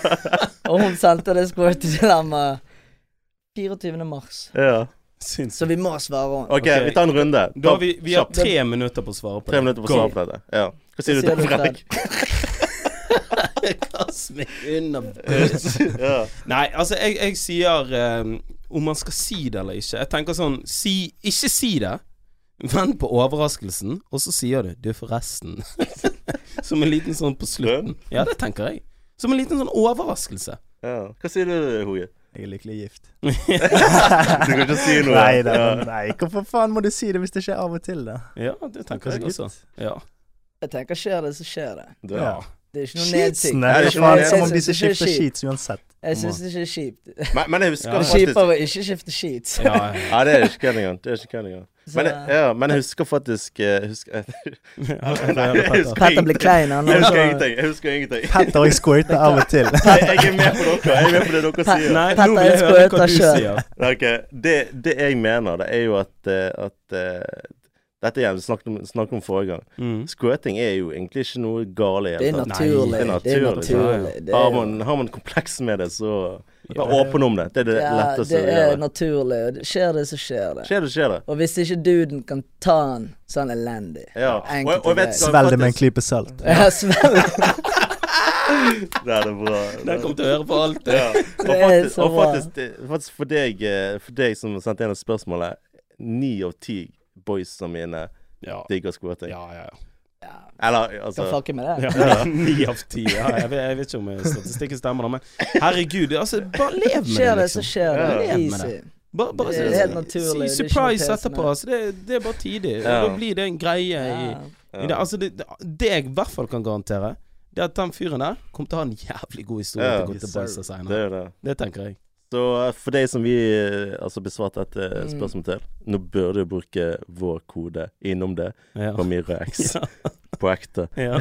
[SPEAKER 4] Og hun sendte det squirter-dilemmaet 24. mars.
[SPEAKER 2] Ja.
[SPEAKER 3] Syns
[SPEAKER 4] Så vi må svare henne.
[SPEAKER 2] OK, vi tar en runde.
[SPEAKER 3] Da har vi, vi har
[SPEAKER 2] Kjapt.
[SPEAKER 3] tre minutter på å svare på det.
[SPEAKER 2] Tre minutter på å svare på dette. Ja. Hva sier du
[SPEAKER 4] Hva
[SPEAKER 2] til
[SPEAKER 4] sier du,
[SPEAKER 2] Fredrik?
[SPEAKER 3] Kast meg under bussen.
[SPEAKER 2] Ja.
[SPEAKER 3] Nei, altså, jeg, jeg sier eh, om man skal si det eller ikke. Jeg tenker sånn si, Ikke si det. Vent på overraskelsen, og så sier du 'du, forresten'. Som en liten sånn på slutten. Ja, det tenker jeg. Som en liten sånn overraskelse.
[SPEAKER 2] ja. Hva sier du, Hoie?
[SPEAKER 1] Jeg er lykkelig gift.
[SPEAKER 2] Du kan ikke si noe.
[SPEAKER 1] Nei da,
[SPEAKER 2] Ja.
[SPEAKER 1] nei. Hvorfor faen må du si det hvis det skjer av og til, da?
[SPEAKER 3] Ja, det tenker jeg også. Ja.
[SPEAKER 4] Jeg tenker skjer det, så skjer det.
[SPEAKER 2] Du-
[SPEAKER 1] Ja.
[SPEAKER 4] Det er ikke noe nedsikt.
[SPEAKER 1] Skitsene!
[SPEAKER 2] Nei,
[SPEAKER 1] Det
[SPEAKER 2] det
[SPEAKER 1] er
[SPEAKER 2] er
[SPEAKER 1] faen
[SPEAKER 2] ikke-
[SPEAKER 1] som om
[SPEAKER 4] jeg
[SPEAKER 1] de som
[SPEAKER 4] synes det er
[SPEAKER 1] skifter
[SPEAKER 4] kjipt.
[SPEAKER 1] sheets uansett.
[SPEAKER 4] Jeg syns det ikke er kjipt. Det
[SPEAKER 2] Men, men jeg husker
[SPEAKER 3] Ja.
[SPEAKER 4] er
[SPEAKER 2] faktisk
[SPEAKER 4] kjipere å ikke skifte sheets.
[SPEAKER 3] Ja, ja.
[SPEAKER 2] Ja, det er ikke kødd engang. Det er ikke kødd engang. Men, jeg-
[SPEAKER 4] Så-
[SPEAKER 2] ja, men jeg husker faktisk eh, husker, Nei, jeg husker
[SPEAKER 4] Petter
[SPEAKER 2] ingenting.
[SPEAKER 4] blir klein, han.
[SPEAKER 2] Jeg husker
[SPEAKER 4] også.
[SPEAKER 2] ingenting. Jeg husker ingenting.
[SPEAKER 1] Petter og jeg squirter av og til.
[SPEAKER 2] Nei, jeg er med på dere. Jeg er med på det dere sier.
[SPEAKER 3] Nei,
[SPEAKER 4] Petter
[SPEAKER 3] nå vil jeg
[SPEAKER 4] elsker å
[SPEAKER 3] høre hva
[SPEAKER 4] øte
[SPEAKER 3] du
[SPEAKER 4] sjøl.
[SPEAKER 3] sier.
[SPEAKER 2] Nei, ok. det, det jeg mener, det er jo at, eh, at eh, Dette igjen, vi snakket om, snakket om forrige gang.
[SPEAKER 3] Mm.
[SPEAKER 2] Squirting er jo egentlig ikke noe galt i
[SPEAKER 4] Det er
[SPEAKER 2] tatt.
[SPEAKER 4] naturlig.
[SPEAKER 2] Nei, det
[SPEAKER 4] Det
[SPEAKER 2] er
[SPEAKER 4] er
[SPEAKER 2] naturlig.
[SPEAKER 4] naturlig. Det
[SPEAKER 2] Har
[SPEAKER 4] er,
[SPEAKER 2] man, har man kompleks med det, så
[SPEAKER 3] Ja.
[SPEAKER 2] Bare åpen om det. Det er det
[SPEAKER 4] ja,
[SPEAKER 2] letteste
[SPEAKER 4] det
[SPEAKER 2] å
[SPEAKER 4] er
[SPEAKER 2] gjøre.
[SPEAKER 4] naturlig. og det- Skjer det, så skjer det.
[SPEAKER 2] Skjer det, skjer det.
[SPEAKER 4] Og hvis ikke duden kan ta han, så er han elendig.
[SPEAKER 2] Ja.
[SPEAKER 4] Enkelt
[SPEAKER 2] Og, og vet du hva,
[SPEAKER 1] Svelg det med en
[SPEAKER 2] faktisk-
[SPEAKER 1] klype salt.
[SPEAKER 4] Ja, svelg.
[SPEAKER 2] Nei, det er bra.
[SPEAKER 3] Den kommer til å høre på alt. det.
[SPEAKER 2] Ja. Og
[SPEAKER 4] er
[SPEAKER 2] faktisk,
[SPEAKER 4] så
[SPEAKER 2] og
[SPEAKER 4] bra.
[SPEAKER 2] faktisk, det- faktisk for, deg, eh, for deg som sendte inn et spørsmål her, Ni av ti boys som mine
[SPEAKER 3] Ja,
[SPEAKER 2] digger squirting.
[SPEAKER 3] ja, ja. ja.
[SPEAKER 4] Ja,
[SPEAKER 2] Eller
[SPEAKER 4] Skal
[SPEAKER 2] altså
[SPEAKER 4] fucke med det.
[SPEAKER 3] Ja, Ni av ti. Ja, jeg, vet, jeg vet ikke om statistikken stemmer, da, men herregud. Altså, bare lev med det,
[SPEAKER 4] Skjer det, så
[SPEAKER 3] liksom.
[SPEAKER 4] skjer det.
[SPEAKER 3] Ja.
[SPEAKER 4] Easy.
[SPEAKER 3] Bare, bare,
[SPEAKER 4] Det er helt naturlig,
[SPEAKER 3] Si
[SPEAKER 4] det er ikke noe
[SPEAKER 3] surprise
[SPEAKER 4] pes
[SPEAKER 3] etterpå.
[SPEAKER 4] med.
[SPEAKER 3] Altså, det, det er bare tidig. og
[SPEAKER 2] Ja.
[SPEAKER 3] Da blir det en greie i,
[SPEAKER 4] Ja.
[SPEAKER 2] ja.
[SPEAKER 3] i det. Altså, det, det jeg i hvert fall kan garantere, det er at den fyren der kommer til å ha en jævlig god historie
[SPEAKER 2] Ja.
[SPEAKER 3] til å gå til Balsa
[SPEAKER 2] Det
[SPEAKER 3] senere.
[SPEAKER 2] er det.
[SPEAKER 3] Det tenker jeg.
[SPEAKER 2] Så eh, for deg som vi eh, altså besvarte dette
[SPEAKER 4] Mm.
[SPEAKER 2] eh, spørsmålet til, nå bør du bruke vår kode innom det
[SPEAKER 3] Ja.
[SPEAKER 2] på Myhre X
[SPEAKER 3] Ja.
[SPEAKER 2] på ekte.
[SPEAKER 3] ja.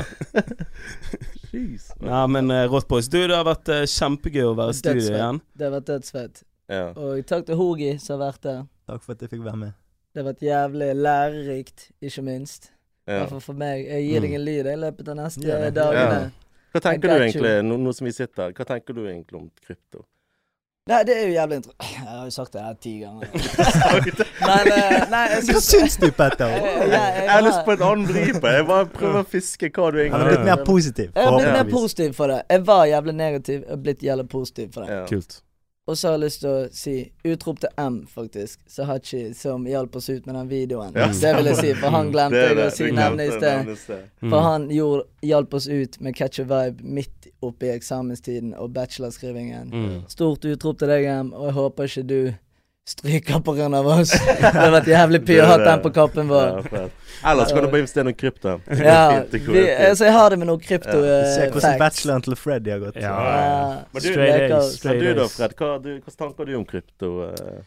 [SPEAKER 3] Nei, men uh, Rått Boys, du, det har vært eh, kjempegøy å være i studio igjen.
[SPEAKER 4] Dødsfett. Det har vært dødsfett.
[SPEAKER 2] Ja.
[SPEAKER 4] Og takk til Hogi som har vært der.
[SPEAKER 1] Takk for at jeg fikk være med.
[SPEAKER 4] Det har vært jævlig lærerikt, ikke minst.
[SPEAKER 2] ja.
[SPEAKER 4] Derfor for meg. Jeg gir deg en lyd i løpet av neste
[SPEAKER 1] Ja, det-
[SPEAKER 4] dagene.
[SPEAKER 2] Ja. Hva
[SPEAKER 4] I
[SPEAKER 2] tenker du
[SPEAKER 4] got you.
[SPEAKER 2] egentlig, nå, nå som vi sitter her, hva tenker du egentlig om krypto?
[SPEAKER 4] Nei, det er jo jævlig inter... Jeg har jo sagt det her ti ganger. Men eh, nei, jeg
[SPEAKER 1] Hva
[SPEAKER 4] syns
[SPEAKER 1] syns du, Petter?
[SPEAKER 4] Jeg- jeg- jeg
[SPEAKER 2] Jeg har lyst
[SPEAKER 4] har-
[SPEAKER 2] på en annen vri på det. Jeg bare prøver å fiske hva du
[SPEAKER 1] Han
[SPEAKER 2] egentlig
[SPEAKER 1] har blitt mer positiv,
[SPEAKER 4] Jeg har blitt mer
[SPEAKER 1] forhåpentligvis.
[SPEAKER 4] er positiv for det. Jeg var jævlig negativ, jeg har blitt jævlig positiv for det.
[SPEAKER 2] Ja.
[SPEAKER 3] Kult.
[SPEAKER 4] Og så har jeg lyst til å si utrop til M, faktisk. Sahachi, som hjalp oss ut med den videoen.
[SPEAKER 2] Ja,
[SPEAKER 4] Det vil jeg si, for han glemte jeg å si
[SPEAKER 2] Vi
[SPEAKER 4] navnet i
[SPEAKER 2] glemte
[SPEAKER 4] sted.
[SPEAKER 2] navnet i sted.
[SPEAKER 3] Mm.
[SPEAKER 4] For han gjorde, hjalp oss ut med Catch a Vibe midt oppe i eksamenstiden og bachelorskrivingen.
[SPEAKER 3] Mm.
[SPEAKER 4] Stort utrop til deg, Em, og jeg håper ikke du stryker på grunn av oss. Det hadde vært jævlig py
[SPEAKER 2] Det er
[SPEAKER 4] å ha den
[SPEAKER 2] det.
[SPEAKER 4] på kappen
[SPEAKER 2] Ja,
[SPEAKER 4] vår.
[SPEAKER 2] fett. Ellers kan du bare investere i noe krypto.
[SPEAKER 4] Ja,
[SPEAKER 2] Fint, det går
[SPEAKER 4] vi,
[SPEAKER 2] fint.
[SPEAKER 4] altså jeg har det med noen eh,
[SPEAKER 1] Se hvordan
[SPEAKER 4] krypto-facts.
[SPEAKER 1] bacheloren til Freddy har gått.
[SPEAKER 3] Ja,
[SPEAKER 2] Men du-
[SPEAKER 3] Straight A's.
[SPEAKER 2] Men
[SPEAKER 3] Straight
[SPEAKER 2] du da,
[SPEAKER 3] A's.
[SPEAKER 2] Fred, hva, du, hva tanker du om krypto? eh?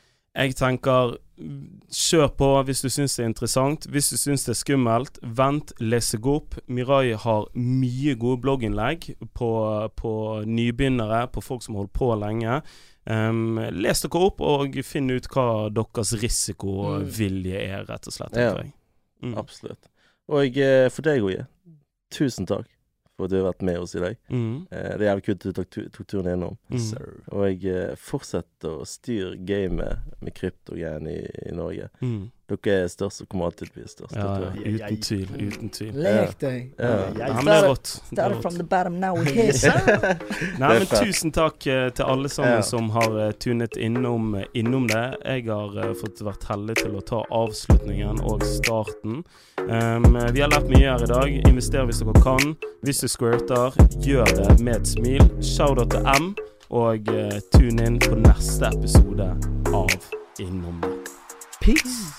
[SPEAKER 3] Jeg tenker mm, kjør på hvis du syns det er interessant. Hvis du syns det er skummelt, vent, les deg opp. Mirai har mye gode blogginnlegg på, på nybegynnere, på folk som holder på lenge. Em, les dere opp og finn ut hva deres risiko og
[SPEAKER 4] Mm.
[SPEAKER 3] vilje er, rett og slett.
[SPEAKER 2] Ja.
[SPEAKER 3] tenker jeg. Mm.
[SPEAKER 2] Absolutt. Og eh, for deg, Oje, tusen takk for at du har vært med oss i dag.
[SPEAKER 3] Mm.
[SPEAKER 2] Eh, Det er jævlig kult at du tok, tu- tok turen innom.
[SPEAKER 3] Mm.
[SPEAKER 2] Og eh, fortsett å styre gamet med kryptogreiene i, i Norge.
[SPEAKER 3] Mm.
[SPEAKER 2] Dere er størst og kommer alltid til å bli størst.
[SPEAKER 3] Ja,
[SPEAKER 2] det tror jeg.
[SPEAKER 3] ja, uten tvil. Uten tvil.
[SPEAKER 4] Lek deg.
[SPEAKER 2] Ja.
[SPEAKER 3] Ja, men det er rått. Det er
[SPEAKER 4] Started
[SPEAKER 3] rått.
[SPEAKER 4] from the bottom, now we here.
[SPEAKER 3] Nei,
[SPEAKER 2] Det er
[SPEAKER 3] men
[SPEAKER 2] fett.
[SPEAKER 3] tusen takk eh, til alle sammen
[SPEAKER 2] Ja.
[SPEAKER 3] som har eh, tunet innom, eh, innom det. Jeg har eh, fått vært heldig til å ta avslutningen og starten. Em, vi har lært mye her i dag. Invester hvis dere kan. Hvis du squirter, gjør det med et smil. Shout-out til M, og eh, tune inn på neste episode av Innom det.
[SPEAKER 4] Peace.